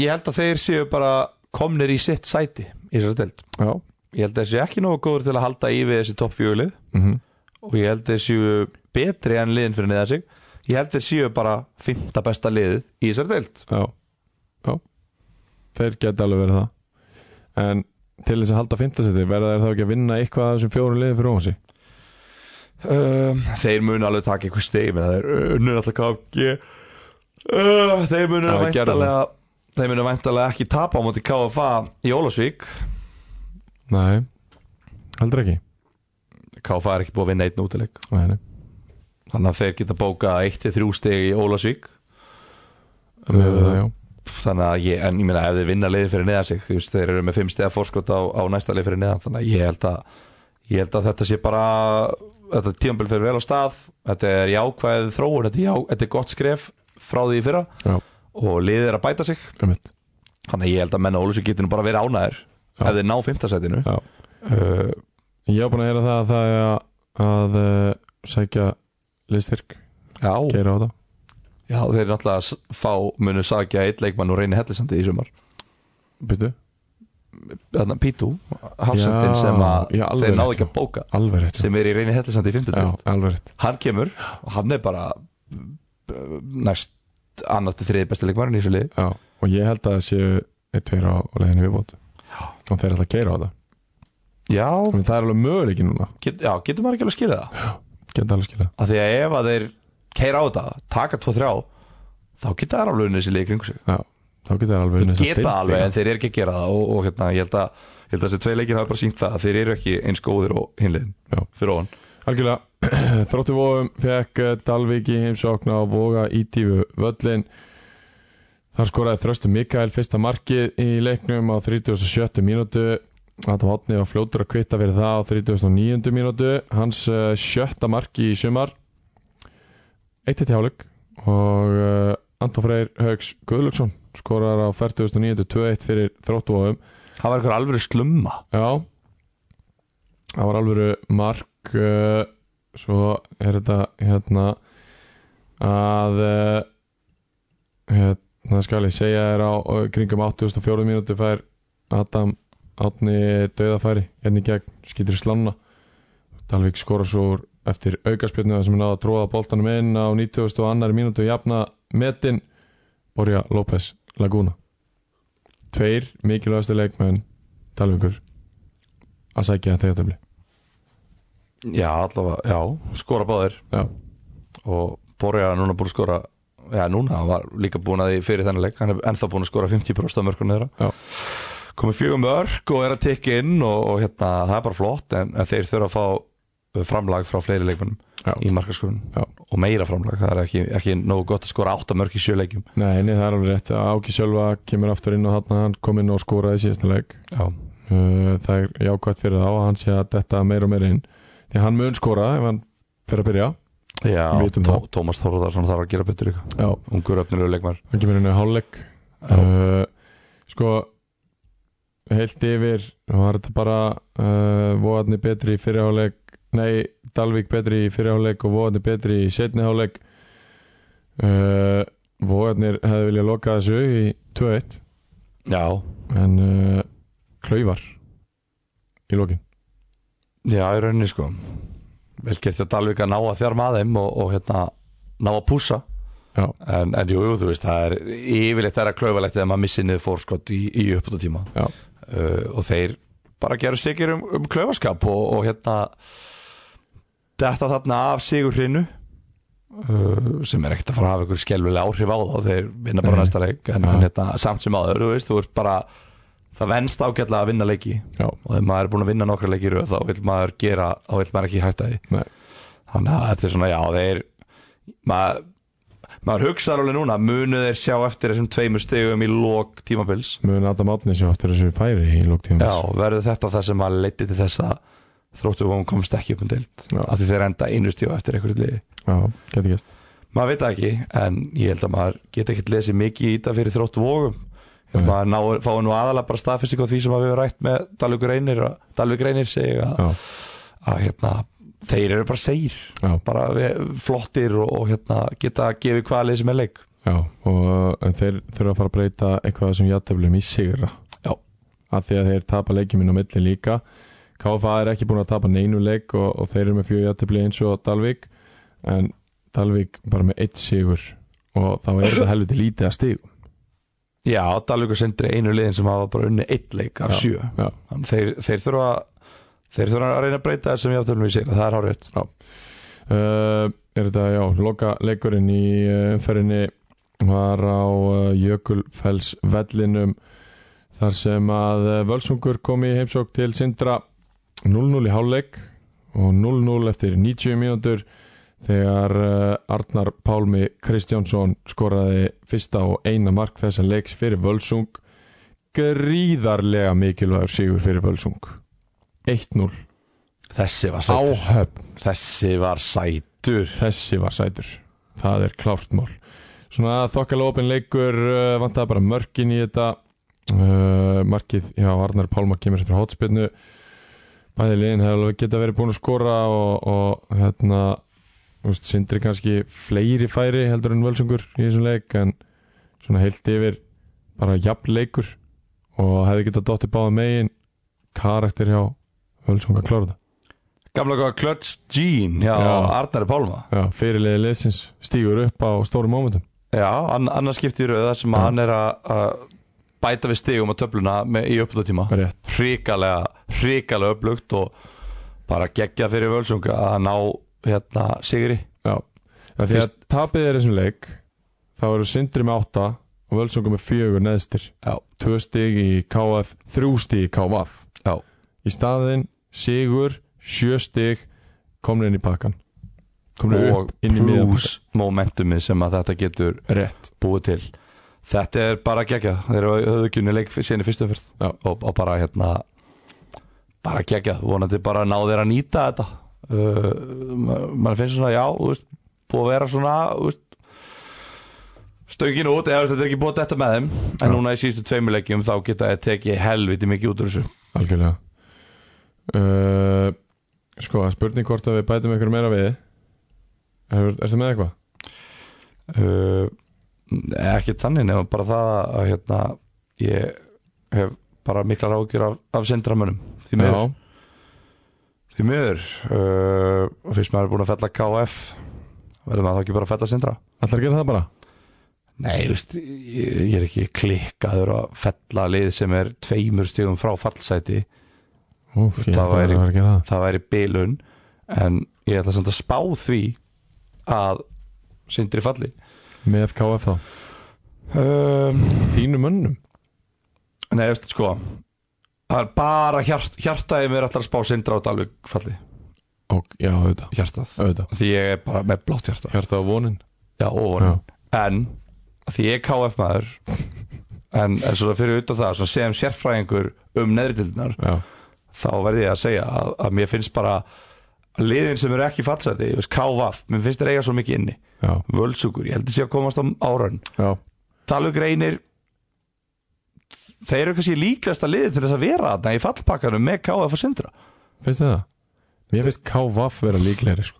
ég held að þeir séu bara komnir í sitt sæti í þessari deild já, Ég held að þeir séu ekki nógu góður til að halda í við þessi toppfjölið mm og ég held að þeir séu betri en liðin fyrir neðan sig Ég held að þeir séu bara fymta besta liðið í þessari deild já, já þeir geta alveg verið það en til þess að halda fintasetti verða þeir þá ekki að vinna eitthvað af þessum fjórum liðum fyrir ofan sig um, Þeir munu alveg taka eitthvað stegi menn að þeir eh, unnur alltaf KFG uh, Þeir munu Já, þeir gerðu væntalega Þeir munu væntalega ekki tapa á móti KFA í Ólafsvík nei, aldrei ekki KFA er ekki búið að vinna einn útileik nei, nei. Þannig að þeir geta bókað 1-3 stegi í Ólafsvík Um, það, já. þannig að ég, en ég meina ef þeir vinna liðin fyrir neðan sig, þú veist, þeir eru með 5 stegar fórskot á, á næsta lið fyrir neðan, þannig að ég held að ég held að þetta sé bara þetta tíðanbel fyrir vel á stað þetta er jákvæð þróun, þetta er, já, þetta er gott skref frá því í fyrra Já, og liðið er að bæta sig, um mitt þannig að ég held að menna Ólusi getur nú bara verið ánæður Já. ef þeir ná 5. setinu Já. uh, Ég á búin að heyra það að það er að, að uh, sækja listyrk, já, gera á það já, þeir náttúrulega s- fá munu sagja eitt leikmann og reyni hellisandi í sumar Byttu, þannig að Pítu, hafsendin Já, sem að já, alveg þeir náðu rétt, ekki að bóka alveg rétt já. sem er í reyni hellisandi í 5. Já, alveg rétt hann kemur og hann er bara uh, næst annar til þriði besti leikmarinn í þessu lið já. Og ég held að það séu eitt tveir á á leiðinni viðbót og þeir ætla að gera á það já, en það er alveg möguleiki núna, get, já getur maður ekki alveg að skilja það geta alveg skilja af því að ef að þeir keira á þetta taka 2-3 þá geta það alveg unnið þessi lið í kringu sig Já, þá geta það alveg þeir unnið þessa geta deild alveg líka. en þeir eru ekki að gera það og, og hérna, ég held að ég held að þessi tvei leikir hafa bara sínt það að þeir eru ekki eins góðir og hinliðin Já. fyrir ofan Algjörlega, þróttu vóðum fekk eh, Dalvík í heimsókn á Voga í tífu völlin Þar skoraði þröstu Mikael fyrsta markið í leiknum á 37. mínútu Adam Hotni var fljótur að kvitta fyrir það á 39. mínútu Hans eh, sjötta marki í sumar Eitt eitt hjáleik og eh, Anton Freyr Haugs Guðlöksson skorar á 49. 2-1 fyrir þróttu vóðum það var eitthvað alveg slumma Já Það var alvöru mark uh, Svo er þetta hérna að uh, hérna skal ég segja þér á á kringum 84 mínútu fær Adam Átni döðafæri hérna í gegn, skýtur í slanna Dalvik skora svo úr eftir aukaspjörnu þar sem hann náða að tróða boltanum inn á 90 og annar mínútu jafna metin Borja López Laguna Tveir mikilvægastu leikmenn Dalvíkur að sækja þegar töfli já, allavega, já, skora báðir Já, og Borja er núna búin að skora já núna, hann var líka búin að því fyrir þennan leik hann er ennþá búin að skora 50% af mörkunum Já. þeirra komið fjögum mörk og er að tekja inn og, og hérna, það er bara flott en, en þeir þurfa að fá uh, framlag frá fleiri leikmennum já. í markaskorun Já. og meira framlag, það er ekki, ekki nógu gott að skora 8 mörk í sjöleikjum Nei, nei, það er alveg rétt Áki Sjölva kemur aftur inn og þarna hann kom inn og skoraði síðasta leik já, Uh, Það er jákvæmt fyrir þá að hann sé að detta meira og meira inn Því að hann mun skora ef hann fer að byrja já Vitum Tó, það. Tómas Þorðarsson þarf að gera betur líka Já, ungur öfnilegu leikmar hann kemur inn í hálfleik já. uh, Sko heilt yfir var þetta bara uh, voðarni betri í fyrirháleik nei, Dalvík betri í fyrirháleik og voðarni betri í setniháleik uh, voðarnir hefði viljað loka þessu í 2-1 já, en uh, klauvar í lokin já, í rauninni sko vel gert hjá Dalvik að ná að þjárma að þeim og, og hérna, ná að púsa já, En, en jú, jú, þú veist, það er yfirleitt það er að klauvalegt þegar maður missir niður fórskott í, í uppbúttatíma Já. uh, og þeir bara gerur sikir um, um klaufaskap og, og hérna þetta þarna af sigur hrinu uh, sem er ekkert að fara að hafa ykkur skelvilega áhrif á þá þeir vinna bara Nei. næsta leik en, Já. en hérna, samt sem áður, þú veist, þú veist bara það venst ágætlega að vinna leiki já, og þegar maður er búin að vinna nokkra leiki í röð þá vil maður gera, þá vil maður ekki hætta því nei, þannig að þetta er svona, já, þeir maður, maður hugsaðar alveg núna munu þeir sjá eftir þessum tveimur stegum í lok tímabils mun Adam Átni sjá aftur þessu færi í lóktíðum já, verður þetta það sem að leiti til þess að þróttu vóðum komst ekki upp um deild Já. af því þeir enda einu stíu eftir einhverju liði já, geti gæst maður veit það ekki en ég held að maður geta ekkert lesið mikið í þetta fyrir þróttu vógum ég held að maður ná, fái nú aðalega bara staðfyrsing á því sem að við hefur rætt með Dalvik Reynir og Dalvik Reynir segi að, já, að hérna, þeir eru bara segir já, bara við, flottir og, og hérna, geta að gefa hvaða lið sem er leik já og uh, en þeir þurfa að fara að breyta eitthvað sem játtöflum í sigra Já. af því að þeir tapa leikjum inn á milli líka KFA er ekki búin að tapa neinu leik og, og þeir eru með fjögur játtöfli eins og Dalvik en Dalvik bara með eitt sigur og þá er þetta helviti lítið að stig já, Dalvik og Sindri einu liðin sem hafa bara unni eitt leik af Já. sjö já, Þannig þeir, þeir þurfa þeir þurfa að reyna að breyta þessum játtöflum í sér það er hárið uh, er þetta, já, loka leikurinn í uh, umferðinni var á uh, Jökulfells vellinum þar sem að uh, Völsungur kom í heimsók til Sindra 0-0 í hálfleik og 0-0 eftir 90 mínútur þegar uh, Arnar Pálmi Kristjánsson skoraði fyrsta og eina mark þessa leiks fyrir Völsung gríðarlega mikilvægur sigur fyrir Völsung 1-0 þessi var sætur áhöfn þessi var sætur þessi var sætur það er klárt mál svona þokkalega opin leikur uh, vantaði bara mörkin í þetta uh, markið, já, Arnar Pálma kemur eftir hotspinnu bæði liðin hefur alveg geta verið búin að skora og, og hérna úst, sindri kannski fleiri færi heldur en völsungur í þessum leik en svona heilt yfir bara jafn leikur og hefði getað dottið báða megin karakter hjá völsunga klára gamla góða Klöts Jean já, Já. Arnari Pálma það já, fyrirliði liðsins stígur upp á stórum mómentum já, ann, annars skipti í rauð þar sem Já. að hann er að að bæta við stigum á töfluna með, í upplutíma rétt hrikalega, hrikalega upplugt og bara geggja fyrir völsunga að ná hérna Sigri Já, af því að Fyrst- tapið er þessum leik þá eru Sindri með 8 og Völsungur með 4 neðstir Já. 2 stig í KF, 3 stig í KVF Já. Í staðinn Sigur, 7 stig komnir inn í pakkan komnir og upp inn í miðan plus momentumið sem að þetta getur Rétt, búið til þetta er bara gegja þeir höfðu ekki unni leik síðan í fyrstu fyrst Já. og, og bara hérna bara gegja, vonandi bara ná þeir að nýta þetta uh, ma- mann finnst svona já, þú veist búið að vera svona þú veist, stöngin út, eða þú veist, þetta er ekki búið þetta með þeim en Já. núna í síðustu tveimur leikjum þá geta þeir tekið helviti mikið út úr þessu algjörlega uh, Sko, spurning hvort að við bætum ykkur meira við Er, er það með eitthvað? uh, ekki þannig nema bara það að hérna, ég hef bara miklar ágjur af, af sindramönum því miður Já, Því miður uh, og fyrst maður er búin að fella KF verður maður þá ekki bara að fella sindra ætlar að gera það bara? Nei, þú veist, ég, ég er ekki klikkaður að fella lið sem er tveimur stíðum frá fallsæti Ó, ég Það ætla að væri- vera að gera það það væri bilun en ég ætla samt að spá því að sindri falli Með KF þá, um, þínum önnum Nei, þú veist, sko það er bara hjart, hjartaði mér ætlar að spá sindra á Dalvik falli Og, Já, auðvitað, hjartað auðvitað því ég er bara með blátt hjarta Hjarta á vonin Já, ofan En því ég er KF maður En en svona fyrir utan það svona sem sérfræðingur um neðritildunar já, Þá verði ég að segja að, að mér finnst bara Liðin sem eru ekki fallsæti þú veist, KF, mér finnst þeir eiga svo mikið inni já, Völsugur, ég heldur sé að komast á áraun já, Dalug reynir Þeir eru kannski líklegasta liði til þess að vera þarna í fallpakkanum með KF og Sindra finnst þið það? Mér finnst KVF vera líklegri sko.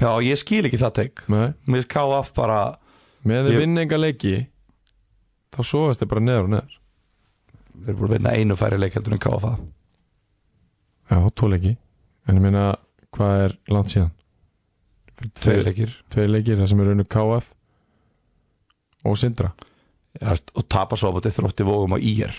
Já, ég skil ekki það teik Nei, Mér finnst KF bara með þið Ég- vinna enga leiki þá sofast þið bara neður og neður Þeir eru búin að vinna einu færi leik heldur en KF Já, tvo leiki En ég meina, hvað er langt síðan? Fyrir Tveir tveir, leikir tveir leikir það sem er unnu KF og Sindra Já, veist, og tapa svo á bóti þrótti vógum á IR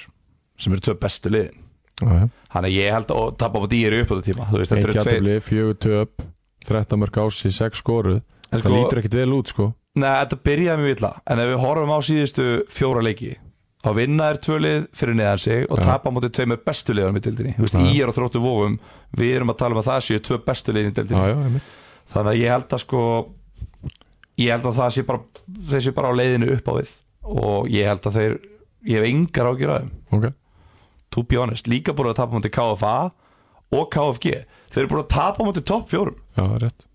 sem eru tvö bestu liðin Já, já. þannig að ég held að og tapa á bóti IR upp á þetta tíma þú veist, Eitt þetta eru tveir jættabli, fjögur töp 13 mörg ási, 6 skoruð en Það sko, lítur ekkit vel út sko neða, þetta byrjaði mjög illa en ef við horfum á síðustu fjóra leiki þá vinna er tvö lið fyrir neðan sig og Já. tapa á bóti tvei með bestu liðanum í deildinni Þú veist, Já, já. IR og þrótti vógum, við erum að tala um að það séu tvö bestu liðin í Já, deildinni já, einmitt þannig að ég held að sko ég held að það sé bara þeir sé bara á leiðinu upp á við og ég held að þeir, ég hef engar ágjur að þeim Ok, to be honest, líka búin að tapa mútið KFA og KFG þeir eru búin að tapa mútið topp fjórum já, rétt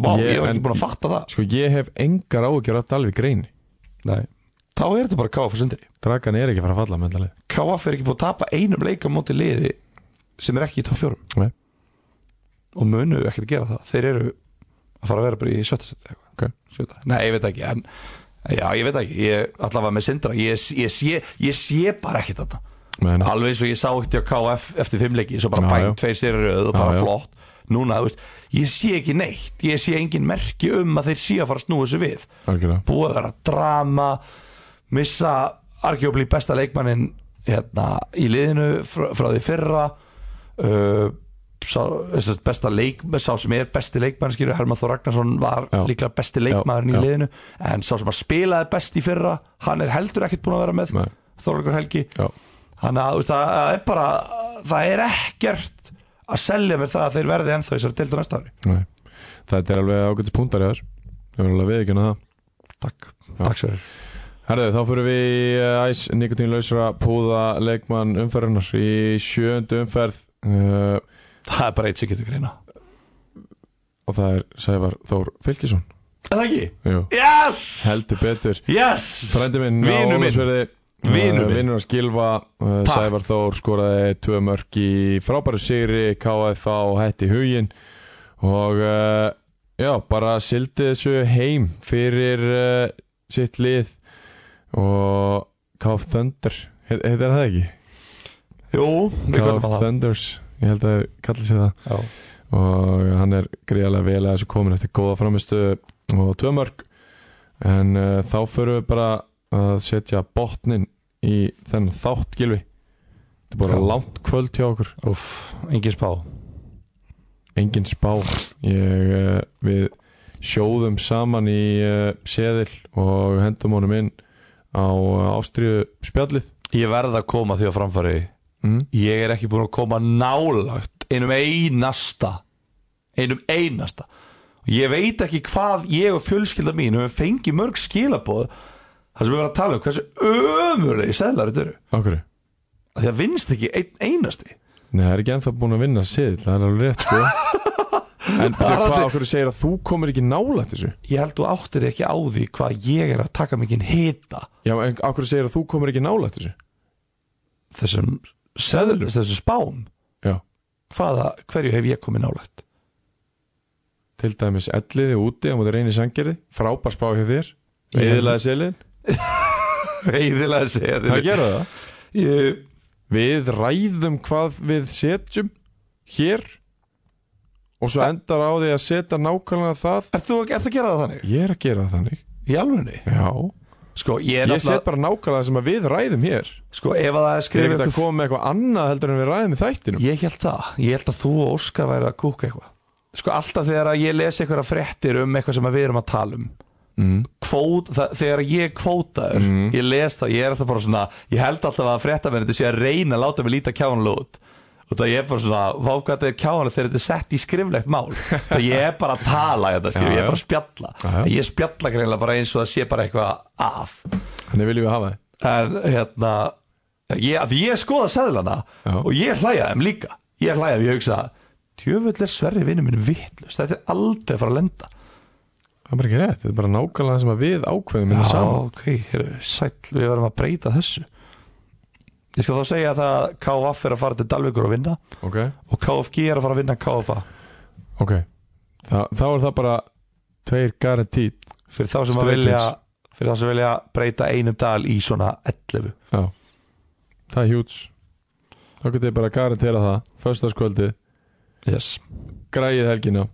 Vá, Ég- ég var en- ekki búin að fatta það Sko ég hef engar áhugjur af Dalvik reyni Nei. Þá er þetta bara KF og sundri Dragan er ekki að fara að falla með þetta lið KF er ekki búin að tapa einum leik á móti liði sem er ekki í topp fjórum Nei. og munu ekkert gera það þeir eru að fara að vera bara í sjötta seti Ok. sjötta. Nei, ég veit ekki en, Já, ég veit ekki, ég allavega með sindra ég, ég, sé, ég sé bara ekkert þetta Men, Alveg eins og ég sá ekkert á KF eftir fimmleiki Svo bara Já, bæn já. tveir styrir rauð og Já, bara já. flott Núna, þú veist, ég sé ekki neitt Ég sé engin merki um að þeir sé að fara að snúa þessu við Algjörlega búið að vera drama missa arguably besta leikmannin hérna, í liðinu frá, frá því fyrra uh, sá, þessi besta leik sá sem er besti leikmann skilur Hermann Þór Ragnarsson var Já. líklega besti leikmann í já. liðinu en sá sem að spilaði best í fyrra hann er heldur ekkert búin að vera með Nei. Þorleikur Helgi Já, þannig að þú veist, það það er bara það er ekkert að selja mér það að þeir verði ennþá í þessari deildu næsta ári nei Þetta er alveg ágætis púntar í þar Ég verður alveg að viðkynna það Takk, takk sér Herðu, þá fyrir við í eh, æs nikotínlausra púða leikmann umferðunar í sjöndu umferð uh, Það er bara eitt sem getur greina og það er Sævar Þór Fylkisson Er það ekki? Jú, Yes! heldur betur Yes! Frændi minn eh, Vinur minn. Vinur minn. Vinnur að skilfa uh, Takk. Sævar Þór skoraði tvö mörk í frábæru sigri KF á hætti hugin og uh, já, bara sildi þessu heim fyrir uh, sitt lið og KF Thunder heit- heitir það ekki? Jú, við Call kvöldum of að það Thunders ég held að þeir kalli sér það Já. og hann er greiðlega vel að þessu komin eftir góða framistu og tvö mörg en uh, þá förum við bara að setja botnin í þennan þátt gilvi þetta er bara Já. langt kvöld hjá okkur Úf, engin spá engin spá ég, uh, við sjóðum saman í uh, seðil og hendum honum inn á uh, ástriðu spjallið Ég verð að koma því á framfæri mm. Ég er ekki búin að koma nálagt Einum einasta Einum einasta Ég veit ekki hvað ég og fjölskylda mín Við fengi mörg skilaboð Það sem við verðum að tala um hversu ömurlegi seðlar þetta eru okkur Af Því að vinnst ekki einn einasti Nei, það er ekki ennþá búin að vinna siðil, það er alveg rétt sko. En Það er hvað aldrei- okkur segir að þú komir ekki nálægt þessu Ég held þú áttir ekki á því hvað ég er að taka mikinn hita Já, en okkur segir að þú komir ekki nálægt þessu Þessum seðlum, þessum spám Já, Hvaða, hverju hef ég komið nálægt til dæmis elliði úti á móti reyni sangerði, frábær spá hjá þér Ég- Eðilaði selin, Heiðilega segja það gera það Ég, Við ræðum hvað við setjum hér og svo endar á því að setja nákvæmlega það ert þú ert að gera það þannig? Ég er að gera það þannig Í alvegni? Já, Sko, ég er ég set náttúrulega bara nákvæmlega það sem að við ræðum hér Sko, ef að það er Þeir eru skrifið ekki að ykkur koma með eitthvað annað heldur en við ræðum í þættinum Ég held það, ég held að þú og Óskar væri að kúka eitthvað Sko, alltaf þegar að ég les eitthvað fréttir um eitthvað sem að við erum að tala um mm. Kvót, það, þegar ég kvótaður Mhm. ég les það, ég er það bara svona ég held alltaf að frétta mér þetta sé að reyna að láta mig líta kjánulega út og það ég er bara svona, vá hvað þetta er kjánulega þegar þetta er sett í skriflegt mál það ég er bara að tala þetta, skilur, Já, ég já. er bara að spjalla Já, já. ég spjalla greinlega bara eins og það sé bara eitthvað að Þannig viljum við hafa þið en hérna ég, af því ég skoða seðlana Já. og ég hlæja þeim líka ég hlæja þeim, ég hugsa djöfull er sverri vinnu minn vitlust þetta er aldrei að fara að lenda Það er bara ekki rétt, þetta er bara nákvæmlega það sem að við ákveðum hérna saman ok, heru, sæll, við verðum að breyta þessu ég skal þá segja það að KF er að fara til Dalvíkur að vinna Ok, og KFG er að fara að vinna KFA ok Þa, Þá er það bara tveir garantít fyrir þá sem að Straight vilja lines. fyrir þá sem vilja breyta einum dal í svona 11 Já, það er hjúts Þá getur þið bara að garantera það Föstaskvöldið, yes. græið helgina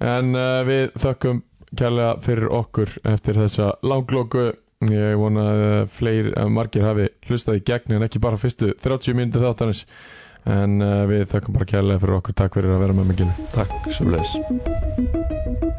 En uh, við þökkum kærlega fyrir okkur eftir þessa langloku Ég vona að eh, fleiri, að margir hafi hlustað í gegn en ekki bara fyrstu 30 mínútu þáttanis eh, En uh, við þökkum bara kærlega fyrir okkur Takk fyrir að vera með mig, Gilvi takk sem leis Thank